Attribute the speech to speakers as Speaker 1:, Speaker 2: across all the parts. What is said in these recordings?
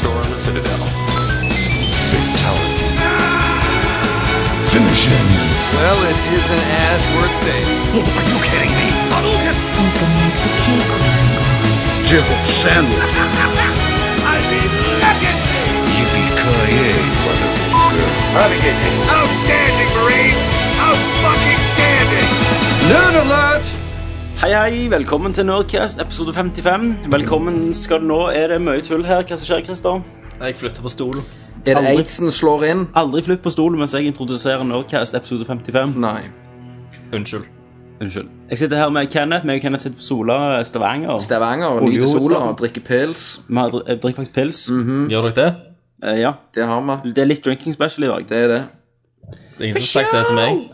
Speaker 1: store on the Citadel. Fatality.
Speaker 2: Finish him.
Speaker 3: Well, it isn't as worth saying.
Speaker 4: Who's gonna make the cake work?
Speaker 2: Jibble sandwich. Yippee-ki-yay, motherfucker.
Speaker 5: Outstanding, Marine! Out fucking standing!
Speaker 2: Nerd alert!
Speaker 6: Hei, hei, velkommen til Nerdcast episode 55. Velkommen skal du nå. Er det mye tull her? Hva som skjer, Christer?
Speaker 7: Jeg flytter på stolen.
Speaker 8: Er det
Speaker 6: Aldri.
Speaker 8: aidsen slår inn?
Speaker 6: Aldri flytt på stolen mens jeg introduserer Nerdcast episode 55.
Speaker 8: Nei.
Speaker 7: Unnskyld.
Speaker 6: Unnskyld. Jeg sitter her med Kenneth. Meg og Kenneth sitter på Sola eh, Stavanger.
Speaker 8: Stavanger
Speaker 6: Olje-
Speaker 8: nyter sola,
Speaker 6: hovedstaden.
Speaker 8: drikker pils. Mm.
Speaker 6: Vi har dri- eh, drikker faktisk pils.
Speaker 7: Gjør dere det?
Speaker 6: Eh, ja.
Speaker 8: Det har vi.
Speaker 6: Det er litt drinking special i dag.
Speaker 8: Det er det.
Speaker 7: Det er ingen som har sagt det til meg.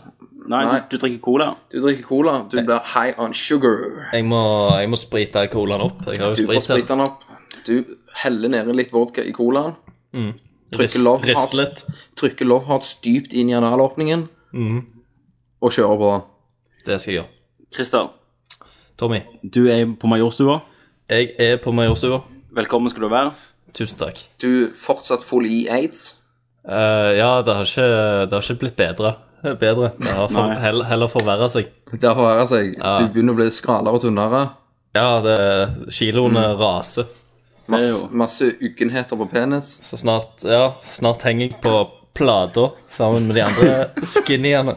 Speaker 6: Nei,
Speaker 8: Nei.
Speaker 6: du drikker cola.
Speaker 8: Du drikker cola, du
Speaker 7: Eh.
Speaker 8: blir high on sugar.
Speaker 7: Jeg må, jeg må sprite colaen opp. Jeg har
Speaker 8: Du
Speaker 7: jo
Speaker 8: får
Speaker 7: sprit
Speaker 8: sprite
Speaker 7: her.
Speaker 8: den opp. Du heller ned litt vodka i colaen.
Speaker 7: Rist,
Speaker 8: trykker love
Speaker 7: rist
Speaker 8: hearts.
Speaker 7: litt.
Speaker 8: Trykker love hearts dypt inn i analåpningen.
Speaker 7: Mm.
Speaker 8: Og kjører på.
Speaker 7: Det skal jeg gjøre.
Speaker 6: Christer,
Speaker 7: Tommy,
Speaker 6: du er på Majorstua.
Speaker 7: jeg er på Majorstua.
Speaker 6: Velkommen skal du være.
Speaker 7: Tusen takk.
Speaker 8: Du er fortsatt full i aids.
Speaker 7: Eh, ja, det har, ikke, det har ikke blitt bedre. Bedre. Det har for,
Speaker 6: Nei.
Speaker 7: heller, heller forverra seg.
Speaker 8: Det forverrer seg. Du begynner å bli skralere og tynnere.
Speaker 7: Ja, det, kiloene
Speaker 8: Mm.
Speaker 7: raser.
Speaker 8: Masse,
Speaker 6: Det er jo-
Speaker 8: masse uggenheter på penis.
Speaker 7: Så snart, ja, snart henger jeg på plata sammen med de andre skinnyene.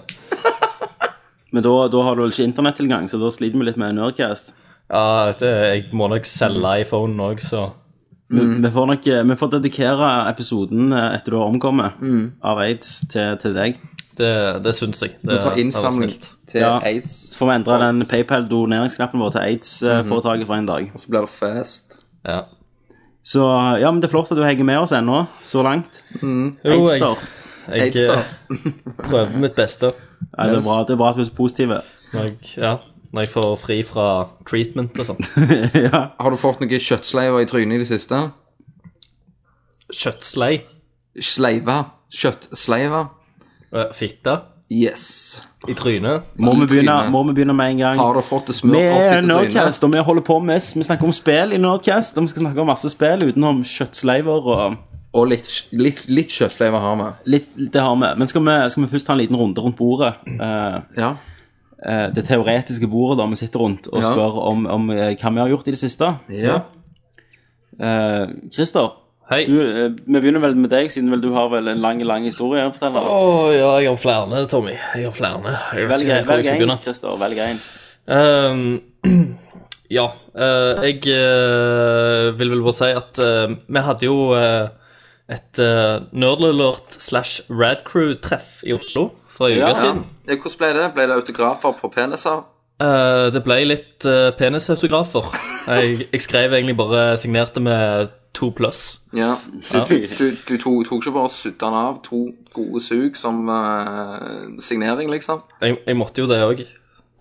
Speaker 6: Men da, da har du vel ikke internettilgang, så da sliter vi litt med Nerdcast.
Speaker 7: Ja, det, jeg må nok selge iPhonen òg, så
Speaker 6: Vi- Vi får nok eh, vi får dedikere episoden eh, etter du har omkommet av aids, til, til deg.
Speaker 7: det, det syns jeg. Det,
Speaker 8: Du tar innsamling
Speaker 7: det var snilt.
Speaker 8: til
Speaker 6: Ja.
Speaker 8: aids.
Speaker 6: Så får vi endre den PayPal-doneringsknappen vår til aids-foretaket for en dag.
Speaker 8: Så blir det fest.
Speaker 7: Ja.
Speaker 6: Så ja, men det er flott at du henger med oss ennå, så langt.
Speaker 7: Jo, jeg,
Speaker 6: Aidster.
Speaker 7: jeg
Speaker 8: Aids, da.
Speaker 7: eh, prøver mitt beste
Speaker 6: Ja, det, er bra, det er bra at vi er så positive.
Speaker 7: når jeg, ja, når jeg får fri fra treatment og sånt.
Speaker 6: ja.
Speaker 8: Har du fått noen kjøttsleiver i trynet i det siste?
Speaker 7: Kjøttslei.
Speaker 8: Sleive. Kjøttsleive.
Speaker 7: eh, Fitte.
Speaker 8: Yes.
Speaker 7: I trynet.
Speaker 6: må,
Speaker 8: I
Speaker 6: vi begynne,
Speaker 8: trynet.
Speaker 6: må vi begynne med en gang?
Speaker 8: Har du fått det
Speaker 6: Vi
Speaker 8: smurt opp
Speaker 6: er
Speaker 8: etter trynet?
Speaker 6: Nerdcast, og vi holder på med Vi snakker om spill i Nerdcast, og vi skal snakke om masse spill utenom kjøttsleiver og
Speaker 8: Og litt, litt, litt kjøttsleiver har vi.
Speaker 6: litt, Det har vi. Men skal vi, skal vi først ta en liten runde rundt bordet? Eh,
Speaker 8: Ja.
Speaker 6: eh, det teoretiske bordet da vi sitter rundt og
Speaker 8: Ja.
Speaker 6: spør om, om eh, hva vi har gjort i det siste.
Speaker 8: ja.
Speaker 6: Eh, Christer,
Speaker 7: Hei.
Speaker 6: du, eh, vi begynner vel med deg, siden vel du har vel en lang lang historie å fortelle.
Speaker 7: Å ja, jeg har flere, Tommy. Jeg har flere. Jeg vet
Speaker 6: Velg
Speaker 7: ikke helt hvor jeg skal
Speaker 6: velg en,
Speaker 7: begynne.
Speaker 6: Christer. Velg en.
Speaker 7: Ehm, ja. eh, jeg eh, vil vel bare si at eh, vi hadde jo eh, et uh, Nerdlert slash Radcrew-treff i Oslo for en uke
Speaker 6: Ja, ja.
Speaker 7: siden.
Speaker 8: Ja, eh, Hvordan ble det? Ble det autografer på peniser?
Speaker 7: Eh, det ble litt eh, penisautografer. Jeg, jeg skrev egentlig bare signerte med to pluss.
Speaker 8: Ja. Du, du, du, du tok, tok ikke bare og sudde den av to gode sug som eh, signering, liksom?
Speaker 7: Jeg, jeg måtte jo det òg.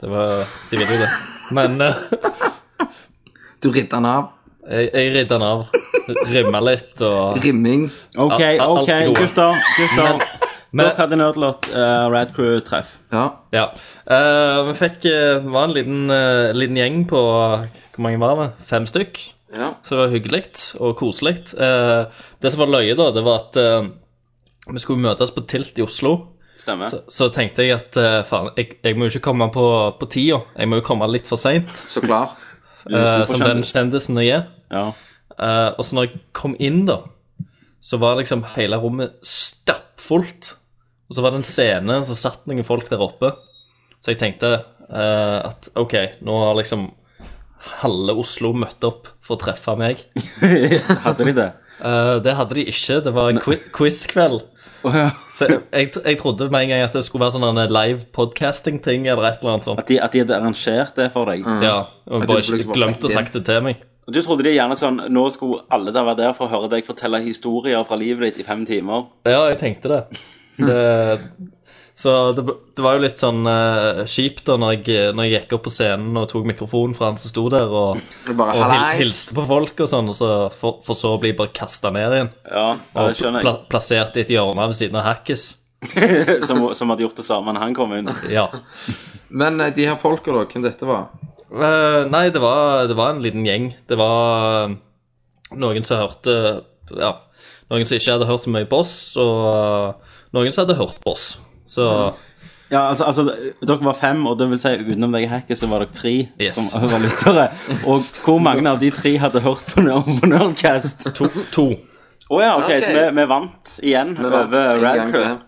Speaker 7: Det var De ville jo det. Men eh,
Speaker 8: Du ridda den av.
Speaker 7: jeg, jeg ridda den av. Rimma litt og
Speaker 8: Rimming.
Speaker 6: OK,
Speaker 7: Al- al-
Speaker 6: ok,
Speaker 7: alt går.
Speaker 6: gutter. gutter.
Speaker 7: Men
Speaker 6: Dere hadde Nerdlot uh, Rad Crew-treff.
Speaker 8: Ja.
Speaker 7: ja. Eh, vi fikk eh, var en liten, eh, liten gjeng på Hvor mange var vi? Fem stykk.
Speaker 8: ja.
Speaker 7: Så det var hyggelig og koselig. Eh, det som var løye, da, det var at eh, vi skulle møtes på Tilt i Oslo.
Speaker 6: Stemmer.
Speaker 7: Så, så tenkte jeg at eh, faen, jeg, jeg må jo ikke komme på, på tida. Jeg må jo komme litt for seint,
Speaker 8: Så klart.
Speaker 6: Du er
Speaker 7: eh,
Speaker 6: superkjendis.
Speaker 7: som den kjendisen jeg er.
Speaker 6: Ja.
Speaker 7: Eh, og så når jeg kom inn, da, så var liksom hele rommet stappfullt. Og så var det en scene, så satt noen folk der oppe. Så jeg tenkte eh, at OK, nå har liksom halve Oslo møtt opp for å treffe meg.
Speaker 6: Hadde de det?
Speaker 7: Eh, det hadde de ikke. Det var en qui- quiz-kveld.
Speaker 6: Å ja.
Speaker 7: Så jeg, jeg, jeg trodde med en gang at det skulle være sånn en live podcasting-ting eller et eller annet sånt.
Speaker 6: At de, at de hadde arrangert det for deg?
Speaker 7: Ja, og jeg liksom
Speaker 8: trodde
Speaker 7: bare ikke
Speaker 8: det var
Speaker 7: glemt å
Speaker 8: rett inn.
Speaker 7: sagt det til meg.
Speaker 6: Og Du trodde de gjerne sånn Nå skulle alle der være der for å høre deg fortelle historier fra livet ditt i fem timer.
Speaker 7: Ja, jeg tenkte det. det så det, det var jo litt sånn eh, kjipt da når jeg, når jeg gikk opp på scenen og tok mikrofonen fra han som sto der, og,
Speaker 8: Det er bare
Speaker 7: og hil,
Speaker 8: hallais.
Speaker 7: hilste på folk og sånn, og så for, for så å bli bare kasta ned igjen.
Speaker 6: Ja, ja det
Speaker 7: Og
Speaker 6: skjønner
Speaker 7: pla, plassert i et hjørne ved siden av Hackis.
Speaker 6: jeg. Som, som hadde gjort det samme når han kom inn.
Speaker 7: Ja.
Speaker 8: Men eh, de her folka, da, hvem dette var?
Speaker 7: Eh, nei, det var, det var en liten gjeng. Det var eh, noen som hørte ja, noen som ikke hadde hørt så mye Boss, og eh, noen som hadde hørt Boss. Så
Speaker 6: Ja, altså, altså, dere var fem, og det vil si utenom deg hacket, så var dere tre
Speaker 7: Yes.
Speaker 6: som hører lyttere. Og hvor mange av de tre hadde hørt på, Nerd- på Nerdcast? Å
Speaker 7: to. to.
Speaker 6: ja, ok,
Speaker 8: Ok.
Speaker 6: så vi, vi vant igjen
Speaker 8: Vi var
Speaker 6: over
Speaker 8: en gang
Speaker 6: Radcrew.
Speaker 8: til.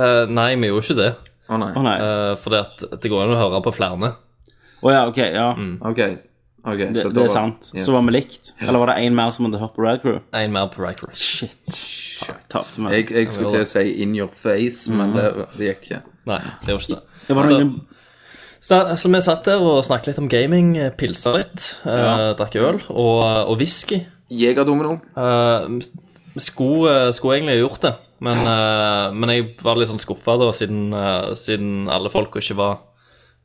Speaker 7: Eh, nei, vi gjorde ikke det.
Speaker 8: Å
Speaker 6: Å
Speaker 8: nei.
Speaker 6: nei. Å
Speaker 7: Uh, fordi at det går an å høre på flere.
Speaker 6: ja, ok, ja.
Speaker 7: Mm.
Speaker 8: Ok. ok,
Speaker 6: Det,
Speaker 8: så da
Speaker 6: det
Speaker 8: var-
Speaker 6: er sant.
Speaker 8: Yes.
Speaker 6: Så var vi likt. Eller var det én mer som hadde hørt på Radcrew?
Speaker 7: En mer på Riker.
Speaker 6: Shit. Tapte vi.
Speaker 8: Jeg, jeg skulle til å si 'in your face',
Speaker 6: Mhm.
Speaker 8: men det, det gikk ikke.
Speaker 7: Nei, det gjorde ikke det.
Speaker 6: Det var
Speaker 7: Altså-
Speaker 6: noen
Speaker 7: Så, så vi satt der og snakket litt om gaming, eh, pilsa litt, eh,
Speaker 6: Ja.
Speaker 7: drakk øl og, og whisky.
Speaker 8: Jegerdomino.
Speaker 7: Eh, vi skulle, eh, skulle egentlig gjort det, men, eh, men jeg var litt sånn skuffa da, siden, eh, siden alle folk ikke var,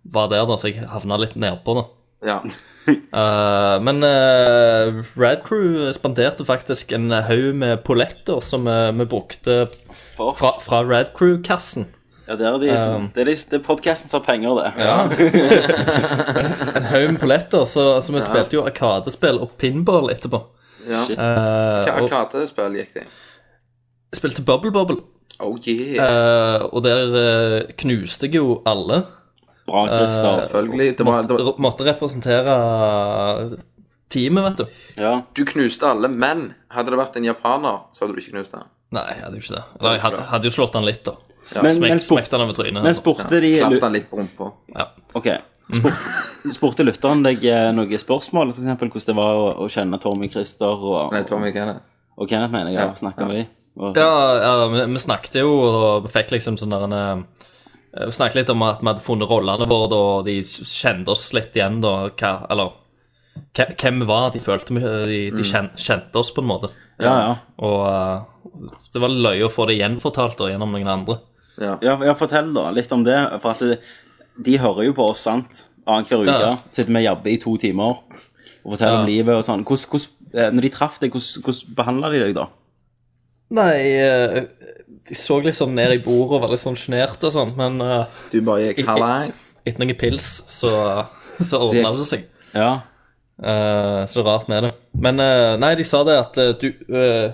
Speaker 7: var der, da, så jeg havna litt nedpå, da.
Speaker 8: Ja.
Speaker 7: Eh, men uh, Rad Crew spanderte faktisk en haug med polletter som eh, vi brukte fra, Um. fra Rad Crew-kassen.
Speaker 6: Ja, det er, de, som- det er, de, det er podcasten som har penger, det.
Speaker 7: En haug med polletter, så, så vi spilte jo arkadespill og pinball etterpå.
Speaker 8: ja.
Speaker 6: Shit.
Speaker 7: Eh,
Speaker 8: Hva
Speaker 7: og
Speaker 8: arkadespill gikk det i?
Speaker 7: spilte Bubble Bubble,
Speaker 8: Oh yeah.
Speaker 7: eh, og der eh, knuste jeg jo alle.
Speaker 6: Bra, Christer.
Speaker 8: Selvfølgelig. Det var, det var,
Speaker 7: R måtte representere teamet, vet du.
Speaker 6: Ja.
Speaker 8: du knuste alle, men hadde det vært en japaner, så hadde du ikke knust han.
Speaker 7: Nei, jeg hadde jo ikke det. Eller, jeg hadde, hadde jo slått han litt, da.
Speaker 8: Ja,
Speaker 6: Men, men,
Speaker 7: Smekt,
Speaker 6: spurte,
Speaker 7: smekte han over trynet.
Speaker 6: men
Speaker 7: altså.
Speaker 6: spurte de
Speaker 8: Slapp han litt på rumpa.
Speaker 7: Ja.
Speaker 6: Ok. Spor spurte lytteren deg eh, noen spørsmål, f.eks. hvordan det var å, å kjenne Tommy Christer og,
Speaker 8: Nei, Tommy, hva er det?
Speaker 6: og Kenneth, mener jeg,
Speaker 8: Ja,
Speaker 6: og snakke med dem?
Speaker 7: Ja, ja vi, vi snakket jo, og vi fikk liksom sånn der en eh, Vi snakket litt om at vi hadde funnet rollene våre, da, og de s- kjente oss litt igjen, da. Hva, eller hva- hvem vi var. De følte vi De, de kjen, kjente oss, på en måte.
Speaker 6: Ja, ja.
Speaker 7: Og eh, det var løye å få det gjenfortalt da, gjennom noen andre.
Speaker 8: Ja.
Speaker 6: ja, ja fortell da litt om det. For at det, de hører jo på oss, sant? Annenhver uke.
Speaker 7: Ja.
Speaker 6: Sitter med jabbe i to timer og forteller om livet og sånn. Hvordan, hvordan, eh, når de traff deg, hvordan, hvordan behandla de deg da?
Speaker 7: Nei, eh, de så litt sånn ned i bordet og var litt sånn sjenerte og sånn, men eh,
Speaker 8: Du bare gikk
Speaker 7: Jeg-
Speaker 8: hallais.
Speaker 7: etter noen pils så, så ordna det seg.
Speaker 6: Ja.
Speaker 7: Eh, så det er rart med det. Men eh, nei, de sa det at eh, du eh,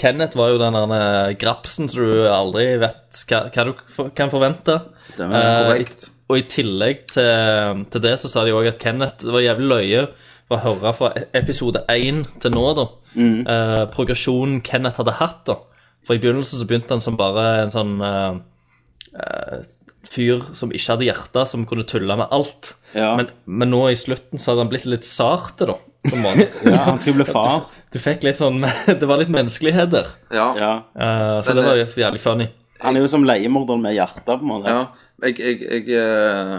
Speaker 7: Kenneth var jo den der eh, grapsen som du aldri vet hva, hva du for, kan forvente.
Speaker 6: Stemmer.
Speaker 7: Eh,
Speaker 8: Korrekt.
Speaker 7: og i tillegg til, til det så sa de òg at Kenneth Det var jævlig løye for å høre fra e- episode én til nå, da.
Speaker 6: Mm.
Speaker 7: eh, progresjonen Kenneth hadde hatt, da. For i begynnelsen så begynte han som bare en sånn eh, eh, fyr som ikke hadde hjerte, som kunne tulle med alt.
Speaker 6: Ja.
Speaker 7: Men, men nå i slutten så hadde han blitt litt sarte, da. På en måte.
Speaker 6: ja, han skulle bli far.
Speaker 7: Du fikk litt sånn Det var litt menneskelighet der.
Speaker 8: Ja.
Speaker 6: Ja.
Speaker 7: Eh, så
Speaker 8: Men,
Speaker 7: det var jo jævlig funny.
Speaker 6: Han er jo som leiemorderen med hjertet, på en måte.
Speaker 8: ja. Jeg, jeg, jeg eh,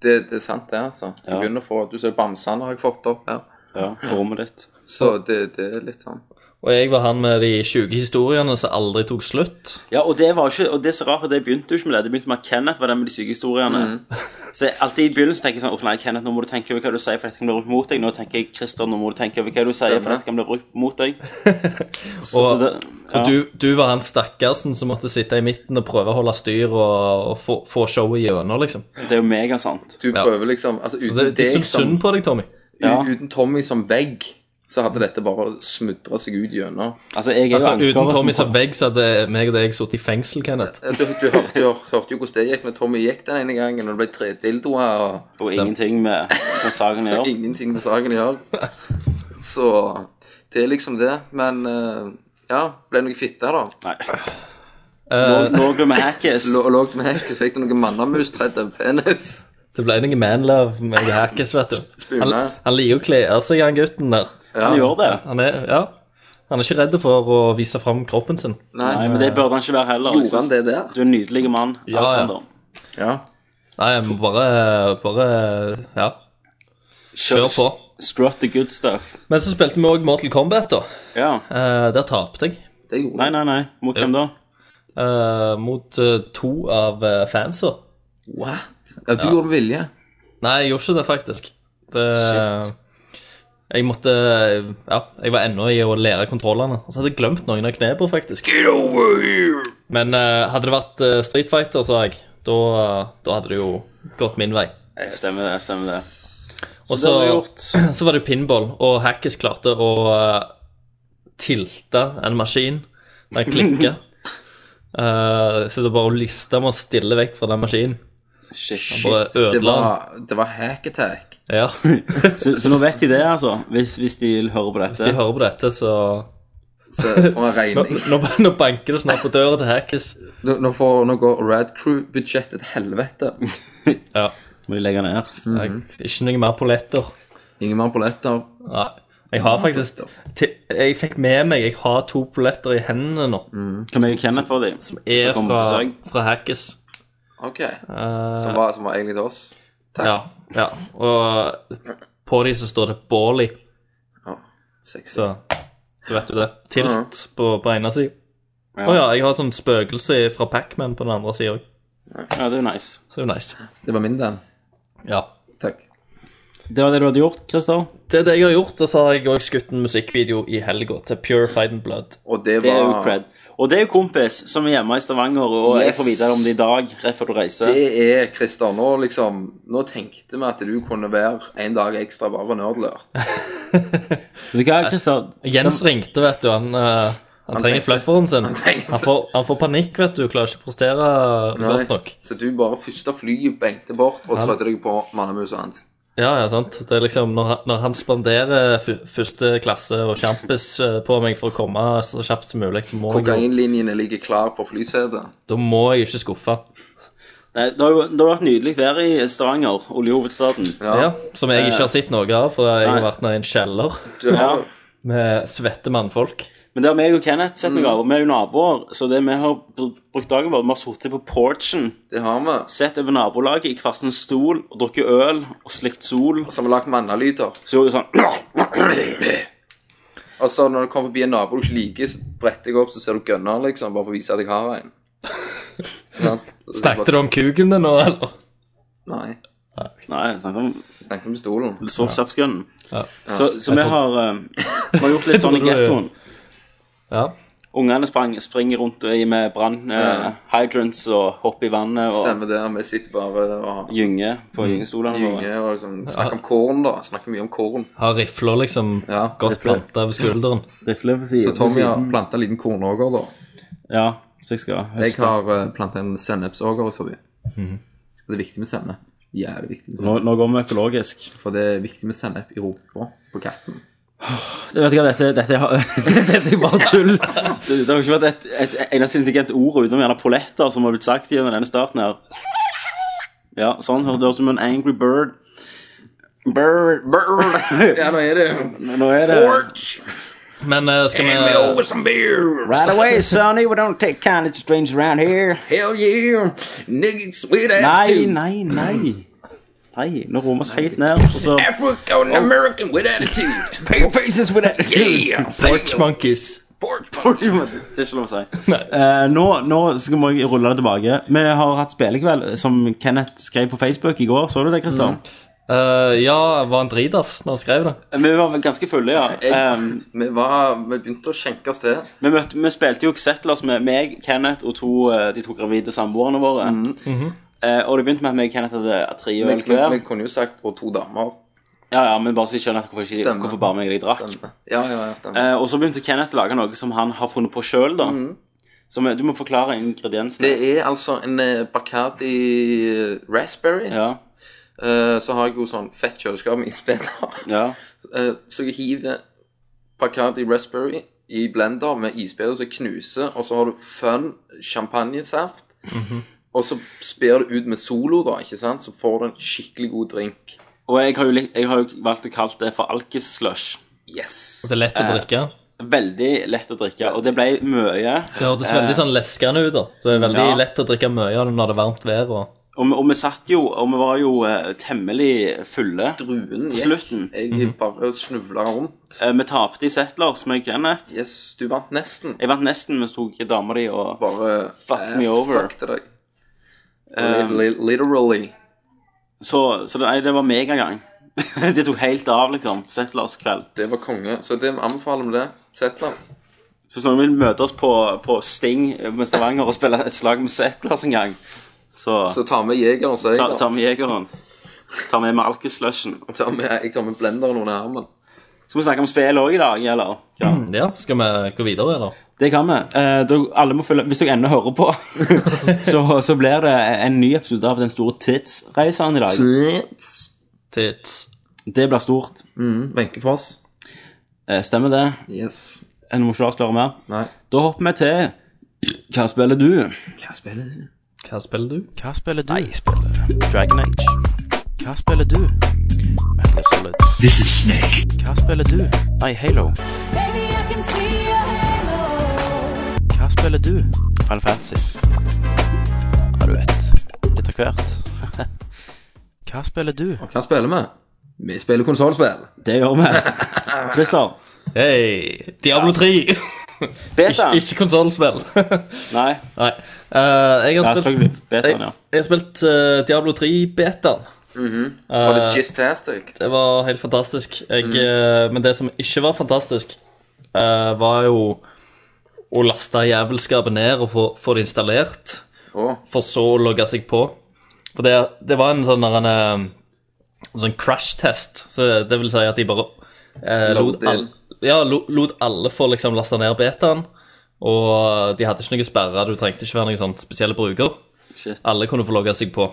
Speaker 8: det, det er sant, det, altså. Jeg
Speaker 6: Ja.
Speaker 8: begynner å få Du ser bamsene har jeg fått opp her.
Speaker 6: Ja, på rommet ditt.
Speaker 8: Så det, det er litt sånn.
Speaker 7: Og jeg var han med de 20 historiene som aldri tok slutt.
Speaker 6: Ja, og det var jo ikke, og det er så rart, for det begynte jo ikke med det. Det begynte med at Kenneth var den med de syke historiene.
Speaker 8: Mm.
Speaker 6: Så jeg, alltid i begynnelsen tenker jeg sånn, «Åh, nei, Kenneth, nå må du tenke over hva du sier, for dette kan bli brukt mot deg. Nå tenker jeg, Christer, nå må du tenke over hva du sier, for
Speaker 8: Stemmer.
Speaker 6: dette kan bli brukt mot deg. Så,
Speaker 7: Og-
Speaker 6: så det, ja.
Speaker 7: Og du, du var han stakkarsen som måtte sitte i midten og prøve å holde styr og, og få, få showet gjennom, liksom.
Speaker 6: det er jo megasant.
Speaker 8: Du prøver liksom Altså
Speaker 7: Så
Speaker 8: uten
Speaker 7: det, de
Speaker 8: deg
Speaker 7: syntes
Speaker 8: som
Speaker 7: synd på deg, Tommy.
Speaker 6: Ja.
Speaker 8: u- Uten Tommy som vegg, så hadde dette bare smudra seg ut gjennom.
Speaker 6: Altså, jeg er jo
Speaker 7: Altså,
Speaker 6: ankeret
Speaker 7: Uten Tommy
Speaker 6: som
Speaker 7: som vegg, så hadde meg og deg sittet i fengsel, Kenneth.
Speaker 8: Altså, Du, du, hørte, du hørte jo hvordan det gikk når Tommy gikk den ene gangen, og det ble tre dildoer og
Speaker 6: og ingenting med hva saken gjør.
Speaker 8: ingenting med saken å gjøre. Så det er liksom det. Men eh, ja, ble det noe fitte, da.
Speaker 6: Nei.
Speaker 7: Eh.
Speaker 6: Nå, nå glemmer hackes.
Speaker 8: Lå lå med hekk, fikk du noe mannamus tredd av penis.
Speaker 7: Det ble noe manlove med Hackes, vet du.
Speaker 8: Spune.
Speaker 7: Han, han liker å kle av seg, han gutten der.
Speaker 8: Ja.
Speaker 6: Han gjør det.
Speaker 7: Han er, ja, han er ikke redd for å vise fram kroppen sin.
Speaker 8: Nei,
Speaker 6: Nei, men det burde han ikke være heller. Jeg
Speaker 8: gjorde han
Speaker 6: synes-
Speaker 8: det der?
Speaker 6: Du er en nydelig mann,
Speaker 7: Ja, ja.
Speaker 6: Alexander.
Speaker 8: Ja.
Speaker 7: Nei, jeg må bare, bare ja, kjør på.
Speaker 6: Strut the good stuff.
Speaker 7: Men så spilte vi òg Mortal Kombat, da.
Speaker 6: Ja.
Speaker 7: Eh, der tapte jeg.
Speaker 8: Det gjorde
Speaker 6: Nei,
Speaker 8: han.
Speaker 6: nei, nei. Mot hvem da?
Speaker 7: eh, mot eh, to av eh, fansa.
Speaker 8: What? Ja, du gjorde det med vilje.
Speaker 7: Nei, jeg gjorde ikke det, faktisk. Det, Jeg måtte Ja, jeg var ennå i å lære kontrollene. Og så hadde jeg glemt noen av knepene, faktisk.
Speaker 8: Get over here!
Speaker 7: Men eh, hadde det vært eh, Street Fighter, sa jeg, da, da hadde det jo gått min vei.
Speaker 6: Stemmer det, stemmer det.
Speaker 7: Og
Speaker 6: det
Speaker 7: så,
Speaker 6: har vi gjort.
Speaker 7: så var det pinball, og Hackis klarte å eh, tilta en maskin. Den klikka. Uh, så det er bare å liste med å stille vekk fra den maskinen.
Speaker 6: Shit.
Speaker 7: Bare
Speaker 8: Det
Speaker 7: ødela den.
Speaker 8: var, det var hack attack.
Speaker 7: Ja. Hvis
Speaker 6: Så, så nå vet de det, altså. Hvis, hvis de hører på dette.
Speaker 7: de hører på dette, så
Speaker 8: Så, og en
Speaker 7: Nå,
Speaker 8: regning.
Speaker 7: nå, nå banker det snart på døra til Hackis.
Speaker 8: Nå, nå, får, nå går Rad Crew-budsjettet til helvete.
Speaker 7: Ja.
Speaker 6: Må de legge ned.
Speaker 7: Jeg- Ikke noe mer polletter.
Speaker 8: Ingen mer polletter.
Speaker 7: Nei. Jeg har faktisk til, Jeg fikk med meg Jeg har to polletter i hendene nå.
Speaker 6: Kan vi kjenne for dem?
Speaker 7: Som er
Speaker 6: Som kommer
Speaker 7: Mm. fra,
Speaker 6: på
Speaker 7: fra Hackis.
Speaker 8: Ok. som, var, som var egentlig til oss. Takk.
Speaker 7: Ja, ja. Og på de så står det Bawley,
Speaker 8: Ja, sexy.
Speaker 7: så du vet jo det. Tilt på, på ene sida. Å
Speaker 6: Ja.
Speaker 7: Mhm. ja, jeg har sånn spøkelse fra Pacman på den andre sida òg.
Speaker 6: Ja, det er jo nice.
Speaker 7: Så det er jo nice.
Speaker 8: Det var min, den.
Speaker 7: Ja.
Speaker 8: Takk.
Speaker 6: Det var det du hadde gjort, Christer.
Speaker 7: Det er det jeg har gjort, og så har jeg òg skutt en musikkvideo i helga til Purified and Blood.
Speaker 8: Og det var
Speaker 6: Det er jo cred. Og det er jo kompis som er hjemme i Stavanger, og jeg får vite om det i dag, rett før du reiser.
Speaker 8: Det er, Christer, nå liksom Nå tenkte vi at du kunne være en dag ekstra bare for nerdlert.
Speaker 6: Vet du hva, Christer?
Speaker 7: Jens ringte, vet du. Han, eh, han, trenger
Speaker 8: trengte-
Speaker 7: flufferen sin. Han,
Speaker 8: trenger-
Speaker 7: får, han får panikk, vet du. Klarer ikke å prestere
Speaker 8: Nei.
Speaker 7: godt nok.
Speaker 8: Så du bare første flyet bengte bort og trødde deg på mannemusa hans.
Speaker 7: Ja, ja, sant. Det er liksom når, han- når han spanderer fu- første klasse og sjampis eh, på meg for å komme så kjapt som mulig, så må jeg, jo-
Speaker 8: Kokainlinjene ligger klar på flysetet.
Speaker 7: da må jeg jo ikke skuffe.
Speaker 6: Nei, det har jo det har vært nydelig vær i Stavanger, oljehovedstaden.
Speaker 8: Ja,
Speaker 7: Ja, som jeg ikke har sett noe av, for jeg har
Speaker 6: Nei.
Speaker 7: vært nede i en kjeller
Speaker 8: Du har
Speaker 7: med svette mannfolk.
Speaker 6: Men det har meg og Kenneth sett noe av, og vi er jo naboer, så det vi har br- brukt dagen vår, vi har sittet på porchen,
Speaker 8: Det har vi.
Speaker 6: sett over nabolaget i hver sin stol, og drukket øl og slikt sol.
Speaker 8: Som har lagt mannelyder.
Speaker 6: Så gjorde vi sånn
Speaker 8: Og så når du kommer forbi en nabo du ikke liker, så bretter jeg opp, så ser du gønner, liksom, bare for å vise at jeg har en.
Speaker 7: Snakket du om kuken din nå, eller?
Speaker 8: Nei.
Speaker 6: Nei, jeg snakket om
Speaker 8: Jeg snakket om pistolen.
Speaker 6: så softgunnen.
Speaker 7: Ja.
Speaker 6: Så, så vi har, eh, vi har gjort litt sånn i
Speaker 7: Jeg tror
Speaker 6: gettoen.
Speaker 7: Ja.
Speaker 6: Ungene sprang, springer rundt i med brann, eh, hydrants og hopper i vannet og
Speaker 8: Stemmer det. Vi sitter bare og
Speaker 6: gynge på
Speaker 7: Mm.
Speaker 6: gyngestolene våre.
Speaker 8: gynger og liksom snakker om korn, da. Snakker mye om korn.
Speaker 7: Har rifla liksom
Speaker 8: Ja,
Speaker 7: godt
Speaker 8: rifler.
Speaker 7: planta ved skulderen.
Speaker 6: Rifler på
Speaker 8: Så
Speaker 6: siden.
Speaker 8: Tommy har planta en liten kornåger, da.
Speaker 6: Ja, Mhm. så jeg skal
Speaker 8: Jeg
Speaker 6: høste.
Speaker 8: har uh, planta en sennepsåger utenfor. Det er viktig med sennep. Jævlig viktig med
Speaker 6: Nå,
Speaker 8: sennep.
Speaker 6: nå går vi økologisk.
Speaker 8: For det er viktig med sennep i rumpa på katten.
Speaker 6: Jeg vet ikke hva dette, dette, har- dette er bare tull. Det, det har jo ikke vært et, et eneste intelligent ord utenom gjerne polletter som har blitt sagt gjennom denne starten her. Ja, sånn hørte det ut som en angry bird. Bird.
Speaker 8: Brr. Ja, nå er det jo
Speaker 6: Nå er det
Speaker 7: Men eh, skal
Speaker 8: Me over
Speaker 7: vi
Speaker 8: some beer.
Speaker 6: Right away, Sonny. We don't take kindly to strangers around here.
Speaker 8: Hell yeah. Niggas with
Speaker 6: Nei,
Speaker 8: attitude.
Speaker 6: nei, nei. Nei, nå roer vi oss helt ned. Og så
Speaker 8: African American with attitude.
Speaker 6: Pale faces with it!
Speaker 8: Yeah. Porch
Speaker 7: Monkeys.
Speaker 8: Porch
Speaker 6: Det er ikke lov å si. Eh, nå, nå skal vi rulle det tilbake. Vi har hatt spillekveld, som Kenneth skrev på Facebook i går. Så du det, Christer?
Speaker 7: Eh, ja, var han dritas når han skrev det?
Speaker 6: Vi var vel ganske fulle, ja.
Speaker 8: Jeg-
Speaker 6: Um,
Speaker 8: Vi, var, vi begynte å skjenke oss til.
Speaker 6: vi, møtte, vi spilte jo Settlers med meg, Kenneth og to, eh, de to gravide samboerne våre.
Speaker 8: Mhm.
Speaker 6: Eh, og det begynte med at meg og Kenneth hadde tre
Speaker 8: Vi,
Speaker 6: øl
Speaker 8: vi, vi
Speaker 6: hver.
Speaker 8: kunne jo sagt 'og to damer'.
Speaker 6: Ja, ja, men bare så jeg skjønner hvorfor, ikke,
Speaker 8: Stemmer.
Speaker 6: hvorfor bare meg og de drakk.
Speaker 8: Stemmer. Ja, ja, ja, stemmer.
Speaker 6: Eh, og så begynte Kenneth å lage noe som han har funnet på sjøl, da. Som, er- du må forklare ingrediensene.
Speaker 8: Mhm. Det er altså en eh, Bacardi Raspberry.
Speaker 6: Ja,
Speaker 8: Eh, så har jeg jo sånn fett kjøleskap med isbiter.
Speaker 6: ja.
Speaker 8: Eh, så jeg hiver Bacardi Raspberry i blender med isbiter som knuser, og så har du fun champagnesaft. Og så spyr du ut med Solo, da, ikke sant? så får du en skikkelig god drink.
Speaker 6: Og jeg har, jo likt, jeg har jo valgt å kalle det for alkis-slush.
Speaker 8: Yes!
Speaker 7: Det er lett å drikke.
Speaker 6: Veldig lett å drikke, og det ble mye.
Speaker 7: Det hørtes veldig sånn leskende ut, da. Så det er veldig
Speaker 6: Ja.
Speaker 7: lett å drikke mye av det når det er varmt vær og
Speaker 6: Og, vi- og vi satt jo, og vi var jo eh, temmelig fulle.
Speaker 8: Druen
Speaker 6: På
Speaker 8: gikk.
Speaker 6: slutten.
Speaker 8: Jeg bare snuvla rundt.
Speaker 6: Eh, Vi tapte i Settlers med Kenneth.
Speaker 8: Yes, du vant nesten.
Speaker 6: Jeg vant nesten mens tok dama di og
Speaker 8: Bare
Speaker 6: Fuck me over.
Speaker 8: Fuckte deg. Li- li- Literally.
Speaker 6: Så, så det, nei, det var megagang. det tok helt av, liksom. Settlers kveld.
Speaker 8: Det var konge. Så det vi anbefaler med det. Settlers.
Speaker 6: Så hvis noen vil møte oss på, på Sting med Stavanger og spille et slag med Settlers en gang, så,
Speaker 8: Så ta med jegeren, sier
Speaker 6: ta,
Speaker 8: jeg.
Speaker 6: ta
Speaker 8: da.
Speaker 6: med jegeren. Ta med Malkes-slushen.
Speaker 8: Ta med, jeg tar med blenderen under armen.
Speaker 6: Skal vi snakke om spill òg i dag, eller? Ja.
Speaker 7: Mm, Ja, skal vi gå videre, eller?
Speaker 6: Det kan vi. Eh, dere- alle må følge, hvis dere ennå hører på, så, så blir det en ny episode av Den store tidsreisen i dag.
Speaker 7: Tits.
Speaker 6: Det blir stort.
Speaker 8: Mm, Wenche Foss.
Speaker 6: Eh, Stemmer det?
Speaker 8: Yes.
Speaker 6: En må ikke avsløre mer.
Speaker 8: Nei.
Speaker 6: Da hopper vi til Hva spiller du?
Speaker 8: Hva spiller du?
Speaker 7: Hva spiller du?
Speaker 1: Hva spiller du? jeg spiller Dragon Age. Hva spiller du? Metal Gear Solid. This is Snake. Hva spiller du? Nei, Halo.
Speaker 9: Baby, I can see your halo.
Speaker 1: Hva spiller du? Final Fantasy. Ja, du vet. Litt av hvert. Hva spiller du?
Speaker 8: Og hva spiller vi? Vi spiller konsollspill.
Speaker 6: Det gjør vi. Christer.
Speaker 7: Hei! Diablo 3!
Speaker 6: Beta.
Speaker 7: Ikke, ikke konsollspill.
Speaker 6: Nei,
Speaker 7: Nei. Eh, jeg
Speaker 6: ja,
Speaker 7: har
Speaker 6: selvfølgelig.
Speaker 7: spilt jeg,
Speaker 6: Betaen, ja.
Speaker 7: jeg har spilt eh, Diablo 3-betaen.
Speaker 8: Var
Speaker 7: Eh,
Speaker 8: det Gistastic?
Speaker 7: Det var helt fantastisk. Jeg,
Speaker 6: Mm.
Speaker 7: eh, men det som ikke var fantastisk, eh, var jo å laste jævelskapet ned og få, få det installert,
Speaker 8: Å,
Speaker 7: for så å logge seg på. For det, det var en sånn der en, eh, sånn crash-test, så det vil si at de bare eh, lot,
Speaker 8: Load in.
Speaker 7: all, ja, lo, lot alle få liksom laste ned betaen, og de hadde ikke noe sperre, du trengte ikke være noen sånn spesielle bruker.
Speaker 6: Shit.
Speaker 7: Alle kunne få logge seg på.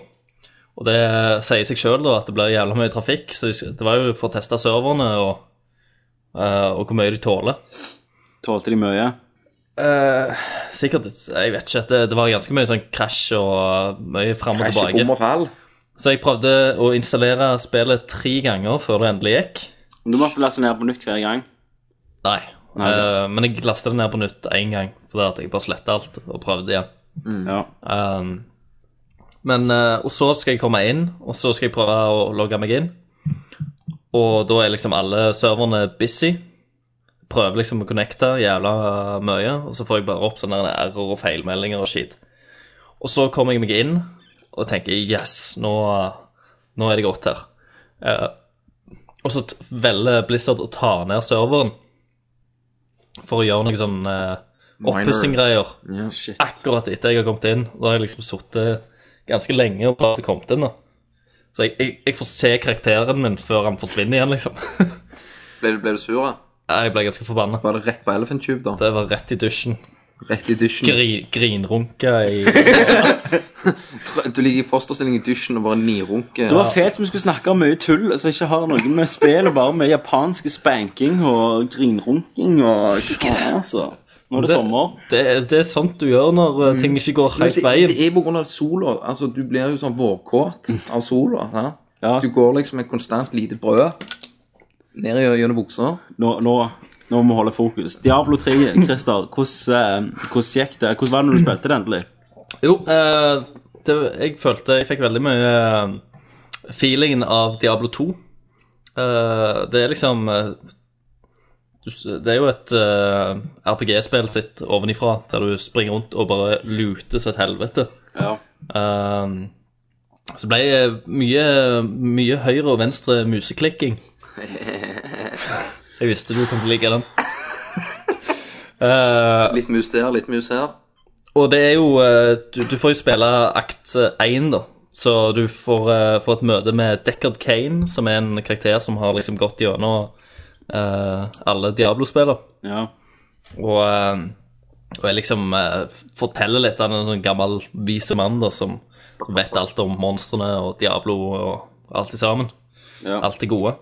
Speaker 7: Og det sier seg sjøl at det blir jævla mye trafikk, så det var jo for å teste serverne og, eh, og hvor mye de tåler.
Speaker 6: Tålte de mye?
Speaker 7: Sikkert, jeg vet ikke, det, det var ganske mye sånn krasj og mye fram og
Speaker 8: Crash i bom
Speaker 7: tilbake.
Speaker 8: og fall.
Speaker 7: Så jeg prøvde å installere spillet tre ganger før det endelig gikk.
Speaker 6: Men Du måtte laste ned på nytt hver gang.
Speaker 7: Nei,
Speaker 6: Nei, det-
Speaker 7: eh, men jeg lastet det ned på nytt én gang, fordi at jeg bare sletta alt og prøvde igjen.
Speaker 6: Ja.
Speaker 7: Um, men, eh, og så skal jeg komme inn, og så skal jeg prøve å logge meg inn. Og da er liksom alle serverne busy. Prøver liksom å connecte jævla eh, mye, og så får jeg bare opp sånne error og feilmeldinger og shit. Og så kommer jeg meg inn og tenker yes, nå, nå er det godt her. Eh, og så t- velger Blizzard å ta ned serveren for å gjøre noen sånn uh,
Speaker 8: Minor.
Speaker 7: oppussing-greier
Speaker 8: Ja, shit.
Speaker 7: akkurat etter jeg har kommet inn. Da har jeg liksom sittet ganske lenge og prøvd å komme inn. da. Så jeg, jeg, jeg får se karakteren min før han forsvinner igjen, liksom.
Speaker 8: Ble du, ble du sur? da?
Speaker 7: Jeg ble ganske forbanna.
Speaker 8: Var det rett på Elephant Tube, da?
Speaker 7: Det var rett i dusjen.
Speaker 8: Rett i dusjen.
Speaker 7: Gri, grinrunka i
Speaker 8: Du ligger i fosterstilling i dusjen og bare nirunker.
Speaker 6: Det var fett som vi skulle snakke om mye tull som ikke har noe med spill, og bare med japansk spanking og grinrunking og hva, altså. Nå er det sommer.
Speaker 7: Det, det er sånt du gjør når eh, ting ikke går
Speaker 8: Men
Speaker 7: helt
Speaker 8: det,
Speaker 7: veien.
Speaker 8: det er på grunn av sola. Altså, du blir jo sånn vårkåt av sola. Ja?
Speaker 6: Ja.
Speaker 8: Du går liksom med konstant lite brød ned i- gjennom buksa.
Speaker 6: nå, nå, nå må vi holde fokus. Diablo 3, Christer, hvordan, eh, hvordan gikk det? Hvordan var det når du spilte det endelig?
Speaker 7: Jo, eh, det, jeg følte jeg fikk veldig mye eh, feelingen av Diablo 2. Eh, det er liksom eh, du s- Det er jo et eh, RPG-spill sitt ovenifra, der du springer rundt og bare luter som et helvete. Eh, så ble det mye, mye høyre og venstre museklikking. Jeg visste du kom til å like den.
Speaker 8: Litt mus der, litt mus her.
Speaker 7: Og det er jo eh, Du, du får jo spille akt eh, 1, da. Så du får, eh, får et møte med Deckard Kane, som er en karakter som har liksom gått gjennom eh, alle Diablo-spiller.
Speaker 6: Ja.
Speaker 7: Og, eh, og jeg liksom eh, forteller litt av en sånn gammel vise mann da, som vet alt om monstrene og Diablo og alt i sammen.
Speaker 6: Ja.
Speaker 7: Alt det gode.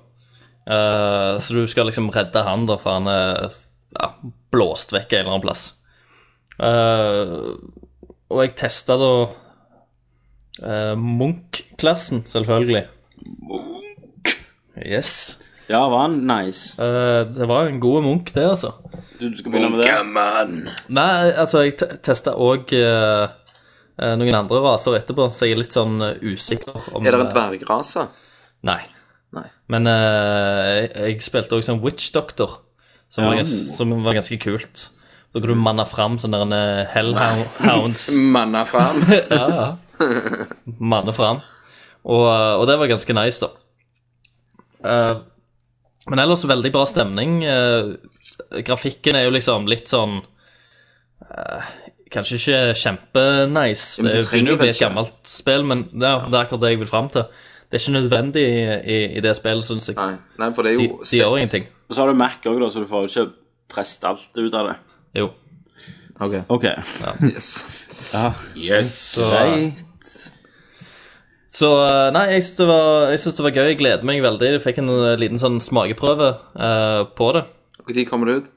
Speaker 7: Eh, så du skal liksom redde han, da, for han er ja, blåst vekk en eller annen plass. Eh, og jeg testa da eh, Munch-klassen, selvfølgelig. Munch? Yes.
Speaker 6: ja, var han nice?
Speaker 7: Eh, det var en god Munch, det, altså.
Speaker 6: Du, du skal begynne med det?
Speaker 7: Nei, altså, jeg te- testa òg eh, noen andre raser etterpå, så jeg er litt sånn eh, usikker om
Speaker 8: Er det en
Speaker 7: eh,
Speaker 8: dvergrase?
Speaker 7: Nei.
Speaker 8: Nei.
Speaker 7: Men eh, jeg, jeg spilte òg som Witch Doctor, som, var,
Speaker 6: Ja.
Speaker 7: gans- som var ganske kult. Da kunne du manne fram sånne der, eh, hellhounds.
Speaker 8: Manna fram.
Speaker 7: manne fram. Og, eh, og det var ganske nice, da. Eh, men ellers veldig bra stemning. Eh, grafikken er jo liksom litt sånn eh, kanskje ikke kjempenice.
Speaker 8: Men du
Speaker 7: Det
Speaker 8: trenger
Speaker 7: begynner jo å bli et
Speaker 8: vel ikke.
Speaker 7: gammelt spill, men det er, det er akkurat det jeg vil fram til. Det er ikke nødvendig i, i, i det spillet, syns jeg.
Speaker 8: Nei, nei, for det er
Speaker 7: De,
Speaker 8: jo
Speaker 7: de gjør ingenting.
Speaker 6: Og så har du Mac òg, da, så du får jo ikke presset alt ut av det.
Speaker 7: Jo.
Speaker 8: Ok,
Speaker 6: OK.
Speaker 8: yes.
Speaker 7: Så,
Speaker 6: Greit.
Speaker 7: så eh, nei, jeg syns det, var- jeg synes det var gøy. Jeg gleder meg veldig. Jeg fikk en eh, liten sånn smakeprøve eh, på det.
Speaker 8: Når kommer det ut?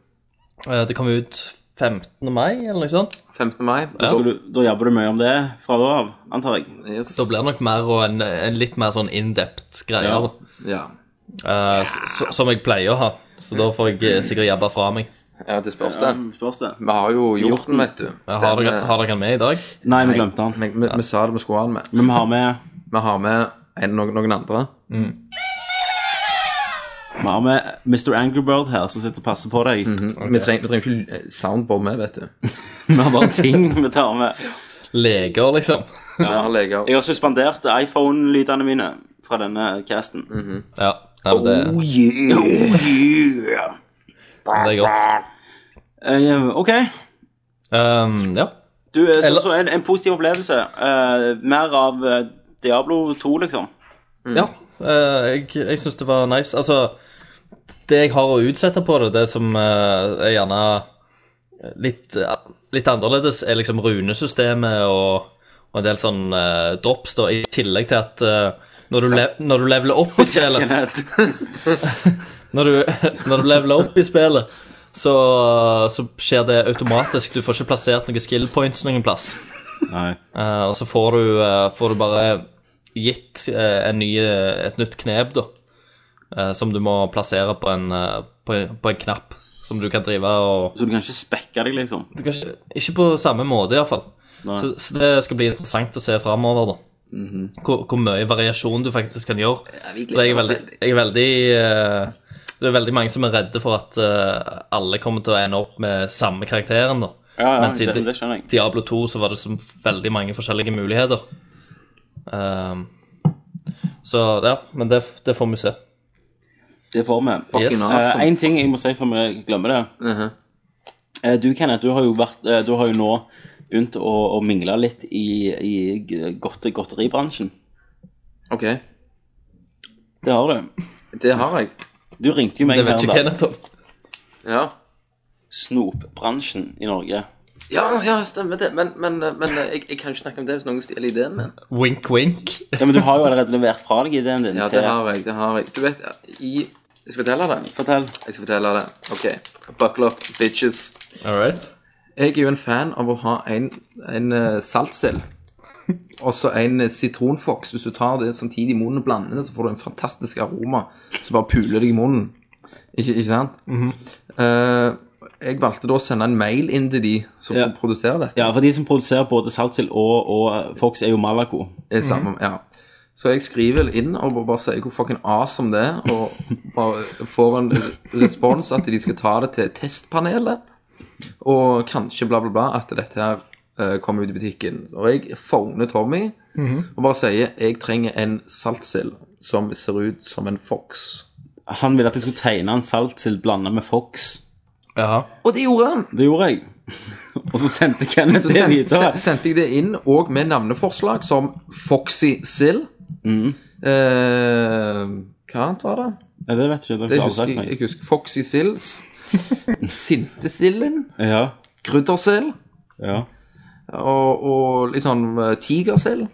Speaker 7: Eh, det kom ut 15. mai, eller noe sånt.
Speaker 8: 15. mai?
Speaker 7: Ja.
Speaker 6: Skal du- Da jobber du mye om det fra da av, antar jeg.
Speaker 8: Yes.
Speaker 7: Da blir det nok mer og en, en litt mer sånn in-dept greie.
Speaker 6: Ja.
Speaker 7: da.
Speaker 8: Ja.
Speaker 7: Eh, s- s- som jeg pleier å ha. Så da får jeg eh, sikkert jabba fra meg.
Speaker 8: ja, det spørs det.
Speaker 6: Ja, spørs det.
Speaker 8: Vi har jo gjort den, vet du.
Speaker 7: Eh, Har
Speaker 8: Den,
Speaker 7: dere,
Speaker 8: eh,
Speaker 7: har dere den med i dag?
Speaker 6: Nei, vi glemte han.
Speaker 8: Vi, vi, vi sa det vi skulle ha den med.
Speaker 6: Men vi har med,
Speaker 8: Vi har med en, noen, noen andre.
Speaker 6: vi har med Mr. Angerbird her, som sitter og passer på deg.
Speaker 8: Vi trenger, vi trenger ikke eh, soundboard med, vet du.
Speaker 6: Vi har bare ting vi tar med.
Speaker 7: Leger, liksom.
Speaker 8: Ja, leger.
Speaker 6: Jeg har suspendert iPhone-lydene mine fra denne casten.
Speaker 7: Ja, nei, men det,
Speaker 8: Oh,
Speaker 7: det er godt.
Speaker 6: Eh, OK.
Speaker 7: Um, ja.
Speaker 6: Du, eh, så,
Speaker 7: Eller-
Speaker 6: så en, en positiv opplevelse. Eh, mer av eh, Diablo 2, liksom.
Speaker 7: ja eh, jeg jeg syns det var nice. Altså, det jeg har å utsette på det, det som eh, er gjerne litt, eh, litt annerledes, er liksom runesystemet og, og en del sånn eh, drops, da, i tillegg til at eh, når du, lev, når du leveler opp i spillet
Speaker 6: Kenneth.
Speaker 7: når du, når du leveler opp i spillet, så, så skjer det automatisk. Du får ikke plassert noen skill points noen plass.
Speaker 6: Nei.
Speaker 7: Eh, og så får du, eh, får du bare gitt eh, en ny, eh, et nytt knep, da. eh, som du må plassere på en, eh, på, på en knapp. Som du kan drive og
Speaker 6: Så du kan ikke spekke deg, liksom.
Speaker 7: du kan ikke, ikke på samme måte, iallfall.
Speaker 6: Nei.
Speaker 7: Så, så det skal bli interessant å se framover, da. hvor, hvor mye variasjon du faktisk kan gjøre.
Speaker 8: vi gleder
Speaker 7: For jeg er
Speaker 8: oss
Speaker 7: veldig, jeg er veldig eh, Det er veldig mange som er redde for at eh, alle kommer til å ende opp med samme karakteren, da.
Speaker 6: Ja, ja,
Speaker 7: Men siden
Speaker 6: det, det skjønner jeg.
Speaker 7: Diablo 2 så var det så veldig mange forskjellige muligheter. Ehm, så ja, men det, det får vi se.
Speaker 6: Det får vi.
Speaker 7: Yes.
Speaker 6: Eh, en ting jeg må si før vi glemmer det. Eh, du, Kenneth, du har jo, vært, eh, du har jo nå begynt å, å mingle litt i, i g- godte, godteribransjen.
Speaker 8: Ok,
Speaker 6: Det har du.
Speaker 8: det har jeg.
Speaker 6: Du ringte jo meg
Speaker 7: Det vet
Speaker 6: her
Speaker 7: ikke
Speaker 6: om dagen.
Speaker 7: Kenneth om.
Speaker 8: Ja.
Speaker 6: Snopbransjen i Norge.
Speaker 8: Ja, ja, stemmer det. Men, men, eh, men eh, jeg, jeg kan jo ikke snakke om det hvis noen stjeler ideen min.
Speaker 7: Wink, wink.
Speaker 6: Ja, Men du har jo allerede levert fra deg ideen din.
Speaker 8: Ja,
Speaker 6: til-
Speaker 8: det har jeg. det har Jeg Du vet, i Jeg skal fortelle det.
Speaker 6: Fortell.
Speaker 8: Jeg skal fortelle det. OK. Buckle up, bitches.
Speaker 7: All right.
Speaker 8: Jeg er jo en fan av å ha en, en eh, saltsild. Og så en eh, sitronfoks. Hvis du tar det samtidig i munnen og blander det, så får du en fantastisk aroma som bare puler deg i munnen. Ikke, ikke sant? Eh, jeg valgte da å sende en mail inn til de som
Speaker 6: Ja.
Speaker 8: produserer dette.
Speaker 6: Ja, for de som produserer både saltsild og, og Fox, er jo Malaco.
Speaker 8: er samme, ja. Så jeg skriver inn og bare- bare sier hvor fucking awesome det er, og bare får en respons at de skal ta det til testpanelet, og kanskje bla bla bla, at dette her eh, kommer ut i butikken. Og jeg phoner Tommy og bare sier jeg trenger en saltsild som ser ut som en fox.
Speaker 6: Han ville at jeg skulle tegne en saltsild blanda med Fox.
Speaker 7: Jaha.
Speaker 8: Og det gjorde han!
Speaker 6: Det gjorde jeg. og så sendte Kenneth
Speaker 8: Så
Speaker 6: det
Speaker 8: send,
Speaker 6: videre.
Speaker 8: sen- sendte jeg det inn og med navneforslag som Foxy Sill. Eh, hva annet var det?
Speaker 6: Ja, det vet jeg ikke. Det
Speaker 8: Det
Speaker 6: har du
Speaker 8: husker
Speaker 6: sagt
Speaker 8: jeg.
Speaker 6: meg.
Speaker 8: jeg husker Foxy Sills, Sintesilden,
Speaker 6: Ja,
Speaker 8: Kryddersild
Speaker 6: ja.
Speaker 8: og, og litt sånn eh, Tigersild.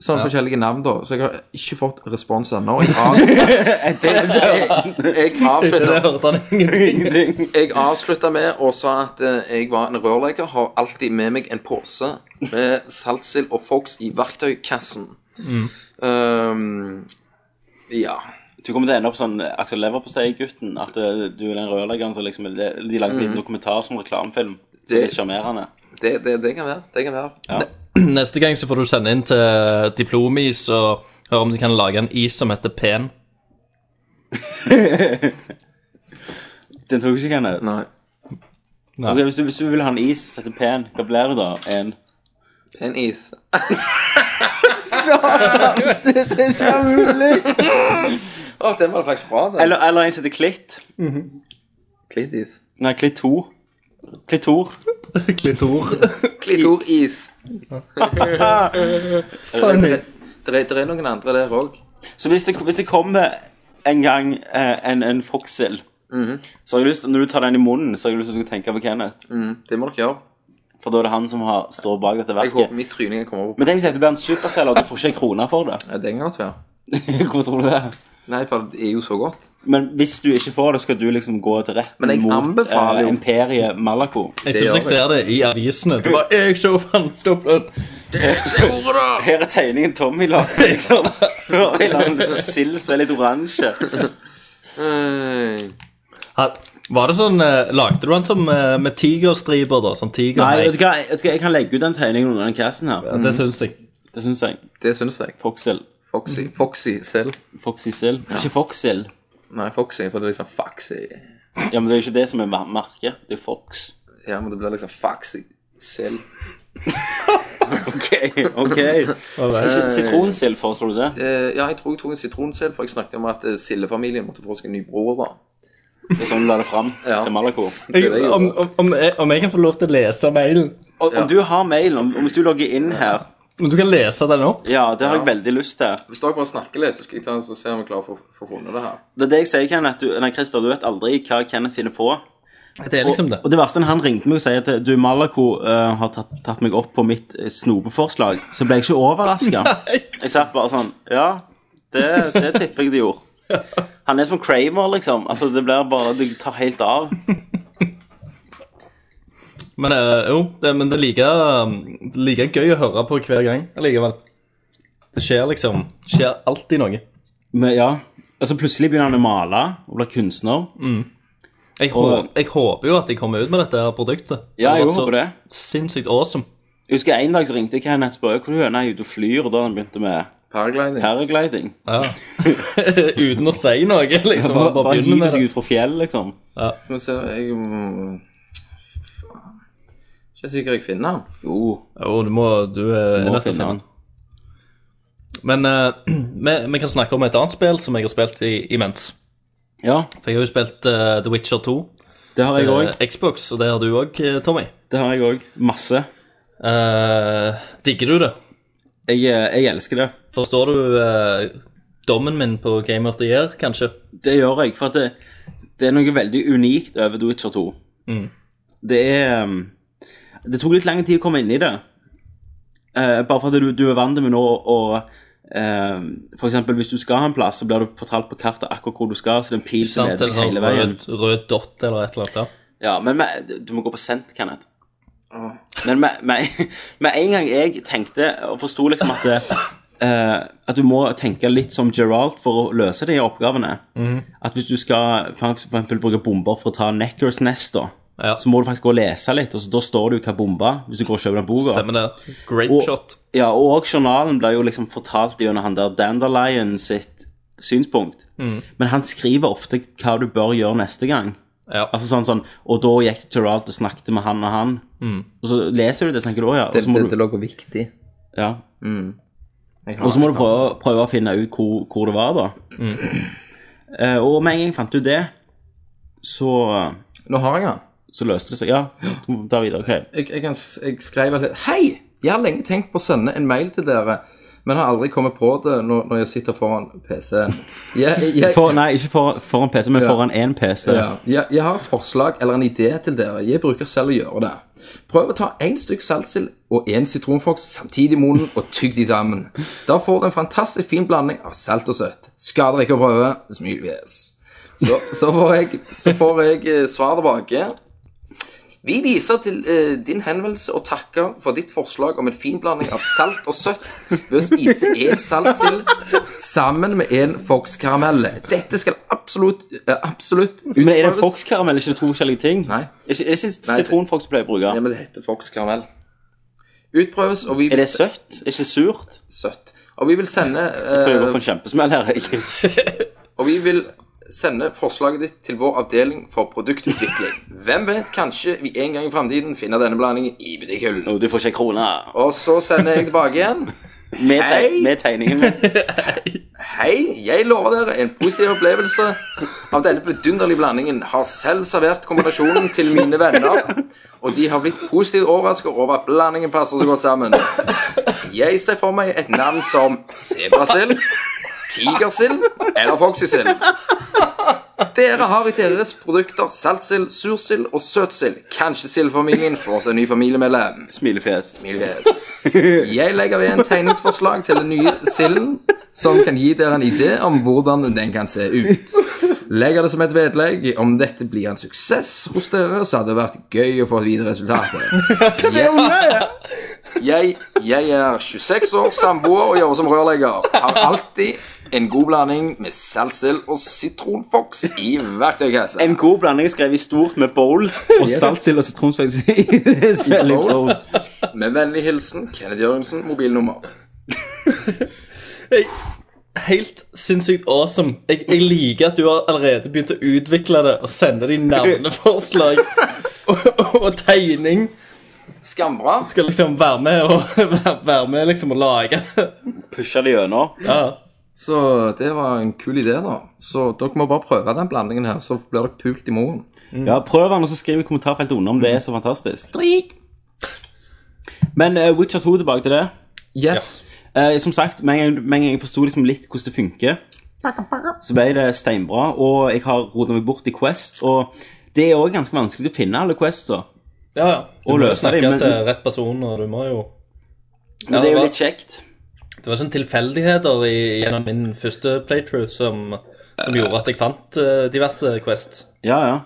Speaker 8: Sånne forskjellige navn, da. Så jeg har ikke fått respons ennå. Jeg, av... jeg, jeg, jeg,
Speaker 7: Det
Speaker 8: avslutta-
Speaker 7: hørte han ingenting.
Speaker 8: jeg avslutta med å sa at eh, jeg var en rørlegger, har alltid med meg en pose med saltsild og Fox i verktøykassen. Um, ja.
Speaker 6: Du kommer til å ende opp sånn Aksel Leverpostei-gutten. At eh, du er den rørleggeren som liksom De lagde en liten dokumentar som reklamefilm. Så det er sjarmerende.
Speaker 8: Det, det, det kan være. Det kan være.
Speaker 7: Neste gang så får du sende inn til Diplomis og høre om de kan lage en is som heter Pen.
Speaker 6: Den tok ikke Kenneth.
Speaker 8: Nei.
Speaker 7: Nei.
Speaker 6: Ok, hvis, du, hvis du vil ha en is, sette pen, hva blir det da? En
Speaker 8: En is. Å, den var faktisk bra, den.
Speaker 6: Eller, eller en som heter Klitt.
Speaker 8: Klittis.
Speaker 6: Nei, Klitt 2. Klitor.
Speaker 7: Klitor.
Speaker 8: Klitoris.
Speaker 7: Funny.
Speaker 8: Det er noen andre der òg.
Speaker 6: Så hvis det, hvis det kommer en gang eh, en, en foxhill, så har jeg lyst, når du tar den i munnen, så har jeg lyst til at du skal tenke på Kenneth.
Speaker 8: Det må dere gjøre.
Speaker 6: For da er det han som har, står bak dette
Speaker 8: Jeg håper
Speaker 6: verket.
Speaker 8: mitt tryning kommer opp.
Speaker 6: Men tenk hvis dette blir en superselger, og du får ikke en krone for det.
Speaker 8: Ja, Det kan godt være.
Speaker 6: Hvorfor tror du det?
Speaker 8: Nei, for det er jo så godt.
Speaker 6: Men hvis du ikke får det, skal du liksom gå til retten
Speaker 8: Men jeg
Speaker 6: mot eh,
Speaker 8: anbefaler jo-
Speaker 6: imperiet Malaco.
Speaker 7: Jeg syns jeg
Speaker 8: gjør
Speaker 7: ser det i avisene. Det var jeg som fant opp den.
Speaker 6: Her er tegningen Tommy la. Liksom. Og en eller annen sild som er litt oransje.
Speaker 8: Eh,
Speaker 7: Ha- Var det sånn, eh, Lagde du den som eh, med tigerstriper, da? Sånn tiger?
Speaker 6: Nei, vet du hva, vet du hva, jeg kan legge ut den tegningen under den casten her.
Speaker 7: Ja, det syns jeg.
Speaker 6: Det syns jeg.
Speaker 8: Det syns jeg.
Speaker 6: Foxhill.
Speaker 8: Foxy. Foxy selv.
Speaker 6: Foxy sild. Ikke Foxhill.
Speaker 8: Nei, Foxy, for det er liksom Foxy.
Speaker 6: Ja, men det er jo ikke det som er mer- merket. Det er Fox.
Speaker 8: Ja, men det blir liksom Foxy selv.
Speaker 6: Ok, ok. Ikke Sitronsild, foreslår du det?
Speaker 8: Eh, ja, jeg tror jeg tok en sitronsild, for jeg snakket om at eh, sildefamilien måtte få seg en ny bror. da.
Speaker 6: Det er sånn du la det fram
Speaker 8: Ja.
Speaker 6: til Malaco.
Speaker 8: Det er det jeg
Speaker 7: om,
Speaker 8: gjorde.
Speaker 7: om, om, jeg, om jeg kan få lov til å lese mailen?
Speaker 6: Og om
Speaker 8: Ja.
Speaker 6: du har mailen, om, om hvis du logger inn her
Speaker 7: Om du kan lese den opp?
Speaker 6: Ja, det har jeg
Speaker 8: Ja.
Speaker 6: veldig lyst til.
Speaker 8: Hvis dere bare snakker litt, så skal jeg ta en så ser om vi klarer å få- få funnet det her.
Speaker 6: Det er det jeg sier, Kenneth. Du, nei, Christer, du vet aldri hva Kenneth finner på.
Speaker 7: Det er liksom det.
Speaker 6: Og, og det verste er at han ringte meg og sier at du, Malaco eh, har tatt, tatt meg opp på mitt eh, snopeforslag. Så ble jeg ikke overraska. Jeg satt bare sånn Ja, det, det tipper jeg de gjorde. Han er som Kramer, liksom. Altså, det blir bare Det tar helt av.
Speaker 7: Men eh, jo, det, men det er like, um, like gøy å høre på hver gang allikevel. Det skjer liksom Skjer alltid noe.
Speaker 6: Men ja. Altså, plutselig begynner han å male og blir kunstner.
Speaker 7: Jeg, hå- jeg håper jo at jeg kommer ut med dette her produktet.
Speaker 6: Ja, jeg
Speaker 7: har vært så
Speaker 6: håper det.
Speaker 7: Sinnssykt awesome.
Speaker 6: Jeg husker en dag så ringte jeg henne og spurte hvor du er. Nei, du flyr, og da han begynte med
Speaker 8: Paragliding.
Speaker 6: paragliding.
Speaker 7: Ja. Uten å si noe, liksom.
Speaker 6: Bare,
Speaker 7: bare
Speaker 6: bare
Speaker 7: begynne
Speaker 6: hiver
Speaker 7: med
Speaker 6: seg
Speaker 7: det.
Speaker 6: ut fra fjell, liksom.
Speaker 8: Skal vi se jeg... mm, Faen. Ikke sikker jeg finner den.
Speaker 6: Jo,
Speaker 7: Jo, du må Du er
Speaker 6: må
Speaker 7: nødt til å
Speaker 6: finne
Speaker 7: finne
Speaker 6: han.
Speaker 7: den. Men eh, vi, vi kan snakke om et annet spill som jeg har spilt i, imens.
Speaker 6: Ja,
Speaker 7: For jeg har jo spilt eh, The Witcher 2
Speaker 6: det har jeg
Speaker 7: til
Speaker 6: òg.
Speaker 7: Xbox, og det har du òg, Tommy.
Speaker 6: Det har jeg òg. Masse.
Speaker 7: Eh, digger du det?
Speaker 6: Jeg, eh, jeg elsker det.
Speaker 7: Forstår du eh, dommen min på Game of the Year, kanskje?
Speaker 6: Det gjør jeg, for at det, det er noe veldig unikt over The Witcher 2.
Speaker 7: Mm.
Speaker 6: Det er um, Det tok litt lang tid å komme inn i det. Eh, bare fordi du, du er vant med nå og eh, for eksempel hvis du skal ha en plass, så blir du fortalt på kartet akkurat hvor du skal, så det er en pil som
Speaker 7: Sant?
Speaker 6: leder
Speaker 7: En
Speaker 6: deg
Speaker 7: sånn
Speaker 6: hele veien.
Speaker 7: rød, rød dott eller et eller annet. der.
Speaker 6: Ja, men med, du må gå på sent, Kenneth. Men med, med, med en gang jeg tenkte og forsto liksom at det, eh, At du må tenke litt som Geralt for å løse de oppgavene. At hvis du skal for eksempel bruke bomber for å ta Neckers Nest, da,
Speaker 7: Ja.
Speaker 6: så må du faktisk gå og lese litt, og så, da står det jo hva bomba hvis du går og kjøper den boka.
Speaker 7: Stemmer det. Great
Speaker 6: Og-
Speaker 7: shot.
Speaker 6: Ja, og også journalen blir jo liksom fortalt gjennom han der Dandelion sitt synspunkt. Men han skriver ofte hva du bør gjøre neste gang.
Speaker 7: Ja.
Speaker 6: Altså sånn sånn, Og da gikk Geralt og snakket med han og han. Og så leser du det, tenker du òg, ja. Og
Speaker 8: Det,
Speaker 6: så må
Speaker 8: det, det
Speaker 6: du,
Speaker 8: lå på viktig.
Speaker 6: ja.
Speaker 8: Jeg har
Speaker 6: Og så må
Speaker 8: den.
Speaker 6: du prøve, prøve å finne ut hvor, hvor det var, da. Eh, og med en gang jeg fant ut det, så,
Speaker 8: Nå har jeg den.
Speaker 6: så løste det seg. Ja, du må ta videre. ok.
Speaker 8: Jeg, jeg, kan, s- jeg skrev litt Hei! Jeg har lenge tenkt på å sende en mail til dere, men har aldri kommet på det når, når jeg sitter foran PC-en. Jeg, jeg,
Speaker 6: For, nei, ikke for, foran PC, men foran én PC.
Speaker 8: Ja. Jeg, jeg har et forslag eller en idé til dere. Jeg bruker selv å gjøre det. Prøv å ta én stykk saltsild og én sitronfox samtidig i munnen og tygg de sammen. Da får du en fantastisk fin blanding av salt og søtt. Skader ikke å prøve. Smil yes. Så, så får jeg, så får jeg eh, svar tilbake. Vi viser til eh, din henvendelse og takker for ditt forslag om en fin blanding av salt og søtt ved å spise én saltsild sammen med en Fox-karamell. Dette skal absolutt, eh, absolutt utprøves.
Speaker 6: Men er det Fox-karamell, ikke to forskjellige ting?
Speaker 8: Nei.
Speaker 6: Er ikke- er det ikke
Speaker 8: Nei, det-
Speaker 6: sitronfox du pleier å bruke?
Speaker 8: Ja, men det heter Fox-karamell. Utprøves, og vi
Speaker 6: Er
Speaker 8: vil
Speaker 6: det søtt? Er ikke surt?
Speaker 8: søtt. Og vi vil sende
Speaker 6: Jeg tror jeg går
Speaker 8: eh,
Speaker 6: på en kjempesmell her. jeg.
Speaker 8: Og vi vil sende forslaget ditt til vår avdeling for produktutvikling. Hvem vet, kanskje vi en gang i fremtiden finner denne blandingen i butikkhyllen.
Speaker 6: Nå, du får ikke en krone.
Speaker 8: Og så sender jeg tilbake igjen.
Speaker 6: Med, teg
Speaker 8: Hei.
Speaker 6: med tegningen min.
Speaker 8: Hei, jeg lover dere en positiv opplevelse av denne vidunderlige blandingen. Har selv servert kombinasjonen til mine venner, og de har blitt positivt overrasket over at blandingen passer så godt sammen. Jeg ser for meg et navn som sebrasild, tigersild eller foxysild. Dere har i deres produkter saltsild, sursild og søtsild. Kanskje sildfamilien får seg ny familiemedlem.
Speaker 6: Smilefjes.
Speaker 8: Smilefjes. Jeg legger ved en tegningsforslag til den nye silden, som kan gi dere en idé om hvordan den kan se ut. Legger det som et vedlegg. Om dette blir en suksess hos dere, så hadde det vært gøy å få vite resultatet. Jeg, jeg, jeg er 26 år, samboer og jobber som rørlegger. Har alltid en god blanding med saltsild og sitronfox i verktøykassa.
Speaker 6: En god blanding skrev i stort med bowl og saltsild og sitronspeks i i
Speaker 8: bowl.
Speaker 6: bowl.
Speaker 8: Med vennlig hilsen Kenneth Jørgensen, mobilnummer.
Speaker 7: Helt sinnssykt awesome. Jeg, jeg liker at du har allerede begynt å utvikle det og sende de navneforslag og, og, og tegning.
Speaker 8: Skambra.
Speaker 7: Skal liksom være med og, være- være med liksom og lage det.
Speaker 6: Pusha det gjennom.
Speaker 7: Ja.
Speaker 8: Så det var en kul idé, da. Så dere må bare prøve den blandingen her, så blir dere pult i morgen.
Speaker 6: Ja, prøv den, og så skriv i kommentarfeltet under om det er så fantastisk. Men eh, Witcher 2 tilbake til det.
Speaker 8: Yes.
Speaker 6: Eh, som sagt, med en gang- med en gang jeg forsto liksom litt hvordan det funker, så ble det steinbra. Og jeg har rotet meg bort i Quest, og det er òg ganske vanskelig å finne alle Quests. da.
Speaker 7: ja, ja. Du
Speaker 6: Og
Speaker 7: må jo
Speaker 6: løse det,
Speaker 7: snakke
Speaker 6: men-
Speaker 7: til rett person, og du må jo
Speaker 6: Men
Speaker 7: Ja,
Speaker 6: det er jo
Speaker 7: hva-
Speaker 6: litt kjekt.
Speaker 7: Det var sånne tilfeldigheter i, gjennom min første playthrough som, som gjorde at jeg fant eh, diverse quests.
Speaker 6: Ja, ja.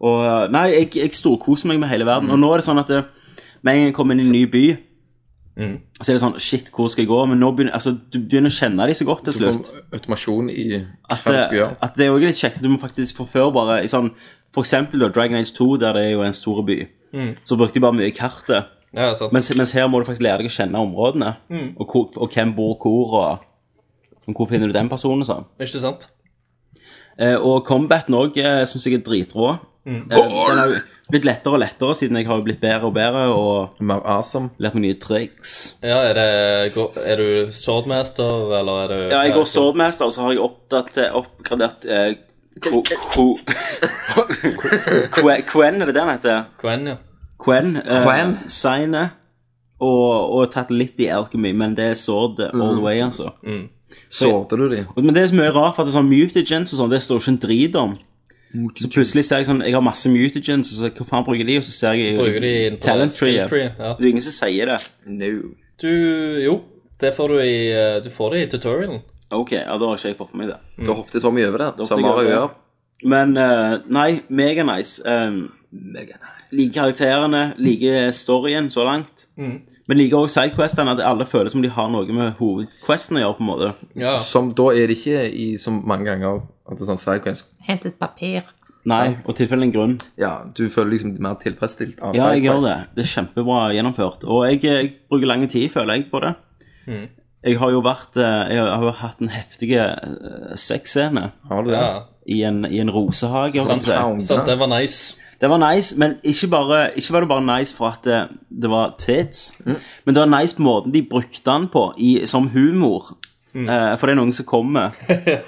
Speaker 6: Og eh, Nei, jeg, jeg storkoser meg med hele verden. Og nå er det sånn at eh, med en gang jeg kommer inn i en ny by,
Speaker 8: Mm.
Speaker 6: så er det sånn Shit, hvor skal jeg gå? Men nå begynner, altså, du begynner å kjenne de så godt til
Speaker 8: Så kom
Speaker 6: slutt.
Speaker 8: Automasjon i hva
Speaker 6: At,
Speaker 8: du skal
Speaker 6: det-
Speaker 8: gjøre.
Speaker 6: at det er også litt kjekt at du må faktisk forførbare i sånn For eksempel da, Dragon Age 2, der det er jo en stor by.
Speaker 8: Mm.
Speaker 6: Så brukte de bare mye kartet.
Speaker 7: Ja, sant.
Speaker 6: Mens, mens her må du faktisk lære deg å kjenne områdene.
Speaker 8: Mm.
Speaker 6: Og, hvor, og hvem bor hvor, og, og hvor finner du den personen og sånn.
Speaker 7: Ikke sant?
Speaker 6: Eh, og combaten òg eh, syns jeg er dritrå. Eh, den har jo blitt lettere og lettere siden jeg har blitt bedre og bedre og
Speaker 8: Mer awesome.
Speaker 6: lært meg nye triks.
Speaker 7: Ja, er, det, går- er du swordmaster, eller er du
Speaker 6: Ja, jeg går swordmaster, og så har jeg oppdatert, oppgradert eh, Qu- Qu- Qu- Quen, er det det han heter?
Speaker 7: Quen, ja.
Speaker 6: Quen. eh,
Speaker 8: Quen.
Speaker 6: Signet. Og, og tatt litt i alchemy, men det er sword all the way, altså.
Speaker 8: Sårte du de?
Speaker 6: Og- Men det er så mye rart, for at det er sånn mutagens og sånn, det står ikke en drit om. Så plutselig ser jeg sånn, jeg har masse mutagens, og så hva faen bruker de, og så ser jeg
Speaker 7: Bruker de på
Speaker 6: talent tree.
Speaker 7: skill tree,
Speaker 6: Det
Speaker 7: Ja.
Speaker 6: er jo ingen som sier det.
Speaker 8: No.
Speaker 7: Du, jo, det får du i, eh, du får det i tutorialen.
Speaker 6: Ok, ja, da har ikke jeg fått med meg det.
Speaker 8: Mm. Da hoppet Tommy over der,
Speaker 6: hoppet
Speaker 8: som
Speaker 6: jeg over
Speaker 8: Mario
Speaker 6: det.
Speaker 8: gjør.
Speaker 6: Men eh, nei, mega nice. Um,
Speaker 8: Mega nice.
Speaker 6: liker karakterene, liker storyen så langt.
Speaker 8: Mm.
Speaker 6: Men liker også sidequestene, at alle føler som de har noe med hovedquesten å gjøre, på en måte.
Speaker 7: Ja.
Speaker 8: Som da er det ikke i som mange ganger at det er sånn sidequest.
Speaker 6: Nei, og tilfellet en grunn.
Speaker 8: Ja, du føler liksom mer tilfredsstilt av
Speaker 6: Ja, Altså, jeg gjør det.
Speaker 8: sidequest.
Speaker 6: Det er kjempebra gjennomført. Og jeg, eh, jeg bruker lang tid, føler jeg, på det. Mm. Jeg har jo vært eh, Jeg har jo hatt en heftig eh, sexscene
Speaker 8: Har du det?
Speaker 7: ja.
Speaker 6: i en, i en rosehage. holdt jeg på å si.
Speaker 8: Pound,
Speaker 7: Sant,
Speaker 8: ja.
Speaker 7: det var nice.
Speaker 6: Det var nice, men ikke, bare, ikke var det bare nice for at det, det var tits, men det var nice på måten de brukte den på i, som humor. Eh, for det er noen som kommer,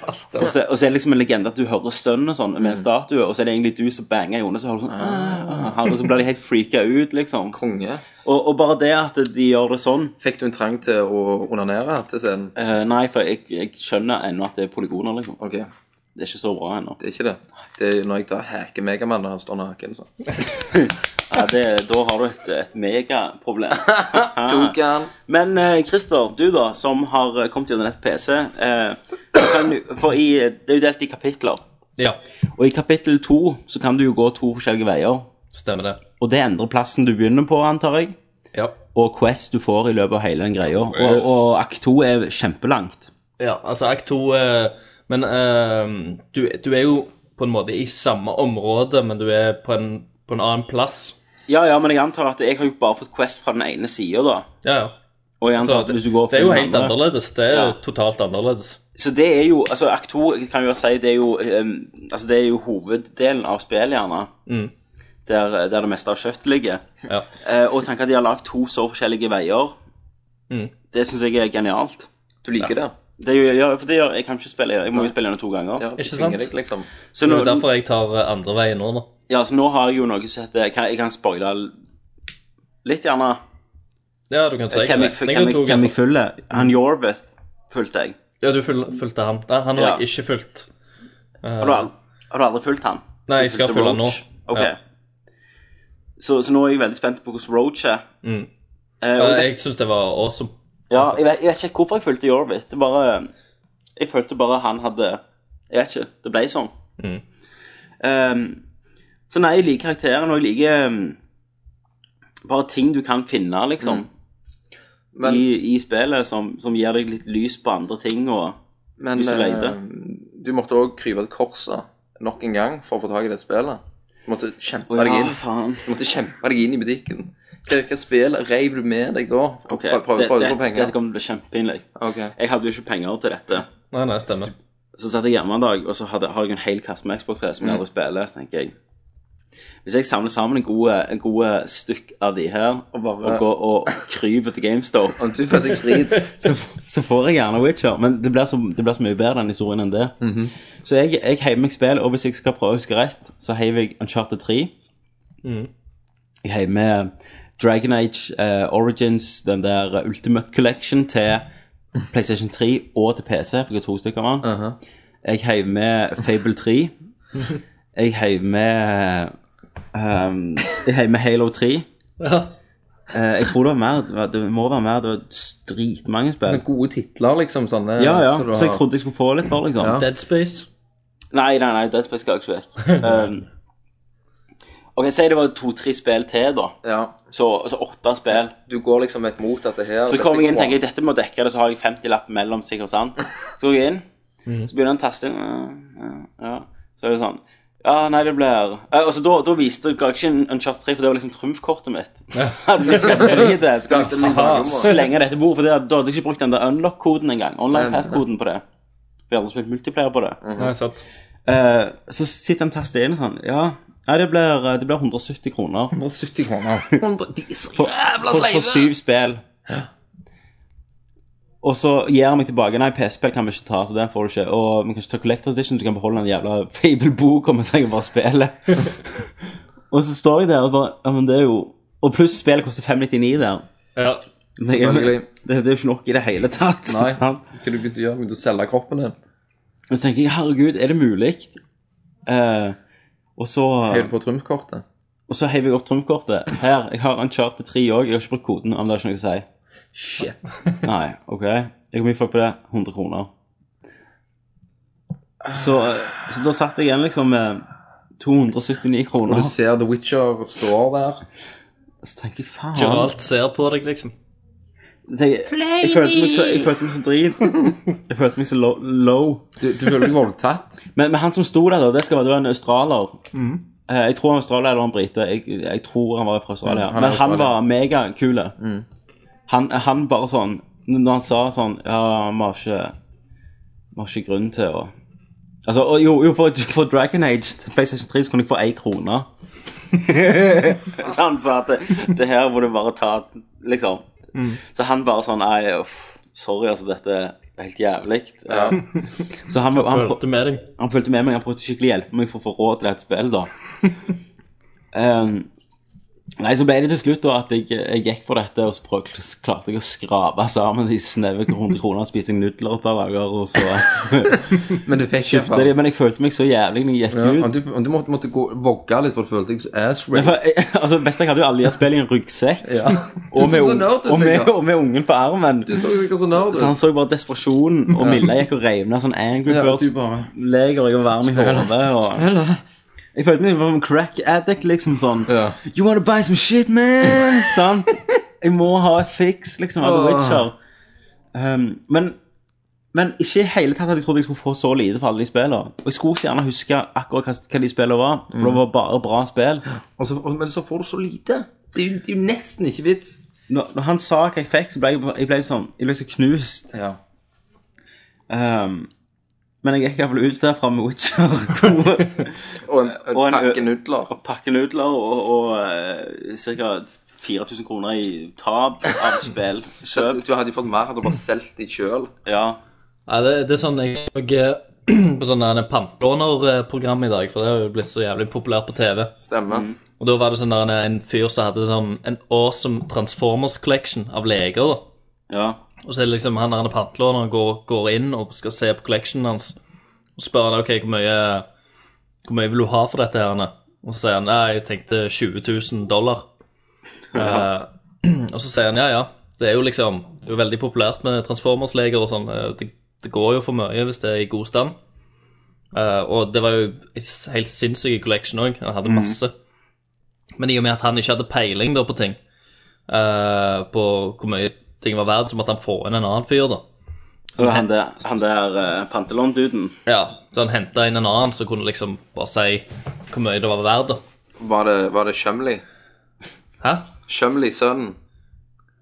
Speaker 6: og så, og så er det liksom en legende at du hører stønn og sånn med en statue, og så er det egentlig du som banger i under, så hører du sånn ah, ah, Og så blir de helt freaka ut, liksom.
Speaker 8: Konge.
Speaker 6: Og, og bare det at de gjør det sånn
Speaker 8: Fikk du en trang til å onanere til scenen?
Speaker 6: eh, Nei, for jeg, jeg skjønner ennå at det er polygoner, liksom.
Speaker 8: Ok, det
Speaker 6: Det er ikke så bra ennå.
Speaker 8: er ikke det. Det er når jeg da hacker Megaman når han står naken. sånn.
Speaker 6: Ja, det, da har du et, et megaproblem.
Speaker 8: Tok han.
Speaker 6: Men eh, Christer, du da, som har eh, kommet gjennom et PC eh, kan, du- For i, det er jo delt i kapitler.
Speaker 7: Ja,
Speaker 6: Og i kapittel to så kan du jo gå to forskjellige veier.
Speaker 7: stemmer det.
Speaker 6: Og det endrer plassen du begynner på, antar jeg.
Speaker 7: Ja.
Speaker 6: Og Quest du får i løpet av hele den greia. Og, og akt to er kjempelangt.
Speaker 7: ja altså, akt to eh, Men eh, du, du er jo på en måte i samme område, men du er på en, på en annen plass.
Speaker 6: Ja, ja, men jeg antar at jeg har jo bare fått Quest fra den ene sida, da.
Speaker 7: Ja, ja.
Speaker 6: Og jeg antar
Speaker 7: Så
Speaker 6: at
Speaker 7: det,
Speaker 6: hvis du går og
Speaker 7: det er jo
Speaker 6: finner
Speaker 7: helt
Speaker 6: andre-
Speaker 7: annerledes. Det er
Speaker 6: Ja.
Speaker 7: totalt annerledes.
Speaker 6: Så det er jo Altså, akt to kan jo si det er jo ehm, Altså, det er jo hoveddelen av spillet, gjerne.
Speaker 7: Mm.
Speaker 6: Der, der det meste av kjøttet ligger.
Speaker 7: Ja.
Speaker 6: Eh, og tenk
Speaker 7: Mm.
Speaker 6: at de har lagd to så forskjellige veier. Det syns jeg er genialt.
Speaker 8: Du liker det?
Speaker 6: Det gjør, ja, for det gjør, jeg kan ikke spille Jeg må jo spille den to ganger.
Speaker 8: Ja, du
Speaker 7: Ikke
Speaker 8: tvinger
Speaker 7: sant?
Speaker 8: Deg, liksom.
Speaker 6: Så
Speaker 7: Det er
Speaker 6: nå,
Speaker 7: jo derfor jeg tar eh, andre veien nå, da.
Speaker 6: ja, så nå har jeg jo noe som heter Jeg kan, jeg kan spoile litt, gjerne.
Speaker 7: Ja, du kan si
Speaker 6: Eh, Hvem jeg,
Speaker 7: jeg
Speaker 6: hvem jeg,
Speaker 7: tok
Speaker 6: hvem
Speaker 7: han
Speaker 6: jeg følger. Han Yorbeth fulgte jeg.
Speaker 7: Ja, du ful- fulgte han. Nei, han har
Speaker 6: Ja.
Speaker 7: jeg ikke fulgt.
Speaker 6: Har du, al- har du aldri fulgt han?
Speaker 7: Nei, jeg skal
Speaker 6: Du fulgte
Speaker 7: følge han
Speaker 6: Roach?
Speaker 7: nå.
Speaker 6: Ok.
Speaker 7: Ja.
Speaker 6: Så, så nå er jeg veldig spent på hvordan Roach er. Eh, og
Speaker 7: Eh,
Speaker 6: jeg,
Speaker 7: Jeg syns det var awesome.
Speaker 6: ja, jeg, vet, jeg vet ikke hvorfor jeg fulgte Yorbit. Det bare, jeg følte bare han hadde Jeg vet ikke. Det ble sånn.
Speaker 7: Mm.
Speaker 6: Ehm, så nei, jeg liker karakteren, og jeg liker ehm, bare ting du kan finne, liksom,
Speaker 8: Mm. Men,
Speaker 6: i, i spillet som, som gir deg litt lys på andre ting og
Speaker 8: men
Speaker 6: hvis du
Speaker 8: eh, du måtte òg krype til korset nok en gang for å få tak i det spillet. Du måtte kjempe
Speaker 6: Å,
Speaker 8: deg
Speaker 6: ja,
Speaker 8: inn
Speaker 6: faen.
Speaker 8: Du måtte kjempe deg inn i butikken. Hva, hva spill reiv du med deg da?
Speaker 6: Ok,
Speaker 8: Prøv- prøv-
Speaker 6: det,
Speaker 8: prøvde
Speaker 6: det, dette
Speaker 8: på penger?
Speaker 6: kommer til å bli kjempepinlig.
Speaker 8: Ok.
Speaker 6: Jeg hadde jo ikke penger til dette.
Speaker 7: Nei, nei, stemmer.
Speaker 6: Så satt jeg hjemme en dag, og så hadde, har jeg en hel kasse med Xbox som jeg
Speaker 8: Mm.
Speaker 6: aldri spiller, så tenker jeg Hvis jeg samler sammen en gode, en gode stykk av de her,
Speaker 8: Og bare-
Speaker 6: og går og kryper til GameStop,
Speaker 8: Om du følte deg fri
Speaker 6: så, så får jeg gjerne Witcher. Men det blir så, det blir så mye bedre den historien enn det. Så jeg, jeg heiver meg spill, og hvis jeg skal prøve å huske rett, så heiver jeg Uncharted 3. Jeg heiver med Dragon Age eh, Origins, den der Ultimate Collection til PlayStation 3 og til PC, for jeg har to stykker av den. Jeg heiv med Fable 3. Jeg heiv med ehm, Jeg heiv med Halo 3.
Speaker 7: Ja.
Speaker 6: Eh, jeg tror det var mer. Det, var, det må være mer. Det var dritmange spill.
Speaker 8: Sånne gode titler, liksom. Sånne,
Speaker 6: Ja, ja.
Speaker 8: så du
Speaker 6: Eh, Så jeg
Speaker 8: har-
Speaker 6: trodde jeg skulle få litt for, liksom.
Speaker 8: Ja.
Speaker 7: Dead Space.
Speaker 6: Nei, nei, nei, Dead Space skal jeg ikke vekk. Ehm, ok, Si det var to-tre spill til, da.
Speaker 8: ja.
Speaker 6: Så, så åtte spill.
Speaker 8: Du går liksom et mot dette her.
Speaker 6: Så kommer jeg inn og tenker jeg, dette må dekke det, så har jeg 50 lapp mellom sikkert, sant? Så går jeg inn,
Speaker 7: Mm.
Speaker 6: så begynner han å taste inn, ja, ja, ja. så er det sånn, ja, nei, det blir, Eh, og så da, da viste jeg ga jeg ikke en Uncharted 3, for det var liksom trumfkortet mitt. At hvis jeg hadde i det, så kan jeg slenge dette bordet, for det, da hadde jeg ikke brukt den der unlock-koden engang, online pass-koden på det. Vi har aldri spilt multiplayer på det.
Speaker 8: Mm.
Speaker 7: Nei, sant.
Speaker 6: Eh, så sitter han tastet inn og sånn, ja, nei, det blir, eh, det blir 170 kroner
Speaker 8: 170 kroner. De er så
Speaker 6: for, for, for syv spill. Og så gir han meg tilbake Nei, PC-spill kan vi ikke ta, så den får du ikke. Og vi kan ikke ta Collectors Edition, du kan beholde den jævla Fable-boka mens jeg bare spiller. og så står jeg der og bare Ja, men det er jo Og pluss spillet koster 599 der.
Speaker 7: Ja.
Speaker 6: Det er, jo-
Speaker 8: Selvfølgelig.
Speaker 6: det, det er jo ikke nok i det hele tatt.
Speaker 8: Nei.
Speaker 6: sant?
Speaker 8: Hva du begynte å gjøre? Begynte å selge kroppen din?
Speaker 6: Og så tenker jeg, herregud, er det mulig? Eh, og så
Speaker 8: Høyde på trumfkortet?
Speaker 6: Og så heiver jeg opp trumfkortet. Her, jeg har Uncharted 3 òg. Jeg har ikke brukt koden, om det er ikke noe å si.
Speaker 8: Shit.
Speaker 6: Nei, ok. Jeg kom i folk på det. 100 kroner. Så, eh, så da satt jeg igjen liksom med 279
Speaker 8: Og
Speaker 6: kroner.
Speaker 8: du ser The Witcher står der.
Speaker 6: Så tenker jeg, faen
Speaker 7: Geralt ser på deg, liksom.
Speaker 6: jeg, jeg, følte meg så, jeg følte meg så drit. Jeg følte meg så lo- low.
Speaker 8: Du, du føler deg voldtatt.
Speaker 6: Men, men han som sto der, da, det skal være det var en australier.
Speaker 8: Mm.
Speaker 6: Eh, Jeg tror han var australier eller en brite. Jeg, jeg tror han var fra Australia.
Speaker 8: Mm, han er Mm.
Speaker 6: men han
Speaker 8: australier.
Speaker 6: var megakul. Han, han bare sånn Når han sa sånn Ja, vi har ikke Vi har ikke grunn til å Altså, og jo, jo for, for Dragon Age til PlayStation 3 så kunne jeg få én krone. så han sa at det, det her må du bare ta, liksom.
Speaker 8: Mm.
Speaker 6: Så han bare sånn Nei, uff, sorry, altså, dette er helt jævlig.
Speaker 8: Ja.
Speaker 6: Så han, han, han,
Speaker 7: Følte med deg.
Speaker 6: han fulgte med meg, han prøvde skikkelig å hjelpe meg for å få råd til dette spillet, da. Ehm, nei, så ble det til slutt da at jeg, jeg gikk for dette, og så prøv, klarte jeg å skrape sammen de snaue 100 kroner, spiste jeg nudler et par dager, og så
Speaker 8: Men du fikk ikke
Speaker 6: kjøpte jeg de. Men jeg følte meg så jævlig når jeg gikk
Speaker 8: Ja, om
Speaker 6: ut.
Speaker 8: du, om du måtte, måtte gå, vogge litt, for du følte deg så ass raped.
Speaker 6: For, jeg, altså, best jeg hadde jo alle de spillene i en ryggsekk,
Speaker 8: Ja. Du
Speaker 6: og,
Speaker 8: så
Speaker 6: med,
Speaker 8: så
Speaker 6: un-
Speaker 8: nerd ut,
Speaker 6: og, med,
Speaker 8: sikkert.
Speaker 6: og med ungen på armen.
Speaker 8: Du så sikkert så nerd
Speaker 6: Så han
Speaker 8: ut.
Speaker 6: så bare desperasjonen, og Milla gikk og reiv ned sånn Angry
Speaker 8: Ja, du
Speaker 6: Birds-leger,
Speaker 8: bare
Speaker 6: jeg var varm i hodet, og
Speaker 8: Eller?
Speaker 6: Jeg følte meg som en crack addict, liksom sånn.
Speaker 8: Ja.
Speaker 6: You wanna buy some shit, man? Sant? Jeg må ha et fix, liksom, av The
Speaker 8: Åh.
Speaker 6: Witcher. Um, men, men ikke i hele tatt at jeg trodde jeg skulle få så lite for alle de spillene. Og jeg skulle så gjerne huske akkurat hva, hva de spillene var, for det var bare bra spill.
Speaker 8: Og så, og, men så får du så lite. Det er jo, det er jo nesten ikke vits.
Speaker 6: Når, når han sa hva jeg fikk, så ble jeg, jeg ble sånn, jeg ble så knust.
Speaker 8: Ja.
Speaker 6: Um, men jeg gikk i hvert fall ut derfra med Witcher 2.
Speaker 8: Og en, en,
Speaker 6: Og en-
Speaker 8: pakke nudler.
Speaker 6: Og pakke nudler og, og eh, cirka 4000 kroner i tap av spill.
Speaker 8: Du,
Speaker 6: Kjøp.
Speaker 8: du hadde jo fått mer hadde du bare solgt deg sjøl.
Speaker 6: Ja.
Speaker 7: Nei, det, det er sånn jeg så eh, på sånn pantlånerprogram i dag, for det har jo blitt så jævlig populært på TV.
Speaker 8: Stemmer.
Speaker 6: Mm.
Speaker 7: Og da var det sånn der, en fyr som hadde sånn en awesome Transformers collection av leker. da.
Speaker 6: Ja.
Speaker 7: Og så er det liksom han der pantelåneren går, går inn og skal se på collectionen hans. Og spør han ok, hvor mye, hvor mye vil du ha for dette her? Anne?» Og så sier han nei, jeg tenkte 20 000 dollar. Eh, og så sier han ja, ja. Det er jo liksom det er jo veldig populært med transformersleger og sånn. eh, Det, det går jo for mye hvis det er i god stand. Eh, og det var jo en s- helt sinnssyk collection òg. Han hadde masse. Men i og med at han ikke hadde peiling da på ting, eh, på hvor mye ting var verdt, så måtte han få inn en annen fyr, da.
Speaker 6: Så han der, han der eh, pantelon-duden
Speaker 7: Ja, Så han henta inn en annen som kunne liksom bare si hvor mye det var verdt, da.
Speaker 8: Var det, var det Shumley?
Speaker 7: Hæ?
Speaker 8: Shumley, sønnen.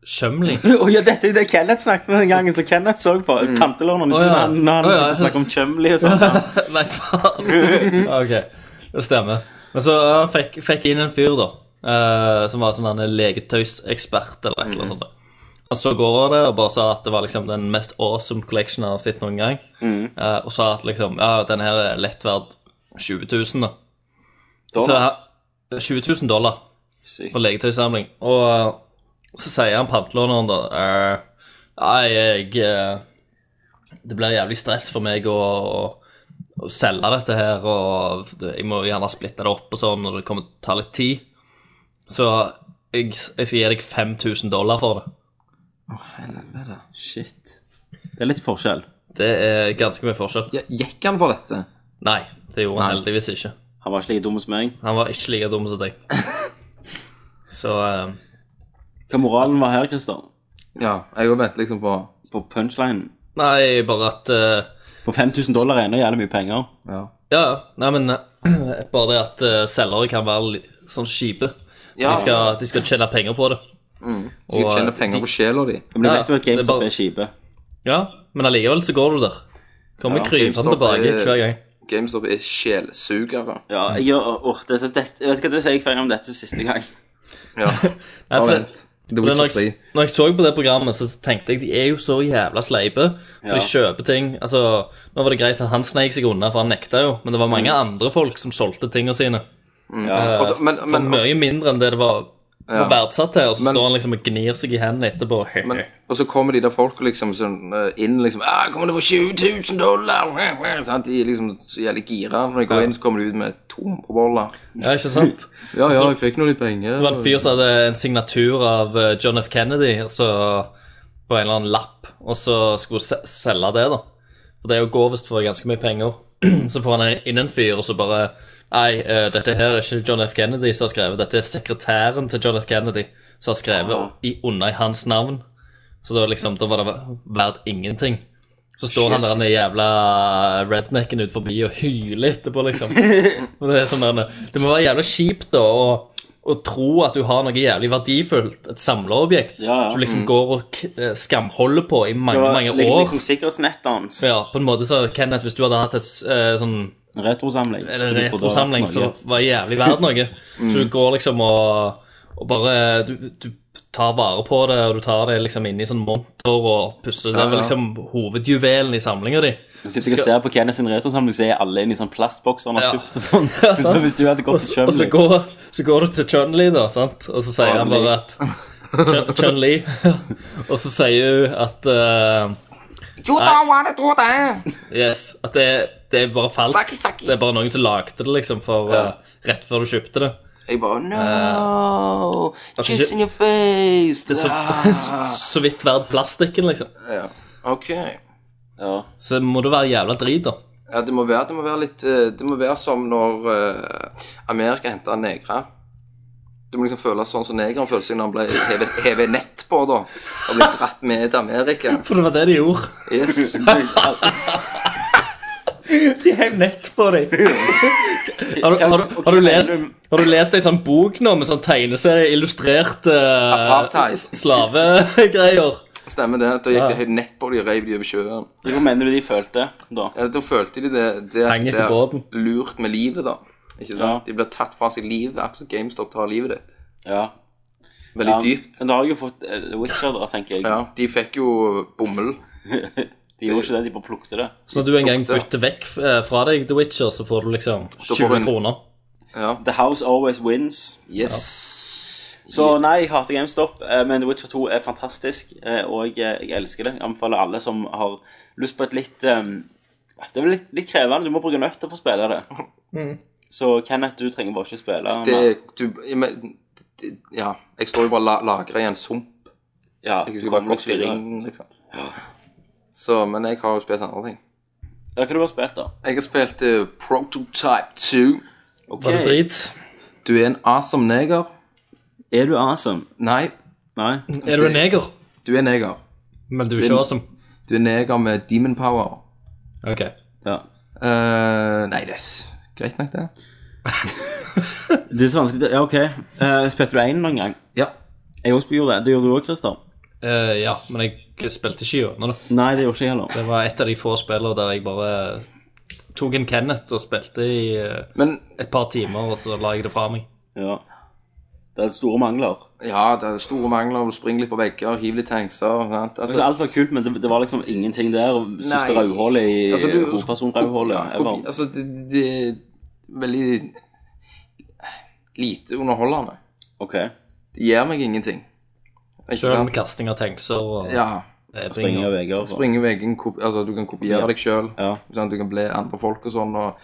Speaker 7: Shumley?
Speaker 6: Å ja, dette er det Kenneth snakket om den gangen som Kenneth så på. Mm. Pantelåneren.
Speaker 7: Å,
Speaker 6: Ikke
Speaker 7: ja.
Speaker 6: når han- når han
Speaker 7: Å, ja.
Speaker 6: begynte å snakke om Chumley og sånt.
Speaker 7: Nei, faen. sånn, ok, det stemmer. Men så ja, han fikk, fikk inn en fyr, da, eh, som var sånn en legetøysekspert eller et eller annet sånt. da. Han så over det og bare sa at det var liksom den mest awesome collection han har sett noen gang. Eh, og sa at liksom, ja, den her er lett verdt 20 000, da. Så,
Speaker 6: Dollar.
Speaker 7: han- 20 000 dollar
Speaker 6: Sykt.
Speaker 7: for legetøysamling. Og eh, så sier han pantelåneren, da eh, Nei, jeg eh, Det blir jævlig stress for meg å, å, å selge dette her, og jeg må gjerne splitte det opp og sånn, og det kommer til å ta litt tid. Så jeg, jeg skal gi deg 5000 dollar for det.
Speaker 6: Shit. Det er litt forskjell.
Speaker 7: Det er ganske mye forskjell.
Speaker 8: Ja, gikk han for dette?
Speaker 7: Nei, det gjorde han heldigvis ikke.
Speaker 6: Han var ikke like dum som meg.
Speaker 7: Han var ikke like dum som deg. Så eh,
Speaker 6: Hva moralen var her, Christer?
Speaker 8: Ja, jeg òg venter liksom på
Speaker 6: På punchlinen?
Speaker 7: Nei, bare at eh,
Speaker 6: På 5000 dollar er ennå jævlig mye penger.
Speaker 8: Ja,
Speaker 7: Ja, ja. Nei, men eh, bare det at eh, selgere kan være litt sånn kjipe.
Speaker 8: ja
Speaker 7: De, skal, de skal tjene penger på det.
Speaker 8: de skal
Speaker 7: og,
Speaker 8: tjene
Speaker 7: eh,
Speaker 8: penger
Speaker 7: de-
Speaker 8: på sjela di.
Speaker 6: Men du
Speaker 7: Ja,
Speaker 6: vet jo at
Speaker 7: det er
Speaker 6: GameStop
Speaker 7: bare-
Speaker 6: er kjipe.
Speaker 7: Ja, Men allikevel så går du der. Kommer
Speaker 8: Ja,
Speaker 7: krypende
Speaker 8: GameStop
Speaker 7: tilbake
Speaker 8: er-
Speaker 7: hver gang.
Speaker 8: GameStop er sjelsugere.
Speaker 6: Ja, jeg, gjør- åh, åh, det, det, det, jeg vet ikke hva det sier hver gang om dette siste gang.
Speaker 8: Ja,
Speaker 7: Nei,
Speaker 8: bare
Speaker 7: for,
Speaker 8: vent. The
Speaker 7: for det,
Speaker 8: Witcher
Speaker 7: når,
Speaker 8: 3.
Speaker 7: jeg, når jeg så på det programmet, så tenkte jeg de er jo så jævla sleipe.
Speaker 6: Ja.
Speaker 7: For de kjøper ting Altså, Nå var det greit at han sneik seg unna, for han nekta jo. Men det var mange
Speaker 8: Mm.
Speaker 7: andre folk som solgte tingene sine.
Speaker 6: Ja.
Speaker 8: Altså, men,
Speaker 7: For
Speaker 8: men,
Speaker 7: mye mindre enn det det var
Speaker 8: Ja.
Speaker 7: verdsatt til. Og så
Speaker 8: Men-
Speaker 7: står han liksom og gnir seg i hendene etterpå.
Speaker 8: men, og så kommer de der folk liksom sånn eh, inn liksom «Ah, 'Kommer du få 20 000 dollar?' Sant? De er liksom så jævlig gira. Når de går inn, så kommer de ut med tom på boller.
Speaker 7: Ja, ikke sant?
Speaker 8: Ja, ja, jeg fikk nå litt penger.
Speaker 7: Det var en fyr som hadde en signatur av eh, John F. Kennedy altså, på en eller annen lapp, og så skulle se selge det, da. For det er jo går visst for ganske mye penger. så får han inn en fyr, og så bare Nei, eh, dette her er ikke John F. Kennedy som har skrevet, dette er sekretæren til John F. Kennedy som har skrevet i, under i hans navn. Så da liksom, da var det verdt ingenting. Så står han der den jævla rednecken ut forbi og hyler etterpå, liksom. Og det, er sånn der, det må være jævla kjipt da å, å tro at du har noe jævlig verdifullt, et samleobjekt,
Speaker 6: Ja, ja. Mm.
Speaker 7: som du liksom går og k- eh, skamholder på i
Speaker 6: Det
Speaker 7: mange,
Speaker 6: var
Speaker 7: mange
Speaker 6: li-
Speaker 7: år.
Speaker 6: liksom sikkerhetsnettet hans.
Speaker 7: Ja, på en måte så, Kenneth, hvis du hadde hatt et s- eh, sånn
Speaker 6: En Retrosamling.
Speaker 7: eller
Speaker 6: Så du får da
Speaker 7: retrosamling
Speaker 6: noe.
Speaker 7: som var jævlig verdt noe. Så du går liksom og, og bare du, du tar vare på det, og du tar det liksom inn i sånn monter og pusser. Det
Speaker 8: Ja,
Speaker 7: er vel
Speaker 8: ja.
Speaker 7: liksom hovedjuvelen i samlinga di.
Speaker 6: Hvis du sitter og ser på Kenneth sin retrosamling, så er alle inne i sånn plastbokser han har
Speaker 7: Ja.
Speaker 6: kjøpt og sånn.
Speaker 7: Ja, sant.
Speaker 6: så hvis du hadde
Speaker 7: Og,
Speaker 6: gått til
Speaker 7: så- og så,
Speaker 6: Chumley
Speaker 7: går, så går du til Chun-Li, da, sant? og så sier han bare at Chun- Chun-Li. og så sier hun at eh,
Speaker 10: You don't wanna do that.
Speaker 7: Yes, at det, det er bare falskt.
Speaker 10: Saki, saki.
Speaker 7: Det er bare noen som lagde det, liksom, for,
Speaker 8: Ja.
Speaker 7: eh, rett før du kjøpte det.
Speaker 8: Jeg bare no,
Speaker 7: altså,
Speaker 8: Kiss
Speaker 7: ikke-
Speaker 8: in your face!
Speaker 7: Det er så, så vidt verdt plastikken, liksom.
Speaker 8: Ja, ok.
Speaker 6: ja.
Speaker 7: Så må det være jævla drit, da.
Speaker 8: Ja, det må være, det må være litt eh, Det må være som når eh, Amerika henta negre. Du må liksom føle sånn som negeren følte seg når han ble hevet, hevet nett på, da. Og ble dratt med til Amerika.
Speaker 7: For det var det de gjorde.
Speaker 8: Yes.
Speaker 7: De heiv nett på deg. har, du, har, du, har, du lest, har du lest ei sånn bok nå med sånn tegneserie illustrert eh,
Speaker 8: Apartheid.
Speaker 7: slavegreier?
Speaker 8: Stemmer det. Da gikk det helt nett på de og reiv de over sjøen.
Speaker 6: Hva mener du de følte da?
Speaker 8: Ja, da følte de det, det at
Speaker 7: Heng
Speaker 8: de
Speaker 7: etter
Speaker 8: ble
Speaker 7: båten.
Speaker 8: lurt med livet, da. Ikke
Speaker 6: Ja.
Speaker 8: sant? De blir tatt fra seg livet, akkurat som GameStop tar livet ditt.
Speaker 6: Ja.
Speaker 8: Veldig dypt.
Speaker 6: Men da har jeg jo fått eh, The Witcher, da, tenker jeg.
Speaker 8: Ja, de fikk jo bomull.
Speaker 6: De gjorde ikke det, de bare plukte det.
Speaker 7: Så når du en gang bytter vekk eh, fra deg The Witcher, så får du liksom
Speaker 8: Da får du
Speaker 7: 20
Speaker 8: en-
Speaker 7: kroner.
Speaker 8: Ja.
Speaker 6: The House Always Wins.
Speaker 8: Yes.
Speaker 6: Så nei, jeg hater GameStop, eh, men The Witcher 2 er fantastisk, eh, og jeg, jeg elsker det. Jeg anbefaler alle som har lyst på et litt eh, Det er vel litt, litt krevende, du må bruke nøtter for å spille det.
Speaker 7: Mm.
Speaker 6: Så Kenneth, du trenger bare ikke spille. mer.
Speaker 8: Det du, jeg men- det- Ja. Jeg står jo bare la- lagret i en sump.
Speaker 6: ja,
Speaker 8: Jeg
Speaker 6: du
Speaker 8: skulle
Speaker 6: kommer
Speaker 8: bare
Speaker 6: nok
Speaker 8: gått i
Speaker 6: videre.
Speaker 8: ringen, liksom. Så, men jeg har jo spilt andre ting.
Speaker 6: Ja, hva har du har spilt, da?
Speaker 8: Jeg har spilt eh, Prototype 2.
Speaker 6: Okay.
Speaker 7: Var det drit?
Speaker 8: Du er en awesome neger.
Speaker 6: Er du awesome?
Speaker 8: Nei,
Speaker 6: Nei.
Speaker 7: Er du en neger?
Speaker 8: du er neger.
Speaker 7: Men du er ikke awesome.
Speaker 8: Du er neger med demon power.
Speaker 7: Ok.
Speaker 6: Ja.
Speaker 8: Eh, nei, det er s- greit nok, det.
Speaker 6: Det er så vanskelig Ja, OK. Eh, spilte du én noen gang?
Speaker 8: Ja.
Speaker 6: Jeg også gjorde det. Det gjorde du òg, Christer?
Speaker 7: Eh, ja, men jeg spilte ikke gjennom det.
Speaker 6: Nei, det gjorde ikke jeg heller.
Speaker 7: Det var et av de få spillene der jeg bare tok en Kenneth og spilte i eh,
Speaker 8: Men
Speaker 7: et par timer, og så la jeg det fra meg.
Speaker 6: Ja. Det er store mangler.
Speaker 8: ja, det er store mangler. Du springer litt på vegger, hiver litt tankser. Sant?
Speaker 6: Altså, alt var kult, men det, det var liksom ingenting der. og Siste
Speaker 8: Nei.
Speaker 6: rødhålet i
Speaker 8: Altså, du-
Speaker 6: hovedpersonrødhålet.
Speaker 8: Ja,
Speaker 6: ever.
Speaker 8: kopi- altså, det, det er veldig lite underholdende.
Speaker 6: OK.
Speaker 8: Det gir meg ingenting. Ikke
Speaker 7: Selv
Speaker 8: sant?
Speaker 7: med kasting av tankser og
Speaker 8: Ja.
Speaker 7: ebbing
Speaker 6: Springer
Speaker 7: og-
Speaker 6: vegger. altså.
Speaker 8: Springe veggen, kopi- altså, du kan kopiere
Speaker 6: Ja.
Speaker 8: deg sjøl.
Speaker 6: Ja.
Speaker 8: Sånn, du kan bli andre folk og sånn. Og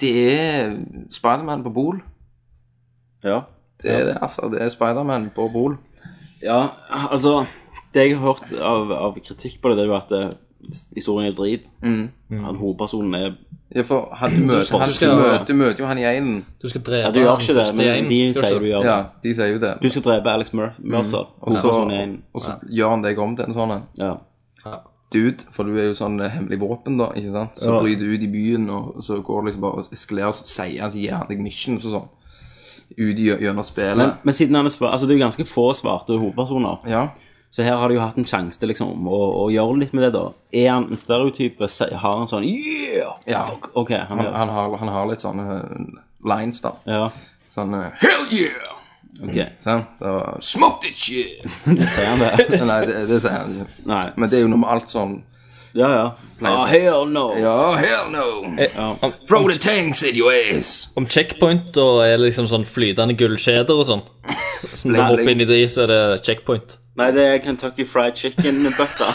Speaker 8: det er Spiderman på Bol.
Speaker 6: ja.
Speaker 8: Det er det, altså. Det er Spiderman på Bol.
Speaker 6: Ja, altså Det jeg har hørt av, av kritikk på det, det er jo at eh, historien er drit.
Speaker 8: Mm.
Speaker 6: At hovedpersonen er
Speaker 8: Ja, for han, du, møter, han,
Speaker 7: skal-
Speaker 8: du, møter, du møter jo han i einen.
Speaker 7: Du skal drepe
Speaker 6: Ja, du gjør
Speaker 7: han
Speaker 6: ikke det,
Speaker 7: først i
Speaker 6: men
Speaker 7: en,
Speaker 6: de
Speaker 7: skal
Speaker 6: sier du gjør det.
Speaker 8: Ja, de sier jo det.
Speaker 6: Du skal drepe Alex Mur- Mercer.
Speaker 8: Og så,
Speaker 6: Hovedpersonen er en
Speaker 8: og så gjør han deg om til en sånn en
Speaker 6: Ja.
Speaker 8: dude, for du er jo sånn eh, hemmelig våpen, da. ikke sant? Så bryter du ut i byen, og så går det liksom bare og eskalerer, så sier han så gir han deg missions og sånn. Ut i- gjennom
Speaker 6: Men,
Speaker 8: spillet.
Speaker 6: men siden han er svar, altså det er jo ganske få svarte hovedpersoner,
Speaker 8: Ja.
Speaker 6: så her har de jo hatt en sjanse til liksom, å, å gjøre litt med det. da. Er han en stereotype? Se- Har han sånn Yeah!
Speaker 8: Ja.
Speaker 6: Fuck, OK. Han,
Speaker 8: Han, han, har, han har litt sånne eh, lines, da.
Speaker 6: Ja,
Speaker 8: Sånn eh, Hell yeah!
Speaker 6: OK.
Speaker 8: Sant? Og Smoke that shit!
Speaker 6: Sier han det?
Speaker 8: Nei, det, det sier han ikke.
Speaker 6: Nei.
Speaker 8: Men det er jo normalt sånn
Speaker 6: Ja, ja.
Speaker 8: Ah,
Speaker 6: hell no!
Speaker 8: Ja, hell no!
Speaker 6: Eh,
Speaker 8: Throw the tanks in your ass!
Speaker 7: Om checkpoint og er det liksom sånn flytende gullkjeder og sånn Så- Så når du hopper inn i de, så er det checkpoint.
Speaker 6: Nei, det er Kentucky Fried Chicken-bøtter.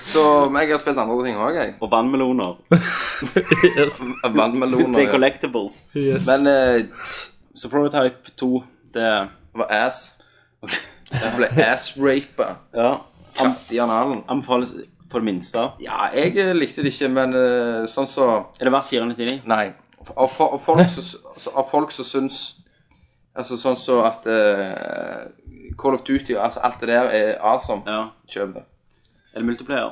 Speaker 8: Så men jeg har spilt andre ting òg, jeg.
Speaker 6: Og vannmeloner.
Speaker 7: Yes.
Speaker 8: Vannmeloner.
Speaker 6: Det er
Speaker 8: ja.
Speaker 6: collectibles.
Speaker 8: Men eh,
Speaker 6: Så Prototype 2, det er
Speaker 8: det var ass. Jeg ble ass-rapa
Speaker 6: Ja. An
Speaker 8: kraftig i analen.
Speaker 6: anbefales på det minste.
Speaker 8: Ja, jeg eh, likte det ikke, men eh, sånn så
Speaker 6: Er det verdt 499?
Speaker 8: Nei. Av, fo- av folk som så- av folk som syns Altså sånn så at eh, Call of Duty og altså, alt det der er awesome.
Speaker 6: Ja.
Speaker 8: Kjøp det.
Speaker 6: Er det multiplayer?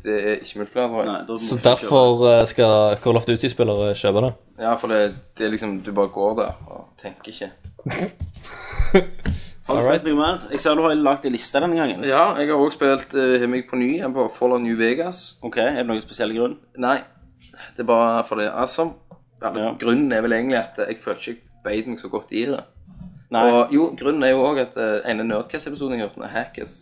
Speaker 8: Det er ikke multiplayer, tror jeg.
Speaker 6: Nei, da må du ikke
Speaker 7: Så
Speaker 6: kjøpe.
Speaker 7: derfor eh, skal Call of Duty-spillere kjøpe det.
Speaker 8: Ja, for det, det er liksom Du bare går der og tenker ikke.
Speaker 6: Har du spilt noe mer? Jeg ser du har lagt en liste denne gangen.
Speaker 8: Ja, jeg har òg spilt uh, meg på ny igjen på Fallout New Vegas.
Speaker 6: Ok, Er det noen spesiell grunn?
Speaker 8: Nei, det er bare fordi altså, ja,
Speaker 6: Ja.
Speaker 8: Grunnen er vel egentlig at jeg følte ikke jeg beit meg så godt i det.
Speaker 6: Nei.
Speaker 8: Og jo, grunnen er jo òg at uh, ene Nerdcast-episoden jeg hørte, Hackers,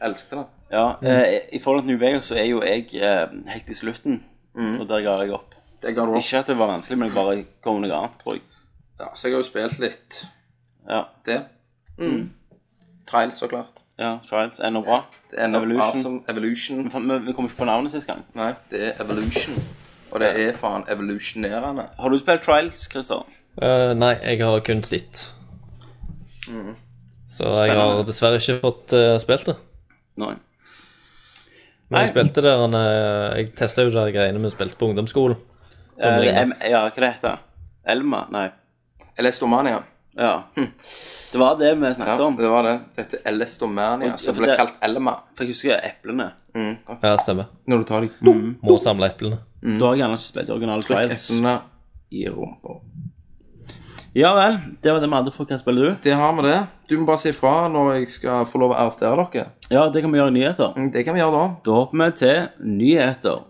Speaker 8: elsket det.
Speaker 6: ja,
Speaker 8: Mm.
Speaker 6: eh, I forhold til New Vegas så er jo jeg eh, helt i slutten,
Speaker 8: Mm.
Speaker 6: og der ga jeg opp.
Speaker 8: Det ga du opp.
Speaker 6: Ikke at det var vanskelig, men jeg bare kom med noe annet, tror jeg.
Speaker 8: Ja, så jeg har jo spilt litt
Speaker 6: Ja,
Speaker 8: det. Mm. Trials, så klart.
Speaker 6: ja Trials ender bra.
Speaker 8: Det er Evolution.
Speaker 6: Evolution.
Speaker 8: Awesome Evolution.
Speaker 6: Men faen, Vi vi kom ikke på navnet sist gang.
Speaker 8: Nei, det er Evolution. Og det er faen evolusjonerende.
Speaker 6: Har du spilt Trials, Christer?
Speaker 7: Eh, nei, jeg har kun sett.
Speaker 8: Mm.
Speaker 7: Så jeg har dessverre ikke fått eh, spilt det.
Speaker 6: Nei.
Speaker 7: Men jeg
Speaker 6: Nei.
Speaker 7: spilte der eh, Jeg testa jo de greiene vi spilte på ungdomsskolen.
Speaker 6: Eh, det
Speaker 7: ligner.
Speaker 6: er- ja, hva det heter Elma? Nei.
Speaker 8: Elestomania.
Speaker 6: Ja. Det var det vi snakket
Speaker 8: Hm. Ja,
Speaker 6: om.
Speaker 8: det var det. Dette er Elestomania,
Speaker 6: Og- ja,
Speaker 8: som
Speaker 6: for
Speaker 8: ble
Speaker 6: det-
Speaker 8: kalt Elma. Mm.
Speaker 6: For jeg husker eplene.
Speaker 7: Ja, stemmer.
Speaker 8: Når du tar de
Speaker 7: Må samle eplene.
Speaker 6: Da har jeg gjerne ikke spilt originale Trials.
Speaker 8: Mm. eplene i rumpa.
Speaker 6: Ja vel. Det var det vi hadde for Hva spiller du?
Speaker 8: Det har vi det. Du må bare si fra når jeg skal få lov å arrestere dere.
Speaker 6: Ja, det kan vi gjøre i nyheter.
Speaker 8: Mm, Det kan vi gjøre da.
Speaker 6: Da hopper vi til nyheter.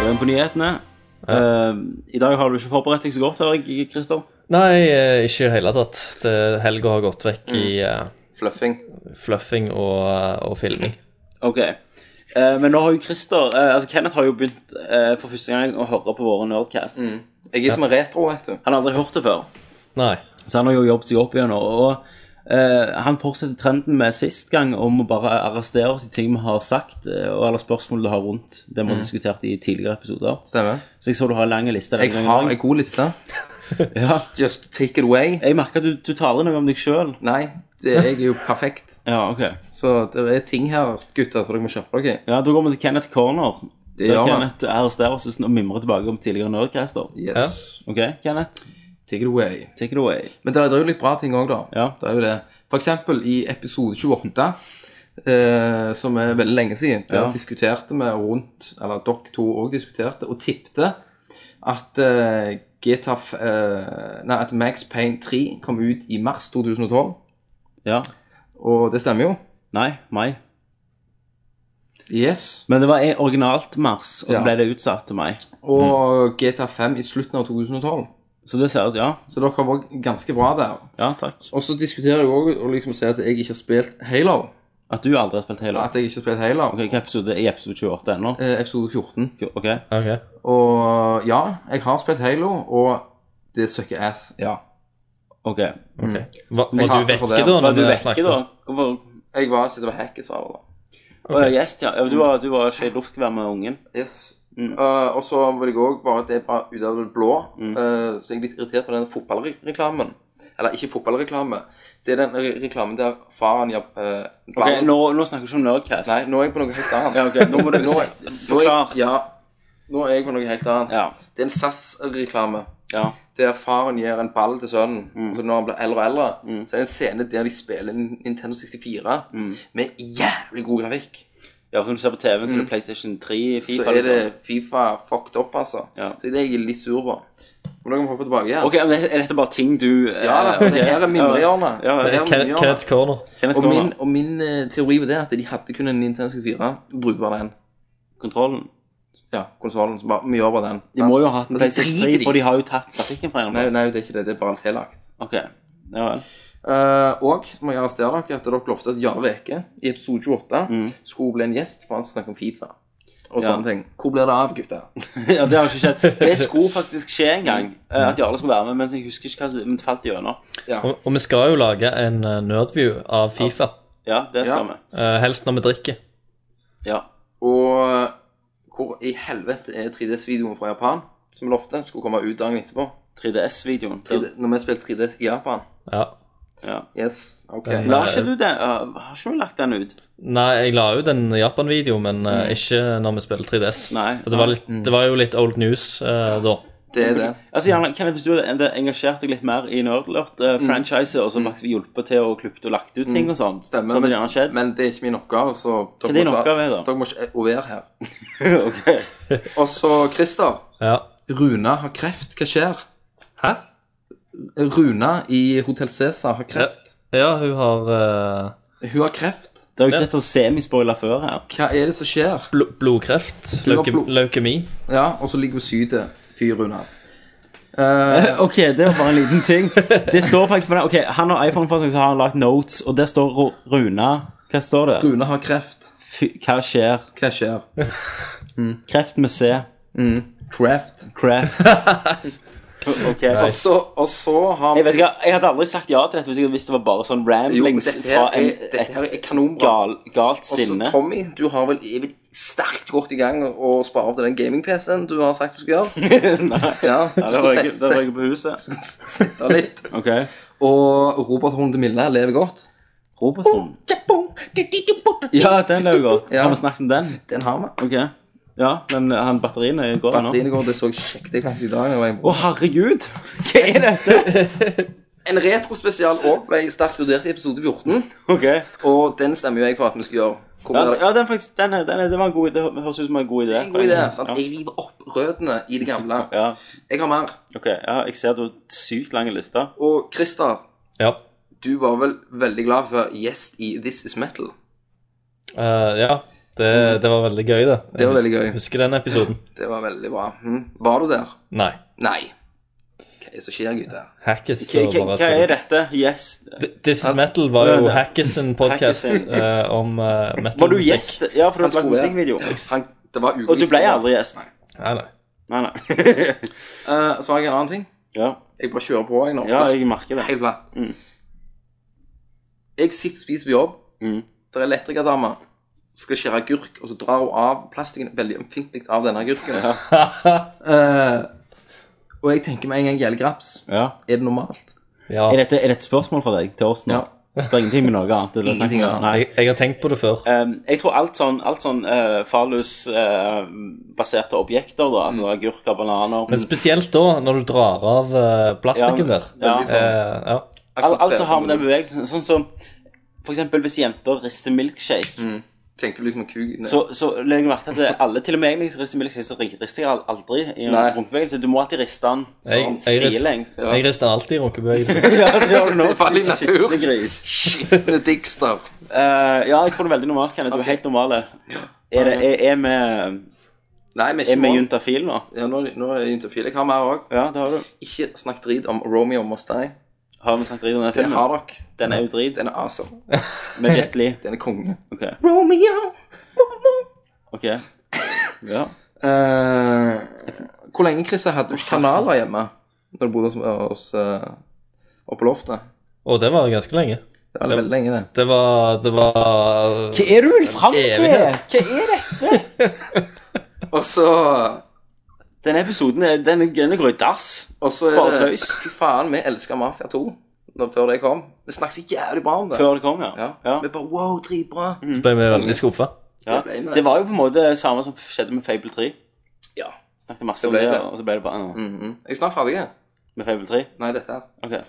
Speaker 6: Vi er på nyhetene. Eh, I dag har du ikke forberedt deg så godt, hører jeg, Christer.
Speaker 7: Nei, eh, ikke i det hele tatt. Det- Helga har gått vekk
Speaker 8: Mm.
Speaker 7: i eh,
Speaker 8: Fluffing.
Speaker 7: fluffing og, og filming.
Speaker 6: Ok. Eh, men nå har jo Christer eh, Altså, Kenneth har jo begynt eh, for første gang å høre på våre Nerdcast.
Speaker 8: Jeg er som en retro, vet du.
Speaker 6: Han har aldri hørt det før.
Speaker 7: Nei.
Speaker 6: Så han har jo jobbet seg opp igjen nå, og eh, han fortsetter trenden med sist gang om å bare arrestere oss i ting vi har sagt, eh, og alle spørsmål du har rundt det
Speaker 8: Mm.
Speaker 6: vi har diskutert i tidligere episoder.
Speaker 8: Stemmer.
Speaker 6: Så jeg så du har en lang liste. denne
Speaker 8: Jeg
Speaker 6: gangen
Speaker 8: har
Speaker 6: også.
Speaker 8: en god liste.
Speaker 6: Ja.
Speaker 8: Just take it away.
Speaker 6: Jeg merker at du, du taler noe om deg sjøl.
Speaker 8: Nei, det, jeg er jo perfekt.
Speaker 6: Ja, ok.
Speaker 8: Så det er ting her, gutter, så dere må kjappe dere.
Speaker 6: Ja, Da går vi til Kenneth Corner.
Speaker 8: Det
Speaker 6: Der
Speaker 8: gjør vi.
Speaker 6: Kenneth arresterer oss og mimrer tilbake om tidligere nerdcaster.
Speaker 8: Yes.
Speaker 6: Ok, Kenneth,
Speaker 8: Take it away.
Speaker 6: take it away.
Speaker 8: Men det er, det er jo litt bra ting òg, da.
Speaker 6: Ja.
Speaker 8: Det er jo det. For eksempel i episode 28, eh, som er veldig lenge siden, der
Speaker 6: Ja.
Speaker 8: diskuterte vi rundt, eller dere to òg diskuterte, og tipte at eh, GTA f- eh, Nei, at Max Payne 3 kom ut i mars 2012.
Speaker 6: Ja.
Speaker 8: Og det stemmer jo.
Speaker 6: Nei, meg.
Speaker 8: Yes.
Speaker 6: Men det var en- originalt mars, og så
Speaker 8: Ja.
Speaker 6: ble det utsatt til meg. Mm.
Speaker 8: Og GTA 5 i slutten av 2012.
Speaker 6: Så det ser ut Ja,
Speaker 8: Så dere var ganske bra der.
Speaker 6: ja, takk.
Speaker 8: Og så diskuterer jeg òg og liksom sier at jeg ikke har spilt Halo.
Speaker 6: At du aldri har spilt Halo.
Speaker 8: At jeg ikke har spilt Halo.
Speaker 6: Ok, hva episode i episode 28 ennå?
Speaker 8: Eh, Episode 14.
Speaker 6: Ok,
Speaker 7: Ok.
Speaker 8: Og ja, jeg har spilt Halo, og det søkker ass. Ja.
Speaker 6: ok.
Speaker 7: ok. Var,
Speaker 8: Mm. Jeg
Speaker 7: var
Speaker 8: hater
Speaker 7: du vekke
Speaker 8: for det.
Speaker 7: da? når
Speaker 6: Var du
Speaker 7: vi
Speaker 6: vekke
Speaker 7: snakket?
Speaker 6: da? Hvorfor?
Speaker 8: Jeg var ikke det var hackes av det.
Speaker 6: Å, ja, yes, ja. Ja, Du var, du var ikke i luftgevær med ungen.
Speaker 8: Yes.
Speaker 6: Mm.
Speaker 8: Eh, og så vil jeg òg bare at det er bare ut av det blå.
Speaker 6: Mm.
Speaker 8: eh, så jeg er litt irritert på den fotballreklamen. Eller ikke fotballreklame. Det er den re reklamen der faren gjør eh,
Speaker 6: Ok,
Speaker 8: ballen-
Speaker 6: nå, nå snakker vi ikke om Nerdcast.
Speaker 8: Nei, nå er jeg på noe helt annet.
Speaker 6: Ja, ok.
Speaker 8: Nå må du nå, nå er,
Speaker 6: Forklar.
Speaker 8: ja, nå er jeg på noe helt annet.
Speaker 6: Ja,
Speaker 8: Det er en SAS-reklame
Speaker 6: ja.
Speaker 8: der faren gir en ball til sønnen.
Speaker 6: Mm.
Speaker 8: Så når han blir eldre og eldre,
Speaker 6: Mm.
Speaker 8: så er det en scene der de spiller Nintendo 64
Speaker 6: Mm.
Speaker 8: med jævlig god grafikk.
Speaker 6: Ja, som du ser på TV, så er
Speaker 8: Mm.
Speaker 6: det PlayStation 3,
Speaker 8: Så
Speaker 6: FIFA
Speaker 8: er det
Speaker 6: liksom.
Speaker 8: Fifa fucked up, altså.
Speaker 6: Ja.
Speaker 8: Så det er jeg litt sur på. Men da kan vi hoppe tilbake igjen.
Speaker 6: Ok, men er dette bare ting du
Speaker 8: Ja, da,
Speaker 6: eh, ok.
Speaker 8: det her er mimrehjørnet.
Speaker 6: Ja, ja,
Speaker 8: Det her er
Speaker 7: Ken-
Speaker 8: mimrehjørnet.
Speaker 7: Kenneth's Corner.
Speaker 6: Kenneth
Speaker 8: Og min,
Speaker 6: Skåner,
Speaker 8: og min eh, teori var det at de hadde kun en Nintendo 64, brukbar den.
Speaker 6: kontrollen.
Speaker 8: Ja, konsollen. Så bare, vi gjør bare den.
Speaker 6: De
Speaker 8: sant?
Speaker 6: må jo ha hatt en
Speaker 8: Altså,
Speaker 6: PlayStation 3,
Speaker 8: driter de.
Speaker 6: for de har jo tatt grafikken fra en eller
Speaker 8: Nei,
Speaker 6: annen.
Speaker 8: nei, det er ikke det. Det er bare tillagt.
Speaker 6: Ok, ja vel.
Speaker 8: Uh, og så må jeg arrestere dere at dere lovte at Jarle Veke i episode 28
Speaker 6: Mm.
Speaker 8: skulle bli en gjest for han skulle snakke om Fifa og
Speaker 6: Ja.
Speaker 8: sånne ting. Hvor blir det av, gutter?
Speaker 6: Ja, det har ikke skjedd. Det skulle faktisk skje en gang, eh, at Jarle skulle være med, men jeg husker ikke hva som men det falt gjennom.
Speaker 7: Og, og vi skal jo lage en eh, nerdview av Fifa.
Speaker 6: Ja, det skal
Speaker 8: Ja.
Speaker 6: vi.
Speaker 7: eh, helst når vi drikker.
Speaker 6: Ja.
Speaker 8: Og eh, hvor i helvete er 3DS-videoen fra Japan som vi lovte skulle komme ut dagen etterpå?
Speaker 6: 3DS-videoen.
Speaker 8: 3D, når vi spilte 3DS i Japan?
Speaker 7: Ja.
Speaker 6: Ja.
Speaker 8: Yes, ok.
Speaker 7: Den-
Speaker 6: La ikke du det? Uh, har ikke du lagt den ut?
Speaker 7: Nei, jeg la ut en Japan-video, men
Speaker 8: Mm.
Speaker 7: eh, ikke når vi spiller 3DS.
Speaker 6: Nei.
Speaker 7: For det var, litt, det var jo litt old news eh, da.
Speaker 8: Det er det.
Speaker 6: Altså, Janne, Kenneth, hvis du hadde enda engasjert deg litt mer i Nerdlert-franchiset, og så faktisk hjulpet til og klippet og lagt ut ting og sånn, så
Speaker 8: Mm. Stemmer.
Speaker 6: hadde det
Speaker 8: men,
Speaker 6: gjerne skjedd.
Speaker 8: men det er ikke min oppgave, så
Speaker 6: Hva er din oppgave, da?
Speaker 8: dere må ikke eh, være her.
Speaker 6: ok.
Speaker 8: Og så, Christer.
Speaker 7: Ja.
Speaker 8: Runa har kreft. Hva skjer?
Speaker 7: Hæ?
Speaker 8: Runa i Hotell Cæsar har kreft.
Speaker 7: Ja, hun har eh,
Speaker 8: Hun har kreft.
Speaker 6: Det er jo ikke dette semispoiler før her.
Speaker 8: Hva er det som skjer?
Speaker 7: bl blodkreft.
Speaker 8: Hun har
Speaker 7: Leuke
Speaker 8: blod-
Speaker 7: leukemi.
Speaker 8: Ja, og så ligger hun syde, fyr Runa. Eh,
Speaker 6: Ok, det var bare en liten ting. Det står faktisk på den. Ok, Han har iPhone på seg, så har han lagt notes, og der står Ru- Runa. Hva står det?
Speaker 8: Runa har kreft.
Speaker 6: Fy, hva skjer?
Speaker 8: Hva skjer?
Speaker 6: Kreft med C.
Speaker 8: Kreft.
Speaker 6: Craft. ok.
Speaker 8: Og så, og så har
Speaker 6: Jeg vet ikke, jeg hadde aldri sagt ja til dette hvis jeg hadde visst det var bare sånn
Speaker 8: Jo, men
Speaker 6: ramblings
Speaker 8: dette
Speaker 6: fra
Speaker 8: her
Speaker 6: en,
Speaker 8: er, dette her
Speaker 6: et
Speaker 8: er kanonbra.
Speaker 6: gal, galt
Speaker 8: Og så
Speaker 6: sinne.
Speaker 8: Tommy, du har vel, er vel sterkt godt i gang å spare opp til den gaming-PC-en du har sagt du skal gjøre?
Speaker 6: Nei,
Speaker 8: Ja,
Speaker 6: ja,
Speaker 8: du
Speaker 6: det
Speaker 8: skal
Speaker 6: var ikke,
Speaker 8: sette-
Speaker 6: det var ikke på huset.
Speaker 8: sette- sette av litt.
Speaker 6: Ok.
Speaker 8: Og Robert Horn de Mille lever godt.
Speaker 6: Robertson. Ja, den er jo godt.
Speaker 8: Ja.
Speaker 6: Har vi snakket om den?
Speaker 8: Den har vi.
Speaker 6: Ok. Ja, men han batterien er går nå.
Speaker 8: Batteriene går, det så kjekt jeg faktisk i dag. når jeg-
Speaker 6: Å, herregud! Hva er dette?
Speaker 8: En retrospesial òg ble sterkt vurdert i episode 14,
Speaker 6: Ok.
Speaker 8: og den stemmer jo jeg for at vi skal gjøre. Hvor
Speaker 6: Ja,
Speaker 8: blir det
Speaker 6: ja den faktisk, den er, den er, det var en god idé. Det høres ut som en god idé.
Speaker 8: Det er en god idé. sant?
Speaker 6: Ja.
Speaker 8: Jeg river opp røttene i det gamle.
Speaker 6: Ja,
Speaker 8: Jeg har mer.
Speaker 6: ok. Ja, jeg ser du har sykt lange lister.
Speaker 8: Og Christer,
Speaker 7: Ja.
Speaker 8: du var vel veldig glad for gjest i This Is Metal?
Speaker 7: Eh, ja. Det, det var veldig gøy, det.
Speaker 8: Mm. Det var veldig gøy.
Speaker 7: Jeg husker den episoden.
Speaker 8: Det var veldig bra. Hm? Var du der?
Speaker 7: Nei.
Speaker 8: Nei. Hva er det som skjer, gutter?
Speaker 7: Hackis
Speaker 6: Hva,
Speaker 7: og
Speaker 6: hva,
Speaker 7: bare
Speaker 6: hva er dette? Yes.
Speaker 7: Th- This is Metal var
Speaker 6: Ja,
Speaker 7: jo
Speaker 6: det-
Speaker 7: Hackis sin podcast
Speaker 6: Hackisen.
Speaker 7: eh, om eh, metal.
Speaker 6: Var du gjest? Ja, for du
Speaker 8: Han
Speaker 6: har lagd
Speaker 8: skulle-
Speaker 6: musikkvideo.
Speaker 8: Han, det var
Speaker 6: Og du ble
Speaker 8: ulikt.
Speaker 6: aldri gjest.
Speaker 7: Nei, nei.
Speaker 6: Nei, nei.
Speaker 8: Eh, så har jeg en annen ting.
Speaker 6: ja.
Speaker 8: Jeg bare kjører på. Jeg nå.
Speaker 6: ja, jeg merker det.
Speaker 8: Helt flatt.
Speaker 6: Mm.
Speaker 8: Jeg sitter og spiser på jobb.
Speaker 6: Mm.
Speaker 8: Det er elektrikerdame. Skal skjære agurk, og så drar hun av plastikken veldig ømfintlig av denne agurken. Eh, og jeg tenker med en gang gjelder graps.
Speaker 6: Ja.
Speaker 8: Er det normalt?
Speaker 7: Ja,
Speaker 6: Er dette, er dette et spørsmål fra deg til oss nå?
Speaker 8: Ja.
Speaker 6: Det er ingenting med noe annet? det er snakk om.
Speaker 8: Ingenting annet.
Speaker 6: Nei.
Speaker 7: jeg, jeg har tenkt på det før.
Speaker 6: Ehm, jeg tror alt sånn, alt sånn fallus-baserte objekter, da, altså agurker, bananer mm,
Speaker 7: Men spesielt da, når du drar av eh, plastikken
Speaker 6: Ja,
Speaker 7: der.
Speaker 6: ja.
Speaker 7: Eh, ja.
Speaker 6: Al- Alt som har med den bevegelsen Sånn som for eksempel hvis jenter rister milkshake,
Speaker 8: Tenker du liksom kuk Nei.
Speaker 6: så, så legger jeg merke til at det- alle, til og med jeg, når jeg rister milkshake, så rister jeg al- aldri i en
Speaker 8: Nei.
Speaker 6: rumpebevegelse. Du må alltid riste den sånn
Speaker 7: Jeg- jeg rist-
Speaker 6: sidelengs.
Speaker 8: Ja.
Speaker 7: Jeg rister alltid i runkebevegelse.
Speaker 6: Ja, det gjør du nå.
Speaker 8: Det er bare litt natur.
Speaker 6: Skikkelig gris.
Speaker 8: Skitne dickster.
Speaker 6: Eh, ja, jeg tror det er veldig normalt, Kenneth. Du er
Speaker 8: Ok.
Speaker 6: helt normal. Er, det, er, er vi,
Speaker 8: Nei, vi er
Speaker 6: er
Speaker 8: ikke
Speaker 6: vi
Speaker 8: mål.
Speaker 6: juntafil nå?
Speaker 8: Ja, nå, nå er jeg juntafil. Jeg har mer òg.
Speaker 6: Ja, det har du.
Speaker 8: Ikke snakk drit om Romeo og Mustang.
Speaker 6: Har vi snakket dritt om den
Speaker 8: Det har
Speaker 6: filmen?
Speaker 8: dere.
Speaker 6: Den er jo drit.
Speaker 8: Den er awesome.
Speaker 6: Med Jet Li.
Speaker 8: Den er konge.
Speaker 6: Ok.
Speaker 8: Romeo!
Speaker 6: ok. Ja.
Speaker 8: Eh, hvor lenge, Christer, hadde du ikke kanaler hjemme? Når du bodde hos, hos eh, oppe på loftet?
Speaker 7: Og det var ganske lenge.
Speaker 8: Det var veldig lenge, det.
Speaker 7: Det var, det var
Speaker 6: Hva er du vil fram
Speaker 7: til?
Speaker 6: Hva er det?
Speaker 8: Og så
Speaker 6: Denne episoden er, den, er- den går i dass.
Speaker 8: Og så er
Speaker 6: Bare
Speaker 8: det
Speaker 6: tøys.
Speaker 8: Fy faen, vi elsker Mafia 2 når, før det kom. Vi snakket så jævlig bra om det.
Speaker 6: Før det kom, ja.
Speaker 8: Ja.
Speaker 6: Ja.
Speaker 8: Vi bare wow, dritbra.
Speaker 7: Så ble vi veldig skuffa.
Speaker 6: ja.
Speaker 8: Det ble med.
Speaker 6: Det var jo på en måte det samme som skjedde med Fable 3.
Speaker 8: Ja.
Speaker 6: Snakket masse om
Speaker 8: Det ble
Speaker 6: det,
Speaker 8: det.
Speaker 6: og så ble det bare nå.
Speaker 8: Mhm. Jeg er snart ferdig. jeg.
Speaker 6: Med Fable 3.
Speaker 8: Nei, dette her.
Speaker 6: Ok.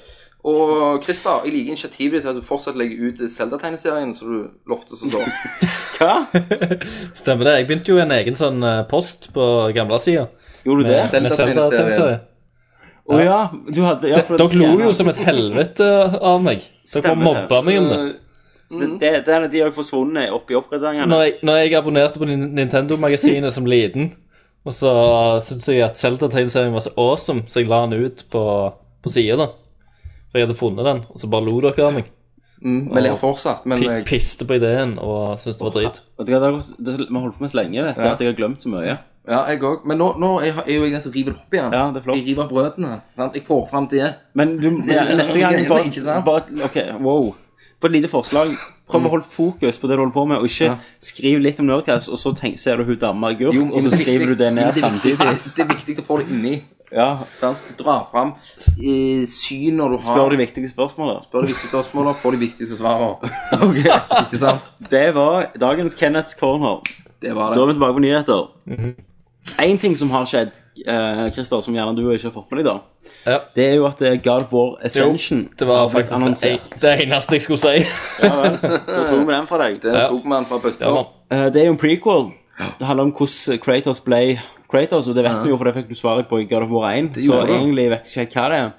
Speaker 8: Og Christer, jeg liker initiativet ditt til at du fortsatt legger ut Zelda-tegneserien som du lovte så så.
Speaker 6: Hva?
Speaker 7: Stemmer det. Jeg begynte jo en egen sånn eh, post på gamlesida.
Speaker 6: Gjorde du det?
Speaker 8: Zelda-tegneserien.
Speaker 6: Å ja. Du hadde ja, for det-
Speaker 7: Dere lo jo som et helvete av meg. Dere bare
Speaker 6: Stemmer det.
Speaker 7: mobba meg om det.
Speaker 8: Eh,
Speaker 6: Det, det, det er de har jo forsvunnet oppi oppgraderingene.
Speaker 7: Når jeg, når jeg abonnerte på Nin- Nintendo-magasinet som liten, og så syntes jeg at Zelda-tegneserien var så awesome, så jeg la den ut på, på sida, da. For jeg hadde funnet den, og så bare lo dere av meg.
Speaker 8: Mm, vi ler fortsatt, men eh,
Speaker 7: Pi-
Speaker 8: jeg,
Speaker 7: Piste på ideen og syntes det var drit.
Speaker 6: Vet du hva, det har gått- det- Vi har holdt på med så lenge dette,
Speaker 8: Ja.
Speaker 6: at jeg har glemt så mye.
Speaker 8: ja, jeg òg. Men nå, nå er jeg- er jo jeg den som river det opp igjen.
Speaker 6: Ja, det er flott.
Speaker 8: Jeg river brødene. sant? Jeg får fram det.
Speaker 6: Men du,
Speaker 8: Ja,
Speaker 6: neste gang
Speaker 8: greiene, ikke
Speaker 6: bare,
Speaker 8: sant? Mm.
Speaker 6: bare Ok, wow. På et lite forslag. Prøv å holde fokus på det du holder på med, og ikke
Speaker 8: Ja.
Speaker 6: skriv litt om Nerdcast, og så tenk, ser du hun dama agurk,
Speaker 8: Jo,
Speaker 6: og så
Speaker 8: men
Speaker 6: skriver
Speaker 8: viktig-
Speaker 6: du det
Speaker 8: jo,
Speaker 6: ned
Speaker 8: men det er viktig-
Speaker 6: samtidig.
Speaker 8: Det er viktig å få det inni.
Speaker 6: Ja,
Speaker 8: Sant? Dra fram eh, syn når du har
Speaker 6: Spør de viktige spørsmålene.
Speaker 8: Spør de viktige spørsmålene, få de viktigste svarene. Ikke sant?
Speaker 6: Det var dagens Kenneths Corner.
Speaker 8: Det var
Speaker 6: Da er
Speaker 8: det.
Speaker 6: vi tilbake på nyheter.
Speaker 7: Mhm.
Speaker 6: Én ting som har skjedd, eh, Christer, som gjerne du ikke har fått med deg, da,
Speaker 7: Ja.
Speaker 6: det er jo at eh, God of War Ascension
Speaker 7: Det var
Speaker 6: har blitt
Speaker 7: faktisk det, det eneste jeg skulle si.
Speaker 6: Da tok vi den fra deg.
Speaker 8: Det
Speaker 7: Ja.
Speaker 8: tok man fra
Speaker 7: Det
Speaker 8: bøtta.
Speaker 7: var,
Speaker 6: Eh, Det er jo en prequel. Det handler om hvordan eh, Kratos ble Kratos, og det vet vi jo, for det fikk du svaret på i God of War 1. Så
Speaker 8: gjorde det.
Speaker 6: egentlig vet jeg ikke helt hva det er.